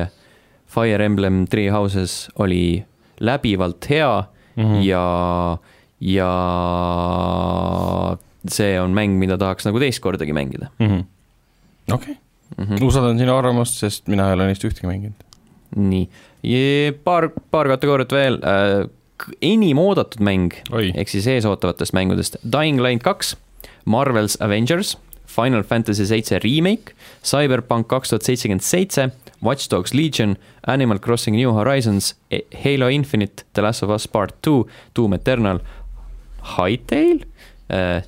Fire Emblem Three Houses oli läbivalt hea mm Mhm. -hmm. ja , ja see on mäng , mida tahaks nagu teist kordagi mängida mm . -hmm. okei mm . okay. , usaldan sinu arvamust , sest mina ei ole neist ühtegi mänginud . nii , paar , paar kategooriat veel äh, . enim oodatud mäng oi , ehk siis eesootavatest mängudest Dying Light kaks , Marvel's Avengers , Final Fantasy seitse remake , Cyberpunk kaks tuhat seitsekümmend seitse , Watch Dogs Legion , Animal Crossing New Horizons , Halo Infinite , The Last of Us Part Two , Doom Eternal , Hightail äh, ,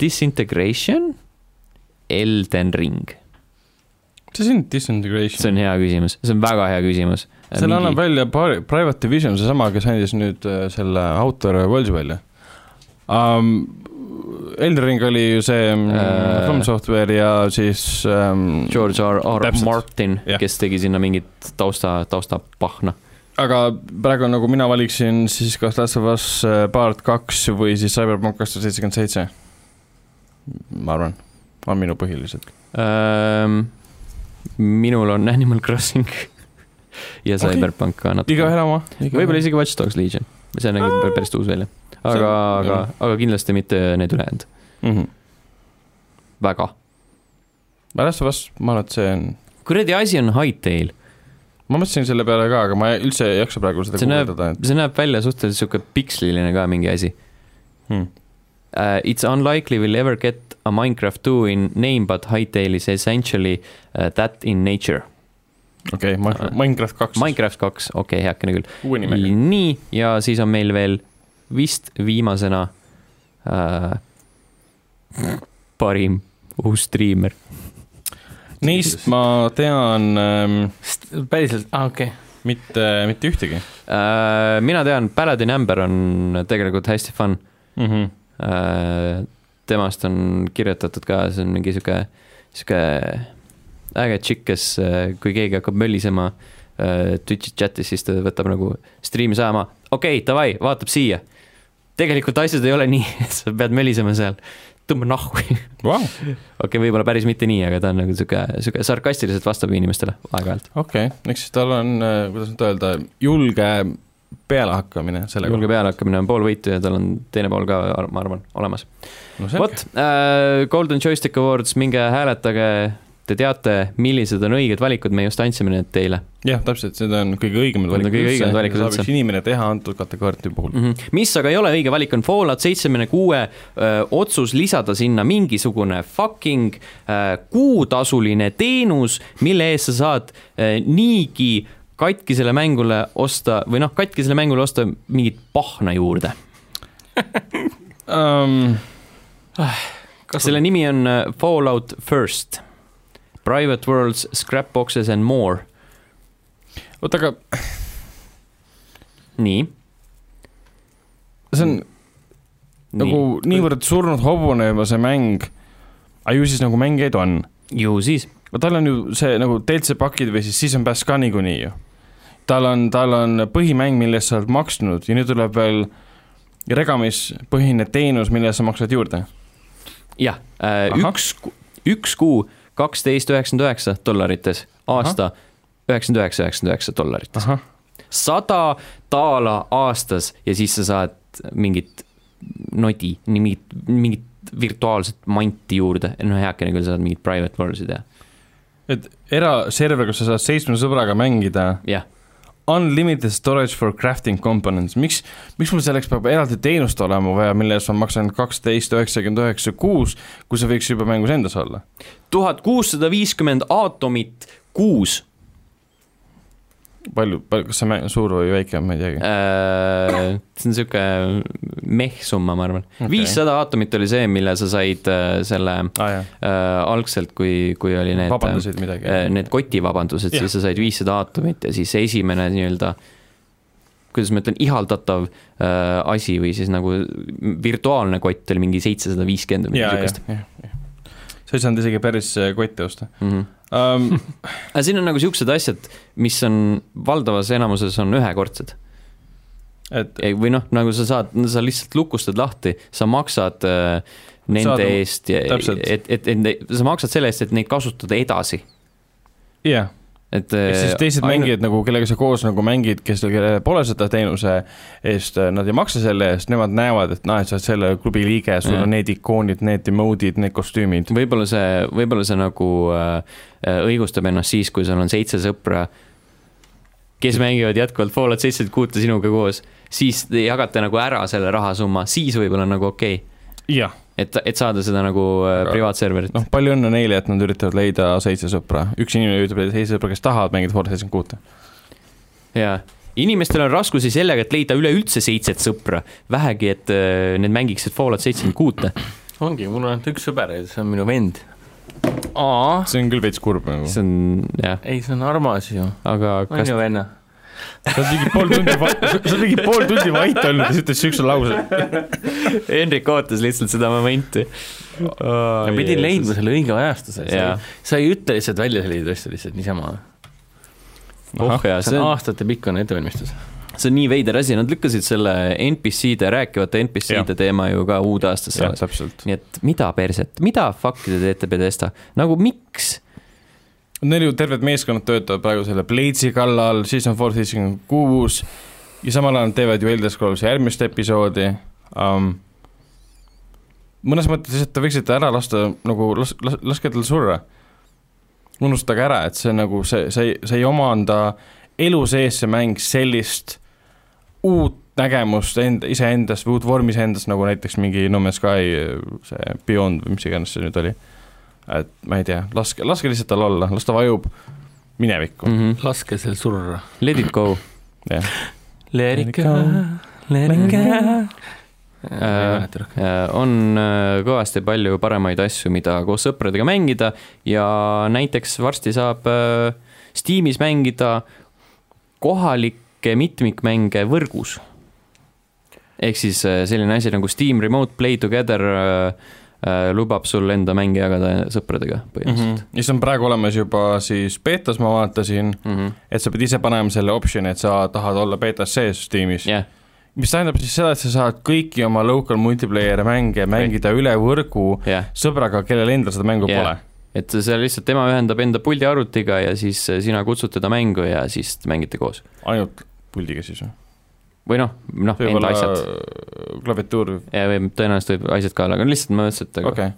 Disintegration , Elden Ring . mis asi on disintegration ? see on hea küsimus , see on väga hea küsimus . Äh, selle annab välja Pri- Private Division , seesama , kes andis nüüd äh, selle Outer Worlds'i välja um, . Elden Ring oli ju see Äh. äh, From Software ja siis um, George R. R. Täpselt. Martin Jah. , kes tegi sinna mingit tausta , taustapahna . aga praegu nagu mina valiksin siis kas Last of Us äh, Part kaks või siis Cyberpunk kaks tuhat seitsekümmend seitse . ma arvan , on minu põhilised . minul on Animal Crossing ja Okei. Cyberpunk ka natuke . igaühel oma . võib-olla isegi Watch Dogs Legion , see nägi pä- päris uus välja . See aga , on- aga , aga kindlasti mitte need ülejäänud , mm . -hmm. väga . Last of Us , ma arvan , et see on , kuradi asi on Hightail , ma mõtlesin selle peale ka , aga ma ei- üldse ei jaksa praegu seda See näeb- kuulata , et see näeb välja suhteliselt sihuke piksliline ka mingi asi . hmm. Uh, it's unlikely we'll ever get a Minecraft 2 in name, but Hightail is essentially uh, that in nature . okei okay, , Minecraft kaks . Minecraft kaks , okei okay, , heakene küll . uue nimega . nii , ja siis on meil veel vist viimasena äh, parim uus striimer . Neist ma tean ähm, päriselt , aa okei okay. , mitte , mitte ühtegi Äh, mina tean , Paladin Amber on tegelikult hästi fun mm . -hmm. Mhm. äh, . temast on kirjutatud ka , see on mingi sihuke , sihuke äge tšikk , kes äh, kui keegi hakkab mölisema äh, Twitch'i chat'is , siis ta võtab nagu striimi saama , okei okay, , davai , vaatab siia . tegelikult asjad ei ole nii , et sa pead mölisema seal , tõmba nahku . okei wow. . okay, , võib-olla päris mitte nii , aga ta on nagu sihuke , sihuke sarkastiliselt vastab inimestele aeg-ajalt . okei okay. , eks siis tal on , kuidas nüüd öelda , julge pealehakkamine selle julge pealehakkamine on pool võitu ja tal on teine pool ka , ma arvan , olemas . kohta no, . vot äh, , Golden Joystick Awards , minge hääletage , te teate , millised on õiged valikud , me just andsime need teile jah , täpselt , need on kõige õigemad Need on kõige õigemad valikud mida saab üldse. üks inimene teha antud kategooria puhul . mm . -hmm. mis aga ei ole õige valik , on Fallout seitsekümmend kuue otsus lisada sinna mingisugune fucking öö, kuutasuline teenus , mille eest sa saad öö, niigi katkisele mängule osta või noh , katkisele mängule osta mingit pahna juurde . Um, Ah, selle nimi on öö, Fallout First , Private Worlds , Scrapboxes and More , oota , aga nii . see on nii. nagu niivõrd surnud hobune juba see mäng , aga ju siis nagu mängijaid on . ju siis , no tal on ju see nagu DLC pakid või siis season pass ka niikuinii ju . tal on , tal on põhimäng , mille eest sa oled maksnud ja nüüd tuleb veel regamispõhine teenus , mille eest sa maksad juurde . jah , üks , üks kuu kaksteist üheksakümmend üheksa dollarites , aasta üheksakümmend üheksa , üheksakümmend üheksa dollarites . ahah , sada daala aastas ja siis sa saad mingit nodi , mingit , mingit virtuaalset manti juurde , no heakene küll , sa saad mingit private worlds'id ja , et eraserver , kus sa saad seitsme sõbraga mängida jah . unlimited storage for crafting components , miks , miks mul selleks peab eraldi teenust olema vaja , mille eest ma maksan kaksteist üheksakümmend üheksa kuus , kui see võiks juba mängus endas olla ? tuhat kuussada viiskümmend aatomit kuus palju , palju , kas see mäng suur või väike on , ma ei teagi . Äh, see on sihuke mehsumma , ma arvan okay. . viissada aatomit oli see , mille sa said äh, selle aa Ah, jah , äh, algselt , kui , kui oli need , vabandasid midagi äh, . need kotivabandused , Jah. siis sa said viissada aatomit ja siis esimene nii-öelda kuidas ma ütlen , ihaldatav äh, asi või siis nagu virtuaalne kott oli mingi seitsesada viiskümmend või jaa , midagi jah sihukest ,. jah . sa ei saanud isegi päris äh, kotti osta Mhm. um, . aga siin on nagu siuksed asjad , mis on valdavas enamuses on ühekordsed et Ei, või noh , nagu sa saad , sa lihtsalt lukustad lahti , sa maksad äh, nende saad, Saad- eest ja täpselt. et , et , et sa maksad selle eest , et neid kasutada edasi , jah , et . äh, ehk siis teised ainult... . mängijad nagu , kellega sa koos nagu mängid , kes , kellel pole seda teenuse eest , nad ei maksa selle eest , nemad näevad , et noh , et sa oled selle klubi liige , sul Jah. on need ikoonid , need emode'id , need kostüümid . võib-olla see , võib-olla see nagu äh, äh, õigustab ennast siis , kui sul on seitse sõpra , kes mängivad jätkuvalt Fallout seitsekümmend kuute sinuga koos , siis te jagate nagu ära selle rahasumma , siis võib-olla on nagu okei okay, , jah , et , et saada seda nagu äh, Aga- privaatserverit noh , palju õnne neile , et nad üritavad leida seitse sõpra , üks inimene üritab leida seitse sõpra , kes tahavad mängida Forza seitsekümmend kuute . jaa , inimestel on raskusi sellega , et leida üleüldse seitset sõpra , vähegi , et äh, need mängiksid Fallout seitsekümmend kuute . ongi , mul on ainult üks sõber ja see on minu vend . aa , see on küll veits kurb nagu . see on jah , ei see on armas ju , aga on kas , ju venna ? sa oled mingi pool tundi , sa oled mingi pool tundi vait olnud ja siis ütled siukse lause . Henrik ootas lihtsalt seda momenti . ma pidin leidma selle õige ajastuse , Jaa. sa ei ütle lihtsalt välja selliseid asju lihtsalt niisama . oh jaa , see see on on , aastatepikkune ettevalmistus . see on nii veider asi , nad lükkasid selle NPC-de , rääkivate NPC-de teema ju ka uude aastasse jah , alles . täpselt . nii et mida perset , mida fuck'i te teete Pedesta , nagu miks ? Neil ju terved meeskonnad töötavad praegu selle Blade'i kallal , siis on Forza seitsekümmend kuus ja samal ajal nad teevad ju Elder Scrolls järgmist episoodi um, . mõnes mõttes lihtsalt te võiksite ära lasta nagu las, , las, laske tal surra . unustage ära , et see nagu see , see , see ei omanda elu sees see mäng sellist uut nägemust end , iseendast või uut vormi iseendas , nagu näiteks mingi No Man's Sky see Beyond või mis iganes see nüüd oli . et ma ei tea , laske , laske lihtsalt tal olla , las ta vajub minevikku mm. . Mm -hmm. laske sel surra . Let it go , jah , Let it go , let it go . Äh, on äh, kõvasti palju paremaid asju , mida koos sõpradega mängida ja näiteks varsti saab äh, Steamis mängida kohalikke mitmikmänge võrgus . ehk siis äh, selline asi nagu Steam Remote Play Together äh, äh, lubab sul enda mänge jagada sõpradega põhimõtteliselt Mhm. ja see on praegu olemas juba siis beetas , ma vaatasin , mm . -hmm. et sa pead ise panema selle optsiooni , et sa tahad olla beetas sees tiimis Yeah. mis tähendab siis seda , et sa saad kõiki oma local multiplayer'e mänge mängida üle võrgu jah , sõbraga , kellel endal seda mängu Jah. pole . et seal lihtsalt tema ühendab enda puldi arvutiga ja siis äh, sina kutsud teda mängu ja siis mängite koos . ainult puldiga siis või ? või noh , noh , enda asjad . klaviatuur või ? ja või tõenäoliselt võib asjad ka olla , aga lihtsalt ma mõtlesin , et okei aga okay.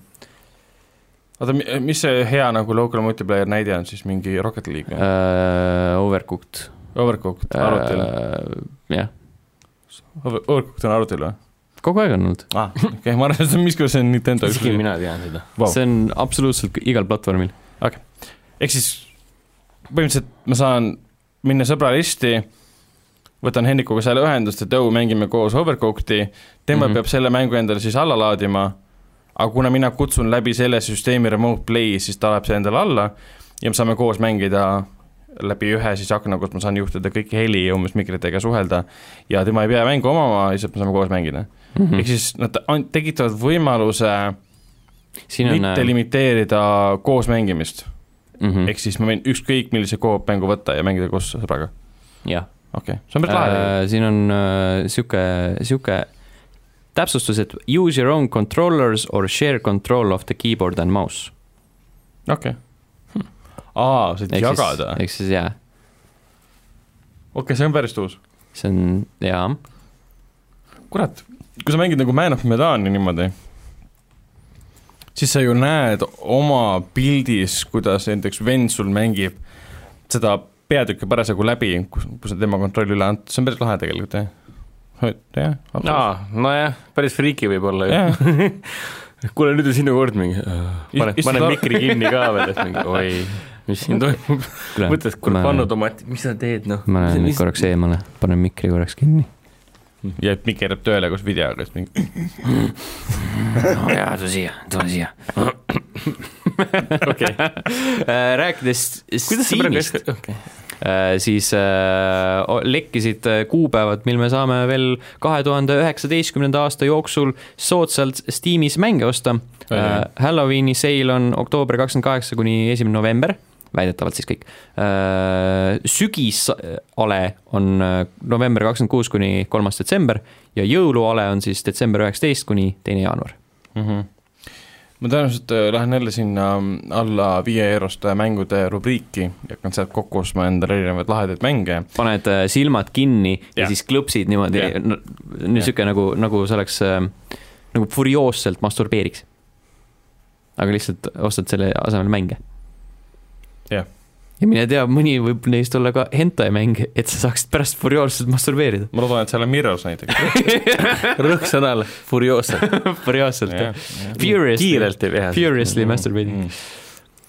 okay. . oota , mis see hea nagu local multiplayer näide on siis , mingi Rocket League või ? uh, Overcooked äh, Overcooked uh... arvutil uh... , uh, . jah , äh. Overcooked on arvutil või ? kogu aeg on olnud aa , okei , ma arvan , et see on miskil , see on Nintendo isegi . mina tean seda . wow. , Vau. see on absoluutselt k- igal platvormil . ehk siis põhimõtteliselt ma saan minna sõbralisti , võtan Hendrikuga seal ühendust , et jõu , mängime koos Overcooked'i , tema mm Mhm. -hmm. peab selle mängu endale siis alla laadima , aga kuna mina kutsun läbi selle süsteemi remote play , siis ta läheb see endale alla ja me saame koos mängida läbi ühe siis akna , kus ma saan juhtida kõiki heli ja umbes mikritega suhelda ja tema ei pea mängu omama , lihtsalt me saame koos mängida mm -hmm. . Mhm. ehk siis nad an- tekitavad võimaluse siin on äh, mitte limiteerida koos mängimist mm -hmm. ehk siis ma võin ükskõik millise koop mängu võtta ja mängida koos sõbraga , jah okei okay. , see on päris lahe uh, , siin on uh, sihuke , sihuke täpsustus , et use your own controllers or share control of the keyboard and mouse . uh, , okei okay. . aa , said jagada , ehk siis jaa , okei , see on päris uus . see on jaa , kurat , kui sa mängid nagu Man of Medani niimoodi , siis sa ju näed oma pildis , kuidas näiteks vend sul mängib seda peatükki parasjagu läbi , kus , kus on tema kontroll üle antud , see on päris lahe tegelikult jah , jah , absoluutselt . aa , nojah , päris friiki võib olla ju . jah , kuule , nüüd on sinu kord mingi , pane , Is- pane istu- mikri kinni ka veel , et mingi oi , mis siin toimub . mõtled , kuule , pannutomat , mis sa teed , noh . ma lähen nüüd korraks eemale , panen mikri korraks kinni . ja et Mikk jääb tööle koos videoga , siis mingi , jaa , tule siia , tule siia . Äh, rääkides kuidas sa praegu Steamist , esk- , okei okay. , siis äh, o- lekkisid äh, kuupäevad , mil me saame veel kahe tuhande üheksateistkümnenda aasta jooksul soodsalt Steamis mänge osta . Oi, oi. Halloweeni seil on oktoober kakskümmend kaheksa kuni esimene november , väidetavalt siis kõik . sügisale on äh, november kakskümmend kuus kuni kolmas detsember ja jõuluale on siis detsember üheksateist kuni teine jaanuar . mm . -hmm. ma tõenäoliselt äh, lähen jälle sinna mm, alla viie euroste mängude rubriiki ja hakkan sealt kokku ostma endale erinevaid lahedaid mänge . paned äh, silmad kinni ja, ja Jah. siis klõpsid niimoodi Jah. no, , niisugune nagu , nagu see oleks äh, nagu furioosselt masturbeeriks . aga lihtsalt ostad selle asemel mänge . Jah. ja mine tea , mõni võib neist olla ka hentai mäng , et sa saaksid pärast furioosselt masturbeerida . ma loodan , et seal on Mirrors näiteks . rõhksõnal furioosselt , furioosselt yeah. , Furiously. kiirelt ei pea . furiously masturbeering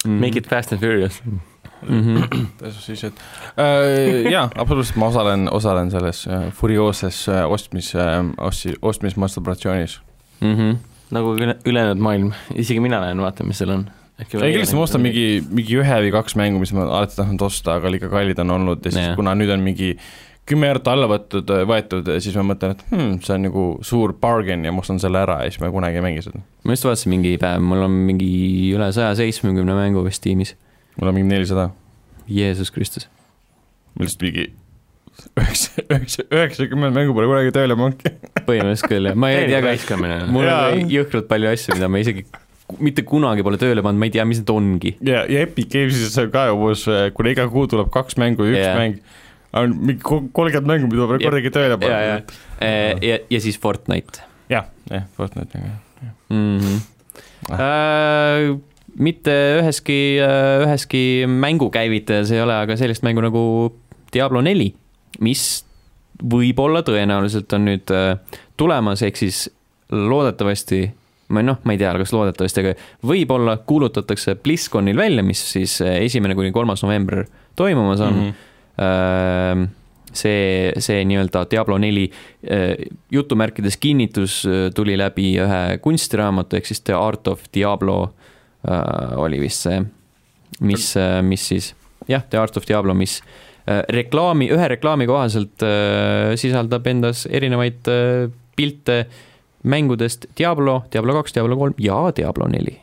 Mm-hmm. mm. Make it fast and furious . -hmm. siis , et äh, jaa , absoluutselt ma osalen , osalen selles äh, furioosses äh, ostmis äh, , osti- , ostmismasturbatsioonis . Mm -hmm. nagu üle , ülejäänud maailm , isegi mina lähen vaatan , mis seal on . ei , kindlasti ma ostan . mingi , mingi ühe või kaks mängu , mis ma olen alati tahtnud osta , aga liiga kallid on olnud ja siis Jah. yeah. kuna nüüd on mingi kümme eurot alla võetud , võetud , siis ma mõtlen , et hmm, see on nagu suur bargain ja ma ostan selle ära ja siis ma kunagi ei mängi seda . ma just vaatasin mingi päev , mul on mingi üle saja seitsmekümne mängu vist tiimis , mul on mingi nelisada , Jeesus Kristus . ma lihtsalt mingi üheksa , üheksa , üheksakümmend mängu pole kunagi tööle pannud . põhimõtteliselt küll , jah , ma ei täielik tea , kas raiskamine . mul on Jaa. jõhkralt palju asju , mida ma isegi ku- mitte kunagi pole tööle pannud , ma ei tea , mis need ongi . ja , ja Epic Games'is on ka umbes , kuna iga kuu tuleb kaks mängu ja üks Jaa. yeah. mäng , on mingi ko- kolmkümmend mängu , mida pole Jep. kordagi ja , tööle ja pannud ., ja , ja siis Fortnite jah , jah , Fortnite on ka . mm . -hmm. Ah. Äh, mitte üheski , üheski mängukäivitajas ei ole aga sellist mängu nagu Diablo neli , mis võib-olla tõenäoliselt on nüüd äh, tulemas , ehk siis loodetavasti ma noh , ma ei tea , kas loodetavasti , aga võib-olla kuulutatakse BlizzConil Mhm. välja , mis siis äh, esimene kuni kolmas november toimumas on mm . -hmm. see , see nii-öelda Diablo neli eh, jutumärkides kinnitus äh, tuli läbi ühe kunstiraamatu , ehk siis The Art of Diablo äh, oli vist see , mis , mis siis , jah , The Art of Diablo , mis äh, reklaami , ühe reklaami kohaselt äh, sisaldab endas erinevaid äh, pilte mängudest Diablo , Diablo kaks , Diablo kolm ja Diablo neli .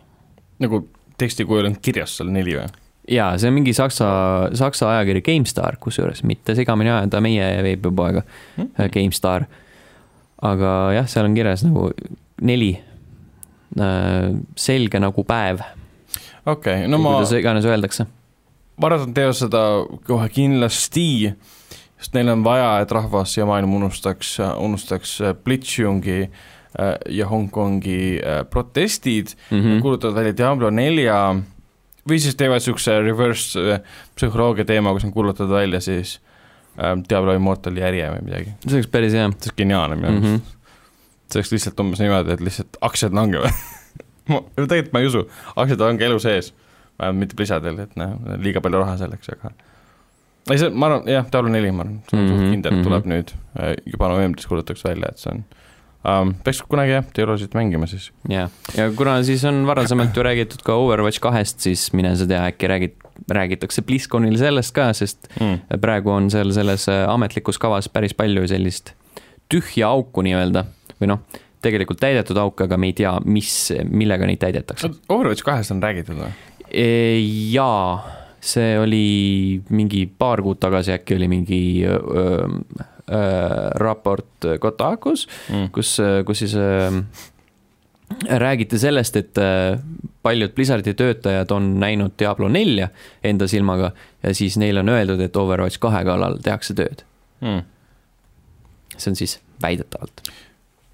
nagu teksti kujul on kirjas seal neli või ? jaa , see on mingi saksa , saksa ajakiri GameStar , kusjuures mitte segamini ajada meie veebipoega Hmm? mm. GameStar . aga jah , seal on kirjas nagu neli , selge nagu päev okei okay, , no no, , ma , kuidas iganes öeldakse . ma arvan , et nad teevad seda kohe kindlasti , sest neil on vaja , et rahvas ja maailm unustaks , unustaks Blitzchungi äh, ja Hongkongi äh, protestid Mm -hmm. kuulutavad välja Diablo nelja või siis teevad niisuguse reverse äh, psühholoogia teema , kus nad kuulutavad välja siis äh, Diablo Immortal järje või midagi . see oleks päris hea see oleks geniaalne minu mm . arust mm -hmm. -hmm. . see oleks lihtsalt umbes niimoodi , et lihtsalt aktsiad langevad . ma , tegelikult ma ei usu , aktsiad on ka elu sees , vähemalt mitte Blizzardil , et noh , liiga palju raha selleks , aga ei , see , ma arvan , jah , Diablo neli , ma arvan , see on mm Mhm, -hmm. kindel , tuleb mhm. mm -hmm. nüüd , juba novembris kuulutatakse välja , et see on um, , peaks kunagi jah , Diablosid mängima siis . ja , ja kuna siis on varasemalt ju räägitud ka Overwatch kahest , siis mine sa tea , äkki räägid , räägitakse BlizzConil sellest ka , sest Mm. praegu on seal selles äh, ametlikus kavas päris palju sellist tühja auku nii-öelda või noh , tegelikult täidetud auke , aga me ei tea , mis , millega neid täidetakse . Overwatch kahest on räägitud või ? jaa , see oli mingi paar kuud tagasi äkki oli mingi öö, öö, raport Kotakus , mm. . kus , kus siis ähm, räägiti sellest , et äh, paljud Blizzardi töötajad on näinud Diablo nelja enda silmaga ja siis neile on öeldud , et Overwatch kahe kallal tehakse tööd . Mm. see on siis väidetavalt .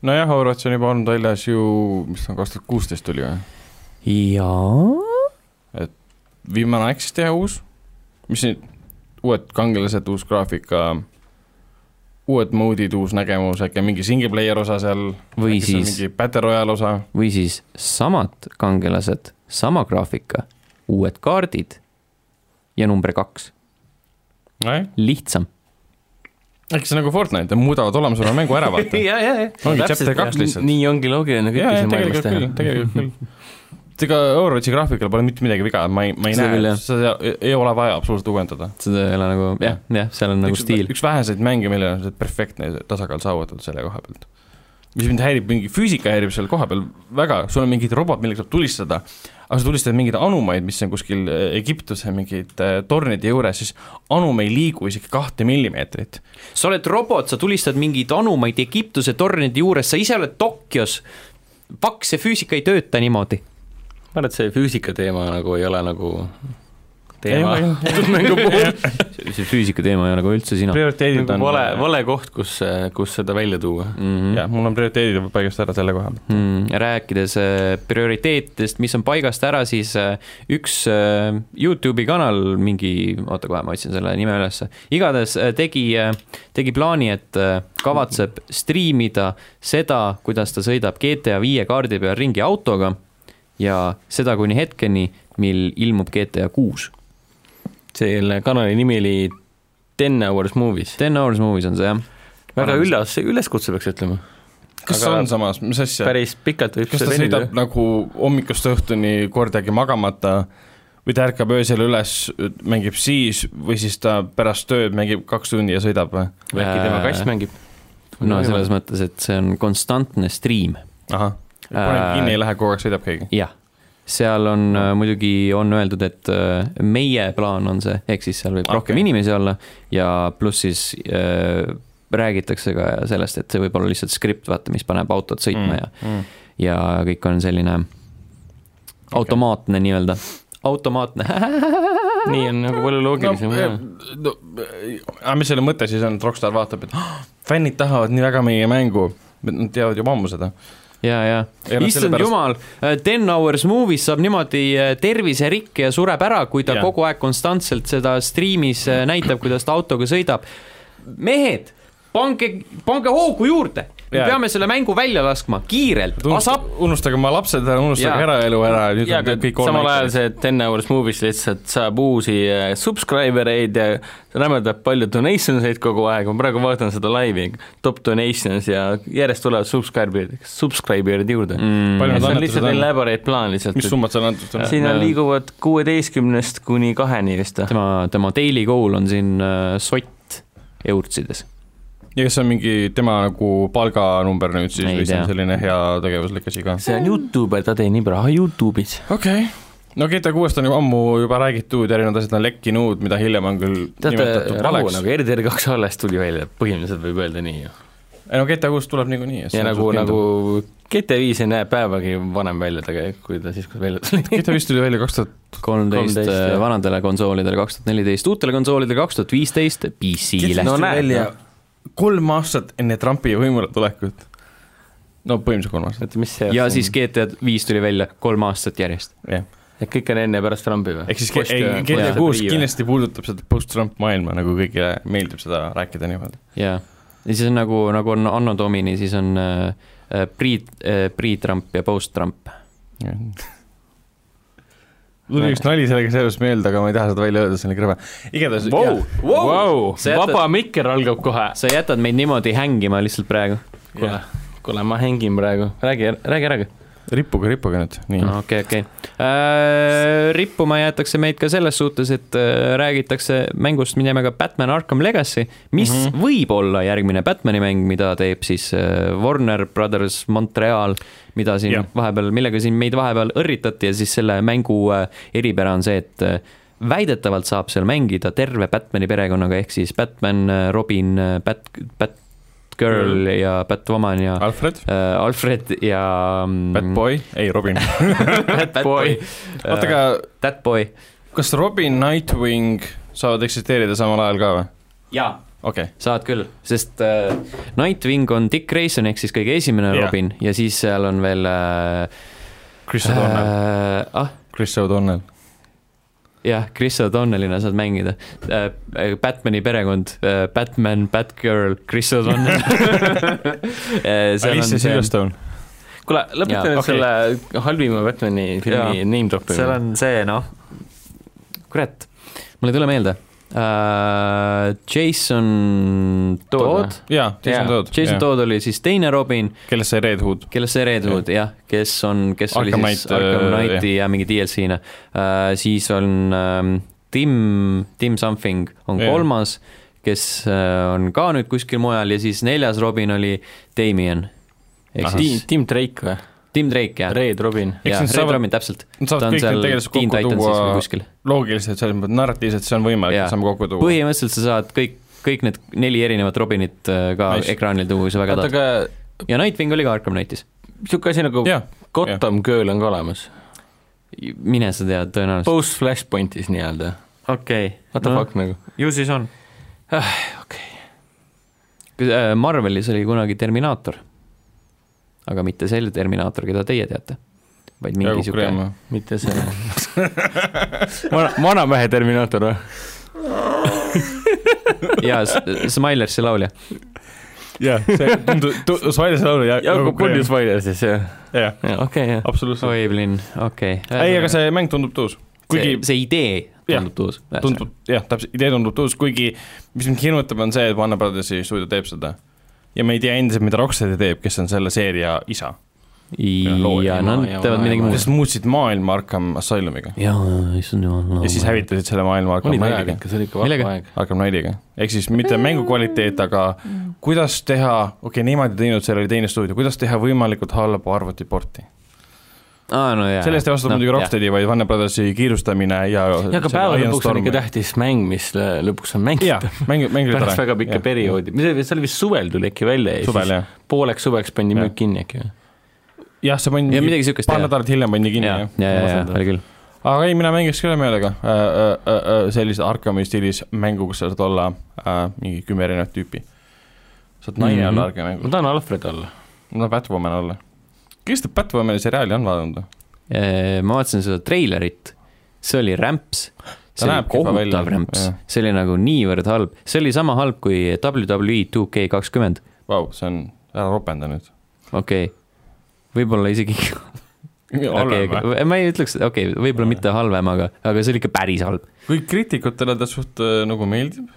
nojah , Overwatch on juba olnud väljas ju , mis ta on , kaks tuhat kuusteist tuli või ? jaa , viimane aeg siis teha uus , mis nüüd , uued kangelased , uus graafika , uued mode'id , uus nägemus , äkki on mingi single player osa seal , või äkki seal on siis , mingi battle royale osa , või siis samad kangelased , sama graafika , uued kaardid ja number kaks , nojah , lihtsam . äkki see on nagu Fortnite , muudavad olemasoleva mängu ära , vaata . ja , ja , ja . Ongi chapter kaks lihtsalt. nii ongi loogiline nagu jaa , kõike jaa , siin maailmas tegelikult küll , teha . tegelikult küll . ega Overwatchi graafikal pole mitte midagi viga , ma ei , ma ei Seda küll, näe jah. , seda ei- ei ole vaja absoluutselt uuendada . seda ei ole nagu jah , jah , seal on nagu üks, stiil . üks väheseid mänge , millel on see perfektne tasakaal saavutatud selle koha pealt . mis mind häirib , mingi füüsika häirib seal kohapeal väga , sul on mingid robot , millega saab tulistada , aga sa tulistad mingeid anumaid , mis on kuskil äh, Egiptuse mingid äh, tornide juures , siis anum ei liigu isegi kahte millimeetrit . sa oled robot , sa tulistad mingeid anumaid Egiptuse tornide juures , sa ise oled Tokyos . paks see füüsika ei tööta niimoodi . ma arvan , et see füüsika teema nagu ei ole nagu teema Ei ole, , mängu puhul . see füüsika teema ei ole ka üldse sina . prioriteedid nagu on Mhm. vale , vale koht , kus , kus seda välja tuua . Mhm. jah , mul on prioriteedid juba paigast ära selle koha pealt . Mm, rääkides äh, prioriteetidest , mis on paigast ära , siis äh, üks äh, Youtube'i kanal , mingi , oota kohe , ma otsin selle nime ülesse , igatahes äh, tegi , tegi plaani , et äh, kavatseb striimida seda , kuidas ta sõidab GTA viie kaardi peal ringi autoga ja seda kuni hetkeni , mil ilmub GTA kuus . selle kanali nimi oli Ten Hours Movies . Ten Hours Movies on see jah , väga üllas , üleskutse peaks ütlema . kas Aga aga... on samas , mis asja ? päris pikalt võib kas ta see venida sõidab . nagu hommikust õhtuni kordagi magamata või ta ärkab öösel üles , mängib siis või siis ta pärast tööd mängib kaks tundi ja sõidab või ? või äkki tema kass mängib ? no selles mõttes , et see on konstantne striim ahah , paneb Äh, kinni , ei lähe kogu aeg , sõidab keegi . jah , seal on äh, muidugi , on öeldud , et äh, meie plaan on see , ehk siis seal võib okay. Okei. rohkem inimesi olla ja pluss siis äh, räägitakse ka sellest , et see võib olla lihtsalt skript , vaata , mis paneb autod sõitma mm. mm. . ja , ja kõik on selline automaatne nii-öelda , automaatne . nii on nagu palju loogilisem no, . no, äh, aga mis selle mõte siis on , et Rockstar vaatab , et "Ah, fännid tahavad nii väga meie mängu , nad teavad juba ammu seda . ja , ja Ei, noh, issand sellepärast- jumal , Ten Hours Movies saab niimoodi äh, terviserikke ja sureb ära , kui ta ja. Jah. kogu aeg konstantselt seda striimis äh, näitab , kuidas ta autoga sõidab . mehed , pange , pange hoogu juurde , me Jaa. peame selle mängu välja laskma , kiirelt , asap , unustage oma lapsed ära , unustage Jaa. eraelu ära , nüüd jaa , on aga kõik samal ajal . see Ten Hours Movies lihtsalt saab uusi äh, subscriber eid ja rämedab palju donation eid kogu aeg , ma praegu vaatan seda laivi , top donations ja järjest tulevad subscriber'id , subscriber'id juurde mm. . palju see nad on lihtsalt annetused on ? elaborate plaan lihtsalt , mis summad seal antud on ? siin on liiguvad kuueteistkümnest kuni kaheni vist või ? tema , tema daily goal on siin äh, sott eurtsides . ja kas see on mingi tema nagu palganumber nüüd siis Ei või see on tea. selline hea tegevuslik asi ka ? see on Youtube , ta teenib raha Youtube'is . okei okay. no GTA kuuest on juba ammu juba räägitud , erinevad asjad on lekkinud , mida hiljem on küll teate nimetatud , rahu valeks . nagu RDR kaks alles tuli välja , põhimõtteliselt võib öelda nii ju . ei no GTA kuus tuleb niikuinii . ja nagu , nagu GTA viis ei näe päevagi vanem välja tegelikult , kui ta siis , kui ta välja tuli . GTA viis tuli välja kaks tuhat , kolmteist äh, 13, jah. vanadele konsoolidele , kaks tuhat neliteist uutele konsoolidele , kaks tuhat viisteist PC-le . No tuli näed, noh. välja kolm aastat enne Trumpi võimule tulekut . no põhimõtteliselt kolm aastat , oota , mis see ja siis GTA viis tuli välja kolm aastat järjest . jah . et kõik on enne ja pärast Trumpi või ? ehk siis ke- ei, GTA kuus . kindlasti puudutab seda post-Trump maailma , nagu kõigile meeldib seda rääkida niimoodi . jaa , ja siis on nagu , nagu on Anno Domini , siis on äh, äh, pre äh, , pre-Trump ja post-Trump . tuli üks nali sellega seoses meelde , aga ma ei taha seda välja öelda , see oli krõbe . igatahes wow. , Vau , Sa jätad- vaba mikker algab kohe . sa jätad meid niimoodi hängima lihtsalt praegu ? kuule , kuule , ma hängin praegu , räägi , räägi , räägi . rippuge , rippuge nüüd , nii no. . okei , okei . rippuma jäetakse meid ka selles suhtes , et äh, räägitakse mängust nimega Batman Arkham Legacy , mis mm Mhm. -hmm. võib olla järgmine Batmani mäng , mida teeb siis äh, Warner Brothers Montreal , mida siin Jah. yeah. vahepeal , millega siin meid vahepeal õrritati ja siis selle mängu äh, eripära on see , et äh, väidetavalt saab seal mängida terve Batmani perekonnaga , ehk siis Batman , Robin , Bat , Batgirl ja Batwoman ja Alfred , äh, Alfred ja mm, Batboy , ei Robin . Bad Boy . oota , aga That Boy . kas Robin , Nightwing saavad eksisteerida samal ajal ka või ? jaa . okei okay. , saad küll , sest äh, Nightwing on Dick Grayson ehk siis kõige esimene Jah. yeah. Robin ja siis seal on veel äh, Chris O'Donnell äh... , äh, ah Chris O'Donnell . jah , Chris O'Donnellina saad mängida äh, . Batman'i perekond äh, , Batman , Batgirl , Chris O'Donnell äh, . Alice Silverstone . kuule , lõpeta Jaa, nüüd okei. selle halvima Batman'i filmi Jaa. name dropp'i . seal on see noh , kurat , mul ei tule meelde äh, . Jason Todd, Todd , noh. jaa , Jaa, Jason Todd . Jason . Todd oli siis teine Robin , kellest sai Red Hood ? kellest see Red Hood jah , kes on , kes Arkham oli siis Knight, Arkham äh, Knighti ja mingi DLC-na uh, , siis on uh, Tim , Tim Something on Jah. yeah. kolmas , kes uh, on ka nüüd kuskil mujal ja siis neljas Robin oli Damien . ehk Ahah. siis Tim , Tim Drake või ? Tim Drake jah , Red Robin . jah , Red nad saavad- Robin täpselt , Nad ta saavad on kõik seal need tegelased Teen kokku Titansis tuua või kuskil . loogiliselt , selles mõttes narratiivselt see on võimalik , Jaa. et saame kokku tuua . põhimõtteliselt sa saad kõik , kõik need neli erinevat Robinit uh, ka Nice. nice. ekraanil tuua , kui sa väga oota , tahad . aga ja Nightwing oli ka Arkham Knightis , niisugune asi nagu jah , Gotham Girl on ka olemas . mine sa tead tõenäoliselt . Post Flashpointis nii-öelda . okei What the fuck nagu . ju siis on . Ah, okei. . äh, Marvelis oli kunagi Terminaator . aga mitte selle Terminaator , keda teie teate , vaid mingi jagub sihuke , kreema . mitte see vana , vanamehe Terminaator või ? jaa , Smilers , see laulja . jah , see tundub , Svaili see laul Jakob Pulju Spider siis jah ? jah , okei , jah . absoluutselt . oi , Blin , okei okay. ei , aga see mäng tundub tõus . kuigi see, see idee Jah, tundub tuus . tundub , jah , täpselt , idee tundub tõus , kuigi mis mind hirmutab , on see , et Warner Brothersi stuudio teeb seda . ja me ei tea endiselt , mida Rocksteadi teeb , kes on selle seeria isa . ja looja, nad jaa, teevad jaa, midagi jaa. muud . kes muutsid maailma Arkham Asylumiga jaa , issand Oh jumal . ja siis hävitasid selle maailma Arkham oli ta aeg Knightiga . ikka , see oli ikka Millega? vaba aeg . Arkham Knightiga , ehk siis mitte mängu kvaliteet , aga kuidas teha , okei okay, , nemad ei teinud , seal oli teine stuudio , kuidas teha võimalikult halba arvutiporti . aa , no jaa . sellest ei vastu no, muidugi . Rocksteadi , vaid Warner Brothersi kiirustamine ja ja aga päeva lõpuks on ikka tähtis mäng , mis lõ- lõpuks on jah mängitav ., mängi , mängi pärast väga pikka perioodi , mis see , see oli vist suvel tuli äkki välja ja suvel siis jah , pooleks suveks pandi Jah. müük kinni äkki või ? jah , see pandi ja midagi siukest paar . nädalat hiljem pandi kinni jaa jah , jaa , jaa , oli küll . aga ei , mina mängiks küll meelega äh, äh, äh, sellise Arkhami stiilis mängu , kus sa saad olla äh, mingi kümme erinevat tüüpi . saad naine Mhm. mm -hmm. olla Arkhami ma mängus , tahan Alfred olla . ma tahan Batwoman olla . kes te Batwomani seriaali on vaadanud ? Äh, ma vaatasin seda treilerit , see oli rämps . see oli näeb kehva välja, kohutav rämps jah. , see oli nagu niivõrd halb , see oli sama halb kui WWE 2K E kakskümmend . Vau , see on ära ropenda nüüd . okei okay. , võib-olla isegi , okei , ma ei ütleks , okei okay, , võib-olla mitte halvem , aga , aga see oli ikka päris halb , kõik kriitikutele ta suht äh, nagu meeldib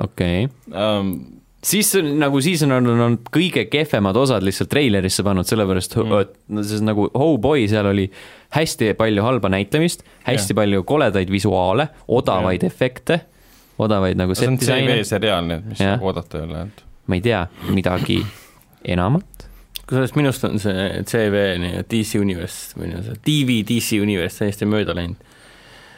okei okay. . ähm, . siis on- nagu siis on olnud on kõige kehvemad osad lihtsalt treilerisse pannud , sellepärast mm. et no see on nagu Oh Boy , seal oli hästi palju halba näitlemist , hästi yeah. palju koledaid visuaale , odavaid yeah. efekte , odavaid nagu see on set disaine CV , seriaal , nii et mis Jah. nagu oodata ei ole , et ma ei tea , midagi enamat . kusjuures minust on see CV nii-öelda DC Universe või nii-öelda see TV DC Universe täiesti mööda läinud .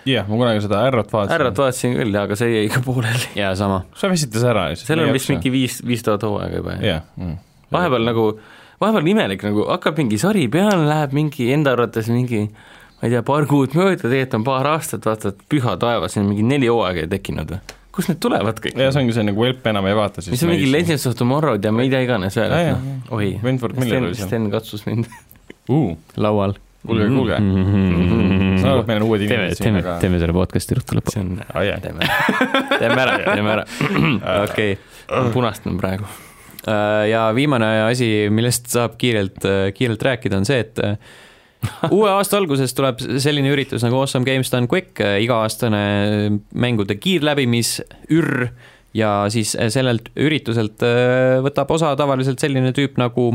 jah yeah, , ma kunagi seda R-ot härrat vaatasin . vaatasin küll , aga see jäi ka pooleli . ja sama , see väsitas ära lihtsalt . seal on vist mingi viis , viis tuhat hooaega juba . jah mm. . vahepeal nagu , vahepeal on imelik nagu hakkab mingi sari peale , läheb mingi enda arvates mingi ma ei tea , paar kuud mööda , tegelikult on paar aastat , vaatad , püha taeva , siin on mingi neli hooaega tekkinud . kust need tulevad kõik ? ja see ongi see nagu Elp enam ei vaata siis . mis on mingi Legends of Tomorrow'd ja mida iganes veel , Jaa, et jaa, noh , oi , Wentworth Miller Sten , oli seal . Sten katsus mind . kuulge , laual . kuulge , kuulge . saan aru , et Mm. meil on uued teeme , inimesed siin , Mhm. teeme , aga . teeme selle podcast'i ruttu lõppu . see on , Ah, jah. teeme , teeme ära , teeme ära . okei , Äh. punastan praegu . Äh, ja viimane asi , millest saab kiirelt , kiirelt rääkida , on see , et äh, uue aasta alguses tuleb selline üritus nagu Awesome Games Done Quick , iga-aastane äh, mängude kiirläbimisürr ja siis äh, sellelt ürituselt äh, võtab osa tavaliselt selline tüüp nagu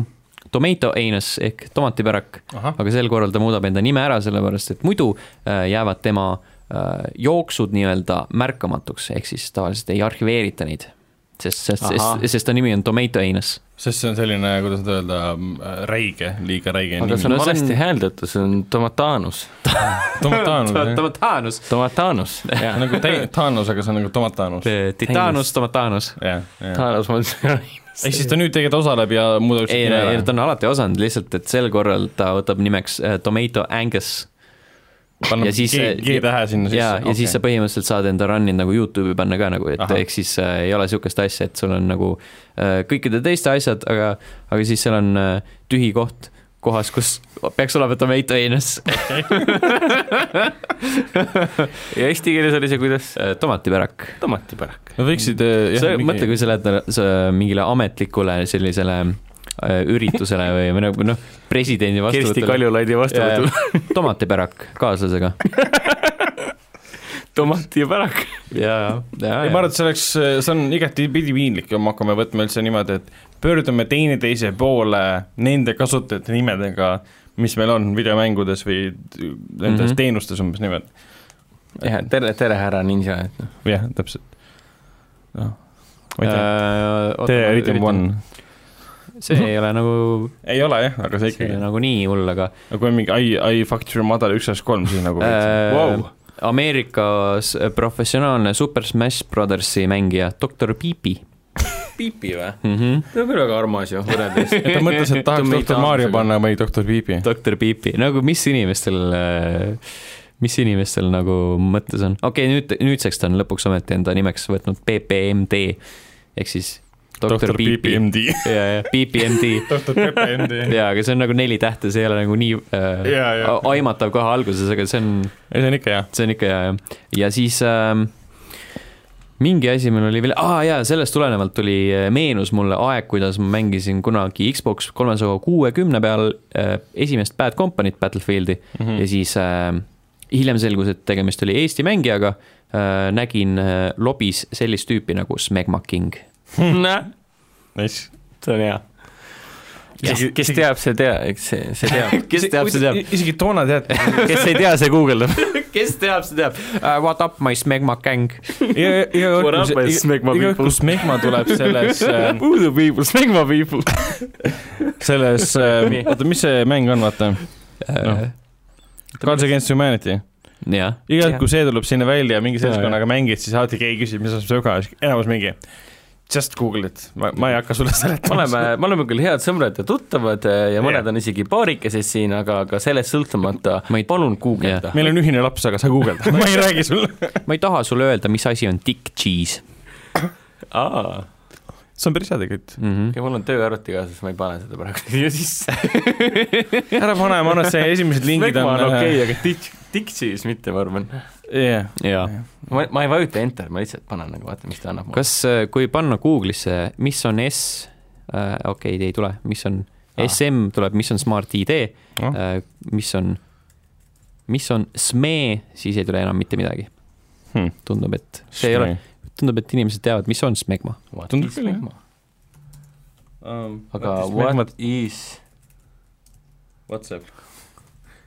Tomato Anus ehk tomatipärak , ahah , aga sel korral ta muudab enda nime ära , sellepärast et muidu äh, jäävad tema äh, jooksud nii-öelda märkamatuks , ehk siis tavaliselt ei arhiveerita neid . sest , sest , Ahah. sest , sest ta nimi on Tomato Anus . sest see on selline , kuidas nüüd öelda , räige , liiga räige aga nimi . see on No see on- valesti hääldatud , see on Tomatanus . Tomatanus , Tomatanus . Tomatanus , jah . nagu tei- Thanos , aga see on nagu Tomatanus . Titanus , Tomatanus . jah , jah . Tomatanus , ma ütlesin , ehk siis ta nüüd tegelikult osaleb ja muudab ei , nime ei , ära. ta on alati osanud , lihtsalt et sel korral ta võtab nimeks äh, Tomato Angus panna ja siis- G , G-tähe sinna sisse . ja , ja siis sa põhimõtteliselt saad enda run'i nagu Youtube'i panna ka nagu , et Ahah. ehk siis äh, ei ole niisugust asja , et sul on nagu äh, kõikide teiste asjad , aga , aga siis seal on äh, tühi koht kohas , kus peaks olema Tomato Anus äh, , ja eesti keeles oli see , kuidas tomatipärak . tomatipärak . Nad võiksid eh, äh, jah sa mingi... mõtle , kui sa lähed na- sa mingile ametlikule sellisele äh, üritusele või , või nagu noh , presidendi Kersti vastuvõtule . Kaljulaidi vastuvõtul . tomatipärak kaaslasega . tomatipärak . ja , ja ei , ma arvan , et see oleks , see on igatipidi piinlik , kui me hakkame võtma üldse niimoodi , et pöördume teineteise poole nende kasutajate nimedega , mis meil on videomängudes või nendes mm Mhm. -hmm. teenustes umbes nimed . jah , tere , tere , härra ninja , et noh . jah , täpselt . noh , Äh, ma ei tea , Te tee Rhythm . One . see ei ole nagu , ei ole jah , aga see see ei ikkagi ole , nagu nii hull , aga aga kui on mingi I , I Factory madal üks ühest kolm , siis nagu äh, wow. Ameerikas professionaalne Super Smash Brothersi mängija doktor Piipi Piipi või ? mm . -hmm. see on küll väga armas ju , võrreldes . et ta mõtles , et tahaks doktor Mario . panna või doktor Piipi . doktor Piipi , nagu mis inimestel , mis inimestel nagu mõttes on , okei okay, , nüüd , nüüdseks ta on lõpuks ometi enda nimeks võtnud PPMD ehk siis doktor Piipi MD . ja , ja PPMD doktor Pepe MD . jaa , aga see on nagu neli tähte , see ei ole nagu nii äh, Jaa, jaa. a- aimatav kohe alguses , aga see on , ei , see on ikka hea . see on ikka hea jah . ja siis ähm, mingi asi mul oli veel , aa jaa , sellest tulenevalt tuli , meenus mulle aeg , kuidas ma mängisin kunagi Xbox kolmesaja kuuekümne peal äh, esimest Bad Company't Battlefieldi mm Mhm. -hmm. ja siis äh, hiljem selgus , et tegemist oli Eesti mängijaga äh, , nägin äh, lobis sellist tüüpi nagu Smegma King . näe , Nice . see on hea . kes , kes teab , see teab , eks see , see teab . kes teab , see teab . noh. isegi toona tead , kes ei tea , see guugeldab . kes teab , see teab uh, . What up my Smegma Gang iga , iga What up, my smegma iga kord , people? kui smegma tuleb selles , äh, Who the people , Smegma people . selles , oota , mis see mäng on , vaata , Noh. uh, . Cards Against Humanity . jah , iga kord , kui see tuleb sinna välja , mingi seltskonnaga mängid , siis alati keegi küsib , mis on see sõga , enamus mingi just Google it , ma , ma ei hakka sulle me seletama . oleme , me oleme küll head sõbrad ja tuttavad eh, ja mõned Jah. on isegi paarikeses siin , aga , aga sellest sõltumata Ma ei- palun guugelda . meil on ühine laps , aga sa guugelda , ma ei räägi sulle . ma ei taha sulle öelda , mis asi on dick cheese aa , see on päris hea tegelikult . mm . -hmm. ja mul on tööarvuti ka , sest ma ei pane seda praegu siia sisse . ära pane , ma arvan , et see esimesed lingid Smegma on äh, on äh, okei , aga Dick , Dick siis mitte , ma arvan . jah , jaa , ma , ma äh, ei vajuta enter , ma lihtsalt panen nagu vaatan , mis ta annab mulle . kas , kui panna Google'isse , mis on S äh, okei okay, , ei tule , mis on ah. , SM tuleb , mis on Smart ID Ah. ah. , äh, mis on , mis on SME , siis ei tule enam mitte midagi . Hmm. tundub , et see ei ole ,. tundub , et inimesed teavad , mis on smegma . Tundub küll, jah. aga What is what Smegma- is Whatsapp .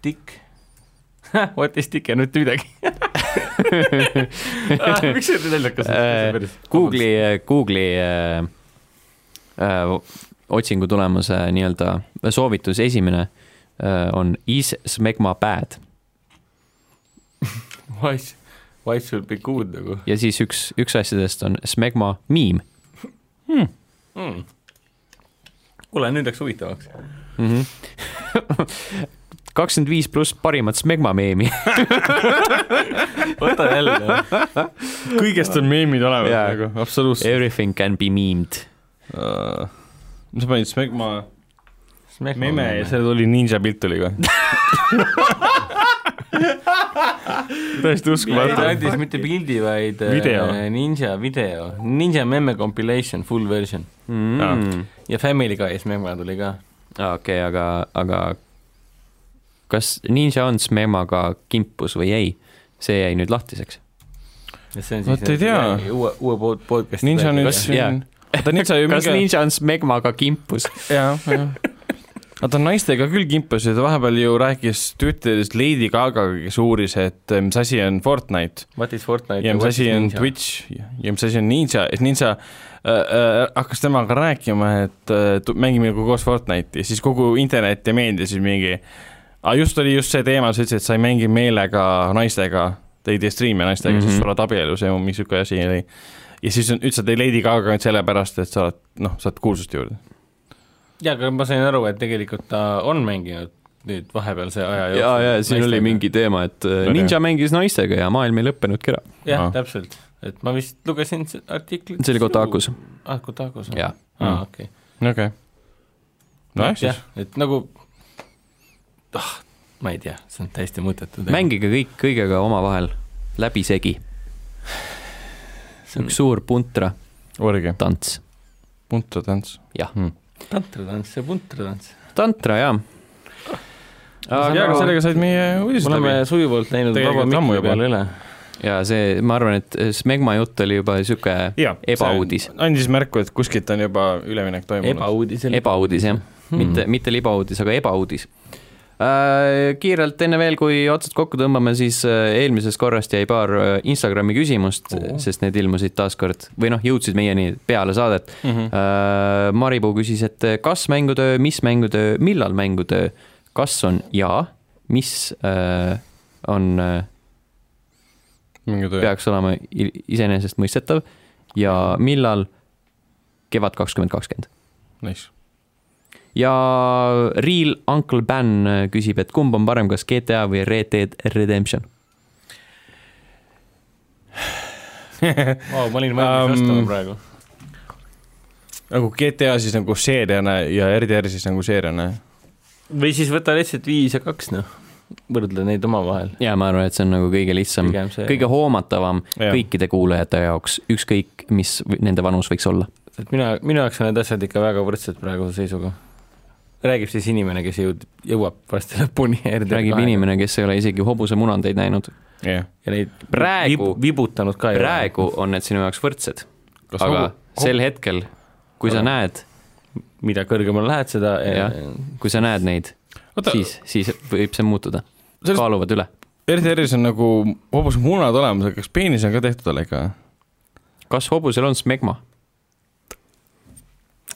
tick What is tick ei olnud mitte midagi ah, . miks see nii naljakas Äh, on ? Google'i , Google'i äh, äh, otsingu tulemuse nii-öelda soovitus esimene äh, on is smegma bad Why , why should be good nagu ja siis üks , üks asjadest on smegma meme mm. ? kuule , nüüd läks huvitavaks . mm . Mhm. kakskümmend viis pluss parimat smegma meemi . võta jälle . kõigest on meemid olemas Jaa. nagu , absoluutselt . Everything can be memed . sa panid Smegma meme ja seal tuli ninja pilt tuli ka . täiesti ta uskumatu . andis mitte pildi , vaid äh, Video. ninja video , ninja memme compilation , full version Mm. ja Family Guys memme tuli ka . Ah. okei , aga , aga kas Ninja on smegmaga kimpus või ei ? see jäi nüüd lahtiseks . Vot ei tea. uue , uue pod- , podcast'i . ninja nüüd Kas- jaa. siin , oota nüüd sa ju kas mingi , Ninja on smegmaga kimpus ? jah , jah . Nad on naistega küll kimpus ja ta vahepeal ju rääkis Twitteris Lady Gaga'ga , kes uuris , et eh, mis asi on Fortnite What is Fortnite ja mis asi on Twitch ja ja mis asi on Ninja , et Ninja äh, äh, hakkas temaga rääkima , et äh, tu- mängime nagu koos Fortnite'i , siis kogu internet ja meedia siis mingi , aga just oli just see teema , sa ütlesid , et sa ei mängi meelega naistega , te ei tee striime naistega mm , -hmm. Mhm. siis sa oled abielus ja mingi sihuke asi oli . ja siis on- ütles , et ei Lady Gaga ainult sellepärast , et sa oled , noh , saad kuulsust juurde . jaa , aga ma sain aru , et tegelikult ta on mänginud nüüd vahepealse aja jooksul . ja , ja siin oli mingi . teema , et äh, Ninja mängis naistega ja maailm ei lõppenudki ära . jah Aa. , täpselt , et ma vist lugesin se- artiklit . see oli Kotakus . ah , Kotakus , jaa . Mm. aa , okei . okei okay. . nojah , siis jah , et nagu , ah , ma ei tea , see on täiesti mõttetu . mängige kõik kõigega omavahel läbisegi . See on- üks suur puntra orgi , tants . punto tants . tantritants ja puntritants . tantra , jaa . ja , aga aga sellega said meie uudised me oleme läbi . sujuvalt läinud vaba Tegelikult ammu mikri juba. peale üle . ja see , ma arvan , et eh, Smegma jutt oli juba sihuke jaa , ebauudis. . andis märku , et kuskilt on juba üleminek toimunud . ebauudisel . ebauudis jah , Hmm. mitte , mitte libauudis , aga ebauudis . Kiirelt enne veel , kui otsad kokku tõmbame , siis äh, eelmisest korrast jäi paar äh, Instagrami küsimust Oo. , sest need ilmusid taaskord või noh , jõudsid meieni peale saadet . mm . Mhm. -hmm. Äh, Maripuu küsis , et äh, kas mängutöö , mis mängutöö , millal mängutöö , kas on ja , mis äh, on , mingi töö . peaks olema i- iseenesestmõistetav ja millal kevad kakskümmend kakskümmend . Nice . ja Real Uncle Ben küsib , et kumb on parem , kas GTA või Red Dead Redemption ? Vau , ma olin valmis Ehm. vastama Ähm, praegu . nagu GTA siis nagu seeriana ja RDR siis nagu seeriana . või siis võta lihtsalt viis ja kaks , noh , võrdle neid omavahel . ja ma arvan , et see on nagu kõige lihtsam , pigem see , kõige hoomatavam Jah. kõikide kuulajate jaoks , ükskõik mis v- nende vanus võiks olla . et mina , minu jaoks on need asjad ikka väga võrdsed praeguse seisuga . räägib siis inimene , kes jõud- , jõuab varsti lõpuni RDR räägib inimene , kes ei ole isegi hobusemunandeid näinud . jah . ja neid Praegu- vib- vibutanud ka . praegu on need sinu jaoks võrdsed , aga sel hetkel , kui sa Aga- näed , mida kõrgemale lähed , seda eh, Jah. kui sa näed neid , oota , siis , siis võib see muutuda . Sellest- kaaluvad üle . RDR-is on nagu hoopis munad olemas , aga kas peenis on ka tehtud talle ikka ? kas hobusel on smegma ?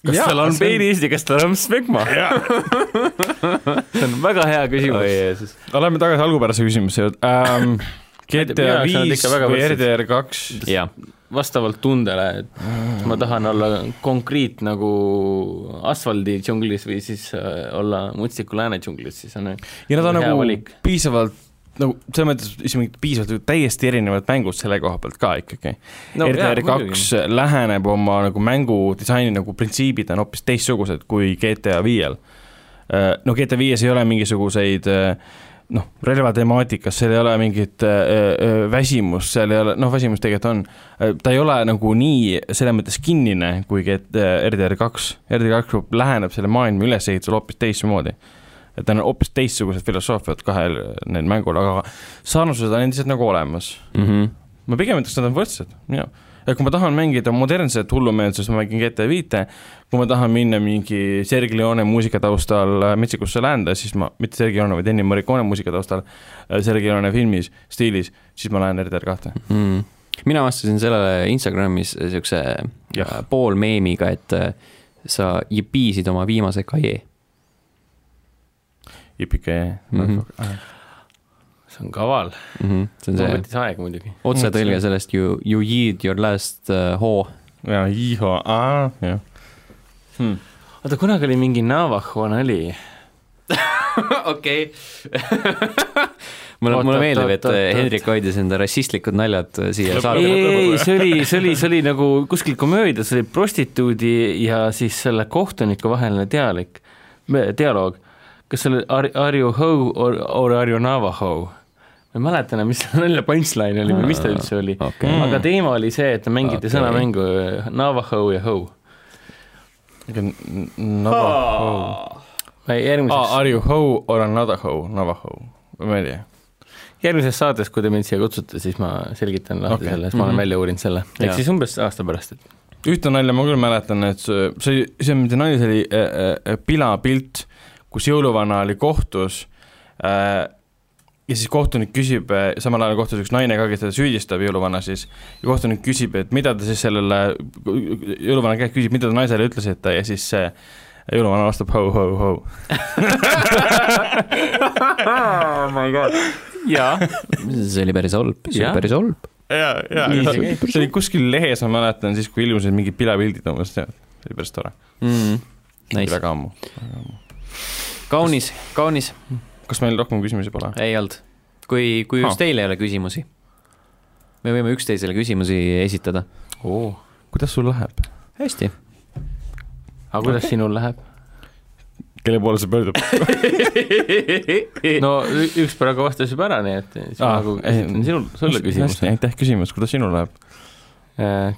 kas Jaa, tal on see on- peenis ja kas tal on smegma ? see on väga hea küsimus . aga lähme tagasi algupärase küsimuse juurde ähm, . GTA Minu jaoks on nad viis ikka väga või võrdsed. RDR kaks , jaa , vastavalt tundele , et ma tahan olla konkreet nagu asfaldi džunglis või siis äh, olla mutsiku lääne džunglis , siis on ja nad on Hea nagu valik. piisavalt nagu selles mõttes isegi mingid piisavalt täiesti erinevad mängud selle koha pealt ka ikkagi no, . RDR kaks läheneb oma nagu mängudisaini nagu printsiibid on hoopis teistsugused kui GTA viiel . no GTA viies ei ole mingisuguseid äh, noh, relvatemaatikas, seal ei ole mingit äh, äh, väsimust, seal ei ole, noh, väsimus tegelikult on äh,, ta ei ole nagu nii selles mõttes kinnine, kuigi et äh, RDR kaks, RDR kaks grupp läheneb selle maailma ülesehitusele hoopis teistmoodi. et tal on hoopis teistsugused filosoofiad kahel neil mängul, aga sarnasused on endiselt nagu olemas mm . -hmm. ma pigem ütleks , nad on võrdsed, mina . et kui ma tahan mängida modernset hullumeelsust , ma mängin GTA viite , kui ma tahan minna mingi Sergei Leone muusika taustal äh, metsikusse läände , siis ma , mitte Sergei Leone , vaid Ennio Morricone muusika taustal äh, Sergei Leone filmis , stiilis , siis ma lähen RDR kahte . mm. . mina vastasin sellele Instagramis siukse Jah. äh, pool meemiga , et äh, sa jipiisid oma viimase kaie . jipike Mhm. mm . -hmm. see on kaval , see on see see võttis aega muidugi . otsetõlge sellest you , you yeed your last uh, hoo . ja Iho , aa , jah . oota , kunagi oli mingi Navajo nali , okei . mulle , Oot, mulle oot, meeldib , oot, et äh, oot, oot. Hendrik hoidis enda rassistlikud naljad äh, siia ei , saatele . ei , ei , see oli , see oli , see oli nagu kuskil komöödias oli prostituudi ja siis selle kohtuniku vaheline dialik , dialoog . kas see oli are, are you ho or, or are you navajo ? ma ei mäleta enam , mis selle nalja punchline oli või mis ta üldse oli Okei. aga teema oli see , et mängiti Okei. okay. sõnamängu navajo ja ho . Navajo . järgmises , Are you ho or another ho , Navajo , ma ei tea . järgmises saates , kui te mind siia kutsute , siis ma selgitan lahti Okei. okay. selle , siis ma olen Mhm. välja uurinud selle . Jaa. ehk siis umbes aasta pärast , et ühte nalja ma küll mäletan , et see , see , see mitte nali , see oli äh, äh, pilapilt , kus jõuluvana oli kohtus äh, ja siis kohtunik küsib , samal ajal kohtus üks naine ka , kes teda süüdistab , jõuluvana siis , ja kohtunik küsib , et mida ta siis sellele , jõuluvana käest küsib , mida te naisele ütlesite ja siis see jõuluvana vastab ho-ho-ho . jaa , see oli päris halb , see Jah. oli päris halb . jaa , jaa , Nii see käib. see oli kuskil lehes , ma mäletan , siis kui ilmusid mingid pilapildid umbes , see oli päris tore , Mm. Nice , väga ammu . kaunis , kaunis , kas meil rohkem küsimusi pole ? ei olnud . kui , kui just Ah. teil ei ole küsimusi , me võime üksteisele küsimusi esitada . kuidas sul läheb ? hästi . aga kuidas sinul läheb ? kelle poole see pöördub ? no ü- üks praegu vastas juba ära , nii et siis ma Ah, nagu ei. esitan sinul , sulle küsimuse . aitäh küsimus , kuidas sinul läheb ?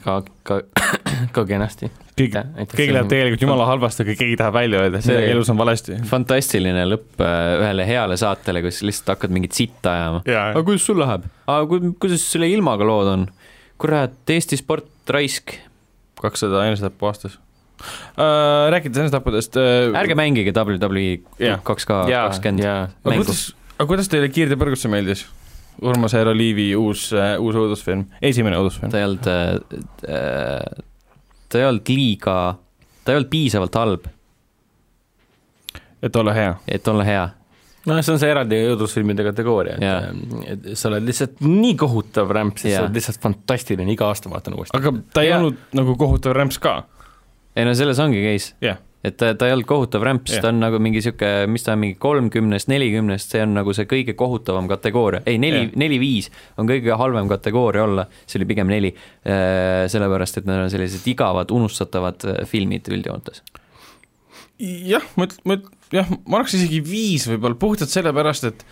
ka , ka , ka kenasti . kõik , kõik läheb . tegelikult jumala halvasti , aga keegi tahab välja öelda , et See- midagi elus on valesti . fantastiline lõpp äh, ühele heale saatele , kus lihtsalt hakkad mingit sitta ajama . jaa aga , kuidas sul läheb ? aga kui, kuidas selle ilmaga lood on ? kurat , Eesti sport , raisk , kakssada enesetappu aastas . Rääkides äh, enesetapudest . ärge mängige WWE Jah. kaks K jaa , kakskümmend jaa , aga mängu . kuidas , aga kuidas teile Kiirtepõrgusse meeldis ? Urmas Aero Liivi uus , uus õudusfilm , esimene õudusfilm . ta ei olnud , ta ei olnud liiga , ta ei olnud piisavalt halb , et olla hea . et olla hea . noh , see on see eraldi õudusfilmide kategooria , Jaa. et , et sa oled lihtsalt nii kohutav rämps , et Jaa. sa oled lihtsalt fantastiline , iga aasta vaatan uuesti . aga ta ei Jaa. olnud nagu kohutav rämps ka . ei no selles ongi case , jah , et ta , ta ei olnud kohutav rämps , Jah. ta on nagu mingi sihuke , mis ta on , mingi kolmkümnest , nelikümnest , see on nagu see kõige kohutavam kategooria , ei neli , Jah. neli-viis on kõige halvem kategooria olla , see oli pigem neli , sellepärast et need on sellised igavad , unustatavad äh, filmid üldjoontes . jah , ma üt- , ma üt- , jah , ma annaks isegi viis võib-olla puhtalt sellepärast , et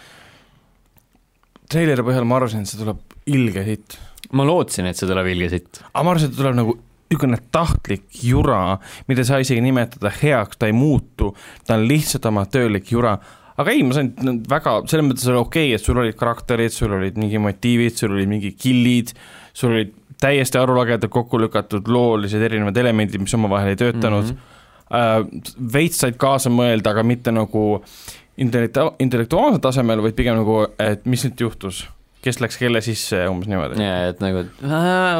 treileri põhjal ma arvasin , et see tuleb ilge hitt . ma lootsin , et see tuleb ilge sitt . aga ma arvasin , et tuleb nagu niisugune tahtlik jura , mida ei saa isegi nimetada heaks , ta ei muutu , ta on lihtsalt amatöörlik jura , aga ei , ma sain n- väga , selles mõttes oli okei okay, , et sul olid karakterid , sul olid mingi motiivid , sul olid mingi killid , sul olid täiesti arulagedalt kokku lükatud loolised erinevad elemendid , mis omavahel ei töötanud Mhm. mm , -hmm. veits said kaasa mõelda , aga mitte nagu intellektu- , intellektuaalsel tasemel , vaid pigem nagu , et mis nüüd juhtus , kes läks kelle sisse ja umbes niimoodi . ja , et nagu ,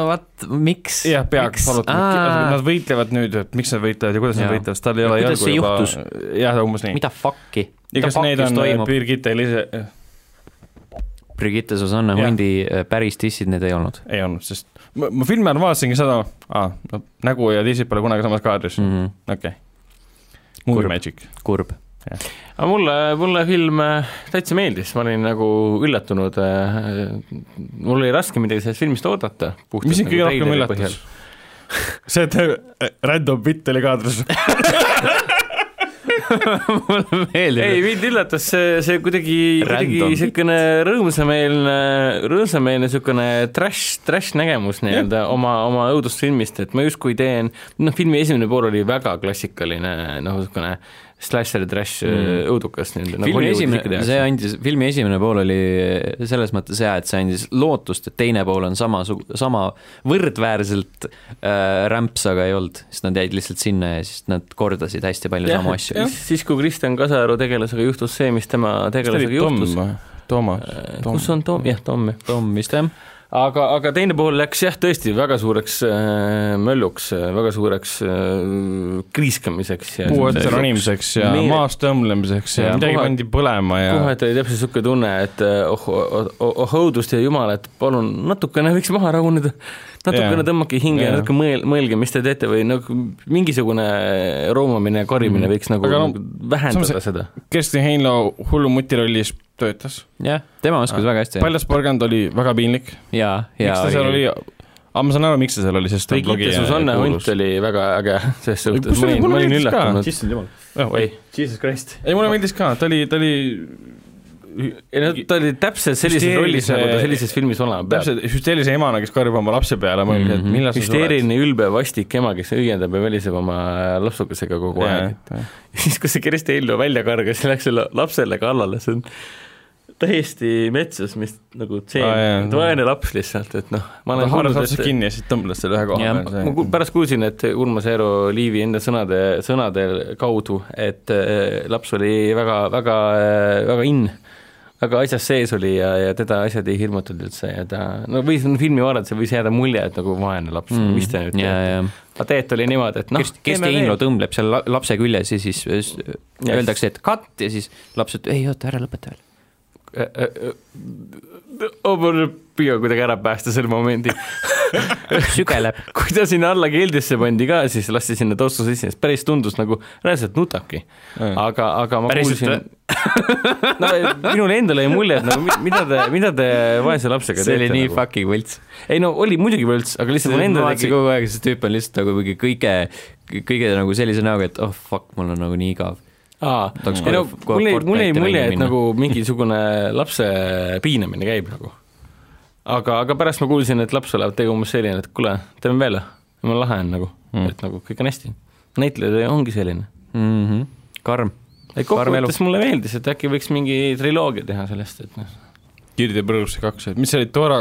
what , miks ? jah , peaks arutama , nad võitlevad nüüd , et miks nad võitlevad ja kuidas nad Jaa. võitlevad , sest tal ei ole Kuidas see juhtus? ? jah , umbes nii . mida fuck'i ? ja mida kas neid fuck'is on äh, toimub ? Birgitte Elise , Brigitte Susanna Jah. Hundi äh, päris dissid need ei olnud ei olnud , sest ma, ma filmi ajal vaatasingi seda ah, , no nägu ja tissid pole kunagi samas kaadris mm . mm. , -hmm. okei okay. . Movie Kurb. magic . kurb . aga mulle , mulle film äh, täitsa meeldis , ma olin nagu üllatunud , mul oli raske midagi sellest filmist oodata . nagu nagu mis sind kõige rohkem üllatas ? see , et äh, random bitt oli kaadris . mulle meeldib . ei , mind üllatas see , see kuidagi , kuidagi Random. niisugune rõõmsameelne , rõõmsameelne niisugune trash , trash nägemus nii-öelda oma , oma õudusfilmist , et ma justkui teen , noh , filmi esimene pool oli väga klassikaline , noh , niisugune slasher trash mm. õudukas nii-öelda nagu filmi Hollywoodis ikka esimene , tehakse. see andis , filmi esimene pool oli eh, selles mõttes hea , et see andis lootust , et teine pool on sama , sama võrdväärselt äh, rämps , aga ei olnud , sest nad jäid lihtsalt sinna ja siis nad kordasid hästi palju Jah, samu et asju . siis- siis , kui Kristjan Kasaru tegelasega juhtus see , mis tema tegelasega nagu juhtus , Toomas , kus on Tom , jah , Tom , jah . Tom vist jah , aga , aga teine pool läks jah , tõesti väga suureks äh, mölluks , väga suureks äh, kriiskamiseks ja puu otsa . ronimiseks ja Meele- maas tõmblemiseks ja Ja midagi kohati- pandi põlema ja kohe tuli täpselt niisugune tunne , et äh, oh , oh , oh , õudust ja jumal , et palun natukene võiks maha rahuneda , natukene Jaa. yeah. tõmmake hinge Jaa. yeah. , natuke mõel- , mõelge , mis te teete või nagu mingisugune roomamine ja korimine võiks nagu Aga no, no- vähendada samas- see... seda . Kersti Heinlo hullu muti rollis töötas . jah , tema Ah, oskas väga hästi . paljas porgand oli väga piinlik , ja , ja miks ta seal oli , aga ma saan aru , miks ta seal oli , sest ta on Noh, Brigitte blogija ja Susanne Hunt kuulus . oli väga äge selles Ei, suhtes , kusjuures ma olin , mulle ma olin meeldis ka. üllatunud . issand jumal , ei , jesus christ . ei , mulle meeldis ka , ta oli , ta oli ei no ta oli täpselt sellises rollis , Hüsteerilise- nagu ta sellises filmis olema peab . täpselt hüsteerilise emana , kes karjub oma lapse peale , mõelge , et millal sa sured . hüsteeriline ülbe vastik ema , kes õiendab ja väliseb oma lapsukesega kogu aeg . siis , kui see Kersti Hello välja kargas ja läks selle lapsele kallale , see on täiesti metsas , mis nagu Aa, jaa. tseen , vaene laps lihtsalt , et noh , ma ta olen haaras kuulnud , lapsed et kinni ja siis tõmblas selle ühe koha Jah, ma peale ku- . pärast kuulsin , et Urmas Eero Liivi enda sõnade , sõnade kaudu , et äh, laps oli väga , väga , väga in , väga asjas sees oli ja , ja teda asjad ei hirmutanud üldse ja ta , no võis , filmi vaadates võis jääda mulje , et nagu vaene laps mm. , mis te nüüd ja , teete . ja aga tegelikult oli niimoodi , et noh kes ,, kes Heinlo tõmbleb seal la- lapse küljes ja siis s- öeldakse , et cut ja siis laps ütleb , ei oota , ära lõpeta veel . Obor püüab kuidagi ära päästa selle momendi . sügeleb . kui ta sinna alla keldrisse pandi ka , siis lasti sinna tossu sisse , siis päris tundus nagu reaalselt nutabki . aga , aga ma Päriselt kuulsin , no minule endale jäi mulje , et nagu mi- mida te , mida te vaese lapsega see oli teete nii nagu. fucking võlts . ei no oli muidugi võlts , aga lihtsalt mul endal vaatasin tegi , kogu aeg , see tüüp on lihtsalt nagu mingi kõige , kõige nagu sellise näoga , et oh fuck , mul on nagu nii igav . aa , tahaks ei no kohe Fortnite'i mul jäi , ringi mul jäi mulje , et minna. nagu mingisugune lapse piinamine käib nagu . aga , aga pärast ma kuulsin , et laps olevat tegu umbes selline , et kuule , teeme veel , ma lahe on nagu Hmm. mm. , et nagu kõik on hästi . näitleja ongi selline . Mhm. karm . ei Karm elu. kokkuvõttes mulle meeldis , et äkki võiks mingi triloogia teha sellest , et noh , Kirde põrgusse kaks , et mis see oli , Dora ,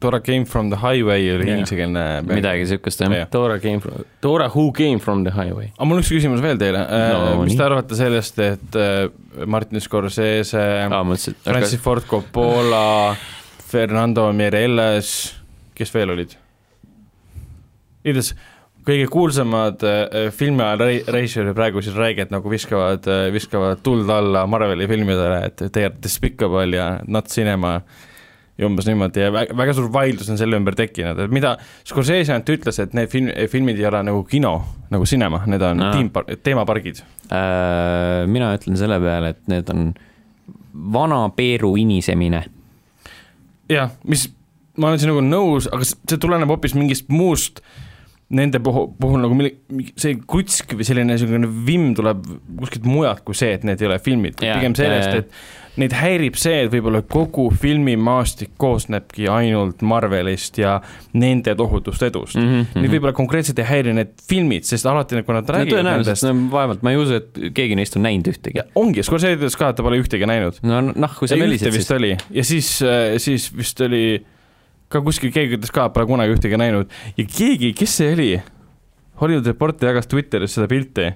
Dora came from the highway oli Jah. inglisekeelne . midagi siukest jah Jah. . Dora came from , Dora who came from the highway . aga mul on üks küsimus veel teile no, , No mis nii. te arvate sellest , et äh, Martin Scorsese aa , ah, , mõtlesin , et Francis aga aga... Ford Coppola , Fernando Mireles , kes veel olid ? igatahes kõige kuulsamad äh, filmi ajal rei- , reisijad praegu siis räägivad nagu viskavad äh, , viskavad tuld alla Marveli filmidele , et they are despicable ja not cinema ja umbes niimoodi ja väga, väga suur vaidlus on selle ümber tekkinud , et mida Scorsese ainult ütles , et need film , filmid ei ole nagu kino , nagu cinema , need on Aa. tiim , teemapargid . äh, mina ütlen selle peale , et need on vana Peeru inisemine . jah , mis , ma olen sinuga nõus , aga s- see tuleneb hoopis mingist muust nende puhul , puhul nagu mille , see kutsk või selline niisugune vimm tuleb kuskilt mujalt kui see , et need ei ole filmid , Jaa, pigem jaa, jaa. sellest , et neid häirib see , et võib-olla kogu filmimaastik koosnebki ainult Marvelist ja nende tohutust edust Mhm, mm . Mm-hmm. -hmm. nüüd võib-olla konkreetselt ei häiri need filmid , sest alati , kui nad no räägivad no, tõenäoliselt , nendest no vaevalt , ma ei usu , et keegi neist on näinud ühtegi ja . ongi , Scorsese ütles ka , et ta pole ühtegi näinud . no nahku sa Ei, möliseid ühte siis vist . oli ja siis , siis vist oli ka kuskil keegi ütles ka , pole kunagi ühtegi näinud ja keegi , kes see oli ? Hollywood Reporter jagas Twitteris seda pilti ,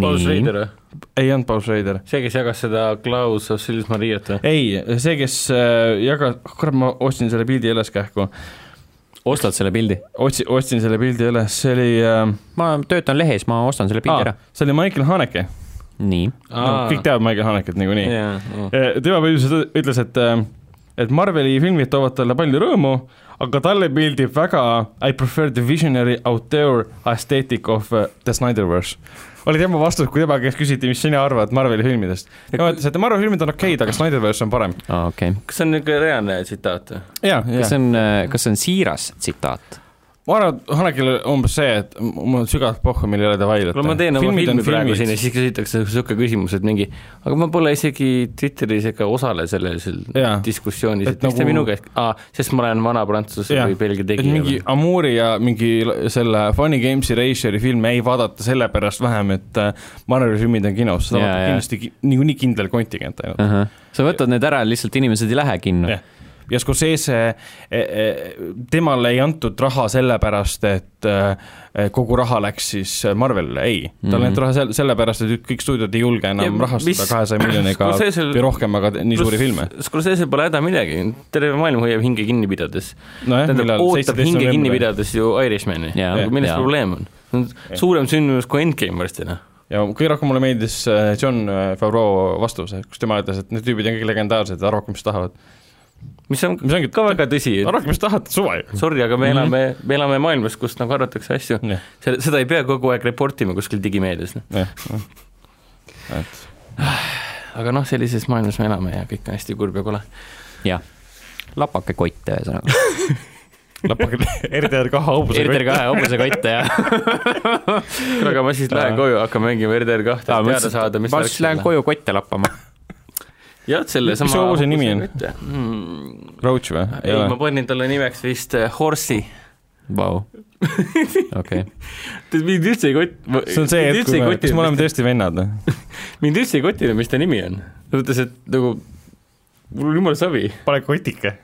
Paul Schrader või ? ei olnud Paul Schrader . see , kes jagas seda Klaus Ossilis Mariat või ? ei , see , kes äh, jagas , kurat , ma ostsin selle pildi üles kähku , ostad selle pildi ? otsi- , ostsin selle pildi üles , see oli äh, , ma töötan lehes , ma ostan selle pildi aa, ära . see oli Michael Haneke , nii . kõik teavad Michael Haneket niikuinii . teavad . Eh, tema põhimõtteliselt ütles , et , et Marveli filmid toovad talle palju rõõmu , aga talle meeldib väga I prefer the visionary out there aesthetic of uh, the Snyderverse . oli tema vastus , kui tema käest küsiti , mis sina arvad Marveli filmidest . tema ütles , et Marveli filmid on okeid , aga Snyderverse on parem . okei . kas see on niisugune reaalne tsitaat või ? jaa , äh, kas see on , kas see on siiras tsitaat ? ma arvan , et Hanekil oli umbes see , et m- mul on sügavalt pohhu , mil ei ole davai . kuule , ma teen oma filmi praegu siin ja siis küsitakse niisugune küsimus , et mingi , aga ma pole isegi Twitteris ega osale selles Jaa. diskussioonis , Et et miks te nagu- minu käest , aa , sest ma olen vana prantsuse Jaa. või Belgia et mingi tegija . Amuuri ja mingi l- selle Funny Games Erasure'i filme ei vaadata sellepärast vähem , et äh, Marveli filmid on kinos , Jaa, seda vaatab jaa. kindlasti ki- niikuinii kindel kontingent ainult . sa võtad need ära , lihtsalt inimesed ei lähe kinno Jah. . ja Scorsese , temale ei antud raha sellepärast , et eh, kogu raha läks siis Marvelile , ei . talle Mhm. anti raha sel- , sellepärast , et kõik stuudiod ei julge enam Ja ja, rahastada mis- kahesaja miljoniga Scorsese'l- või rohkem , aga nii suuri filme . Scorsese pole häda midagi , terve maailm hoiab hinge kinni pidades . nojah , tähendab , millal , ootab seitseteist hinge kinni november pidades ju Irishmani , Jaa. milles Jaa. probleem on ? see on suurem sündmus kui Endgame varsti , noh . ja kõige rohkem mulle meeldis eh, John Favreau vastus , kus tema ütles , et need tüübid on kõik legendaarsed , arvake , mis tahavad . mis on mis ongi ka väga tõsi , et arvake , mis tahate , suva ju . sorry , aga me elame , me elame maailmas , kus nagu arvatakse asju , jah , seda ei pea kogu aeg report ima kuskil digimeedias , noh . jah , jah . et aga noh , sellises maailmas me elame ja kõik on hästi kurb ja kole . jah , lapake kotte ühesõnaga . lõpuks RTR kahe hobuse ERTR kahe hobusekotte ja . kuule , aga ma siis lähen koju , hakkan mängima RDR kahte , et teada saada , mis ma siis lähen . koju kotte lappama . jah , selle Mis su hobuse nimi on? ? Roach või ? Hmm, ei , ma panin talle nimeks vist äh, Horsi . Vau , okei . mind üldse ei kot- . see on see hetk , kui me , kas me oleme tõesti vennad või ? mind üldse ei kotinud , mis ta nimi on . ta ütles , et nagu mul on jumala savi . pane kotike .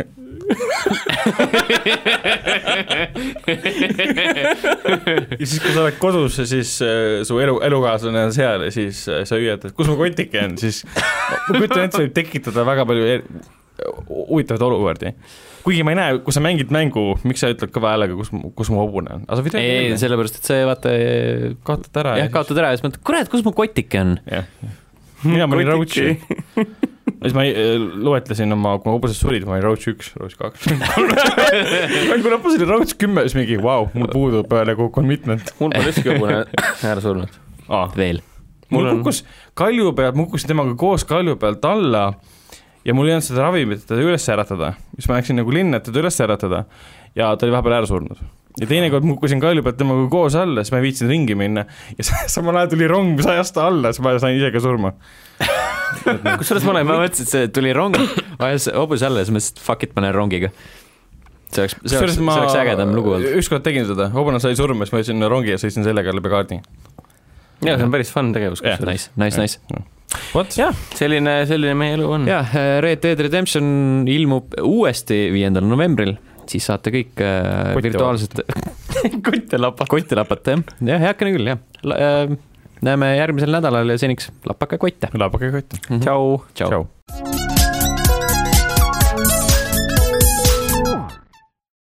ja siis , kui sa oled kodus ja siis äh, su elu , elukaaslane on seal ja siis äh, sa hüüad , et kus mu kotike on , siis ma kujutan ette , see võib tekitada väga palju er- huvitavaid olukordi . kuigi ma ei näe , kui sa mängid mängu , miks sa ütled kõva häälega , kus , kus mu hobune on , aga sa võid ei , ei , öelda , sellepärast , et see vaata , kaotad ära jah , kaotad ära ja siis mõtled , kurat , kus mu kotike on . jah , mina panin Kotike. Roachi . siis ma ei- loetlesin oma , kui hobused surid , ma olin Roach üks , Roach kaks . kui lõpus oli Roach kümme , siis mingi vau , mul puudub äh, nagu commitment mul pole ükski hobune ära surnud . ah, . veel . mul Mul on- kukkus kalju pealt , ma kukkusin temaga koos kalju pealt alla ja mul ei olnud seda ravimit , et teda üles äratada . siis ma läksin nagu linna , et teda üles äratada ja ta oli vahepeal ära surnud . ja teinekord ma kukkusin kalju pealt temaga koos alla , siis ma ei viitsinud ringi minna ja sa- samal ajal tuli rong , mis ajas ta alla , siis ma sain ise ka surma . kusjuures ma olen , ma mõtlesin , et see tuli rong , vajas hobuse alla ja siis mõtlesin , et fuck it , ma lähen rongiga . see oleks , see oleks , kusjuures see ma oleks ägedam lugu olnud . ükskord tegin seda , hobune sai surma , siis ma jõudsin rongi ja sõitsin sellega läbi kaardi . jaa , see on päris fun tegevus Jah, kusjuures . Nice , nice , nice . vot , jah , selline , selline meie elu on . jah , Red Dead Redemption ilmub uuesti viiendal novembril , siis saate kõik äh, Kotte virtuaalselt kotte lapata , kotte lapata jah , jah , heakene küll jah La, äh, . näeme järgmisel nädalal ja seniks lapake kotte . labake kott , tšau . tšau . tšau .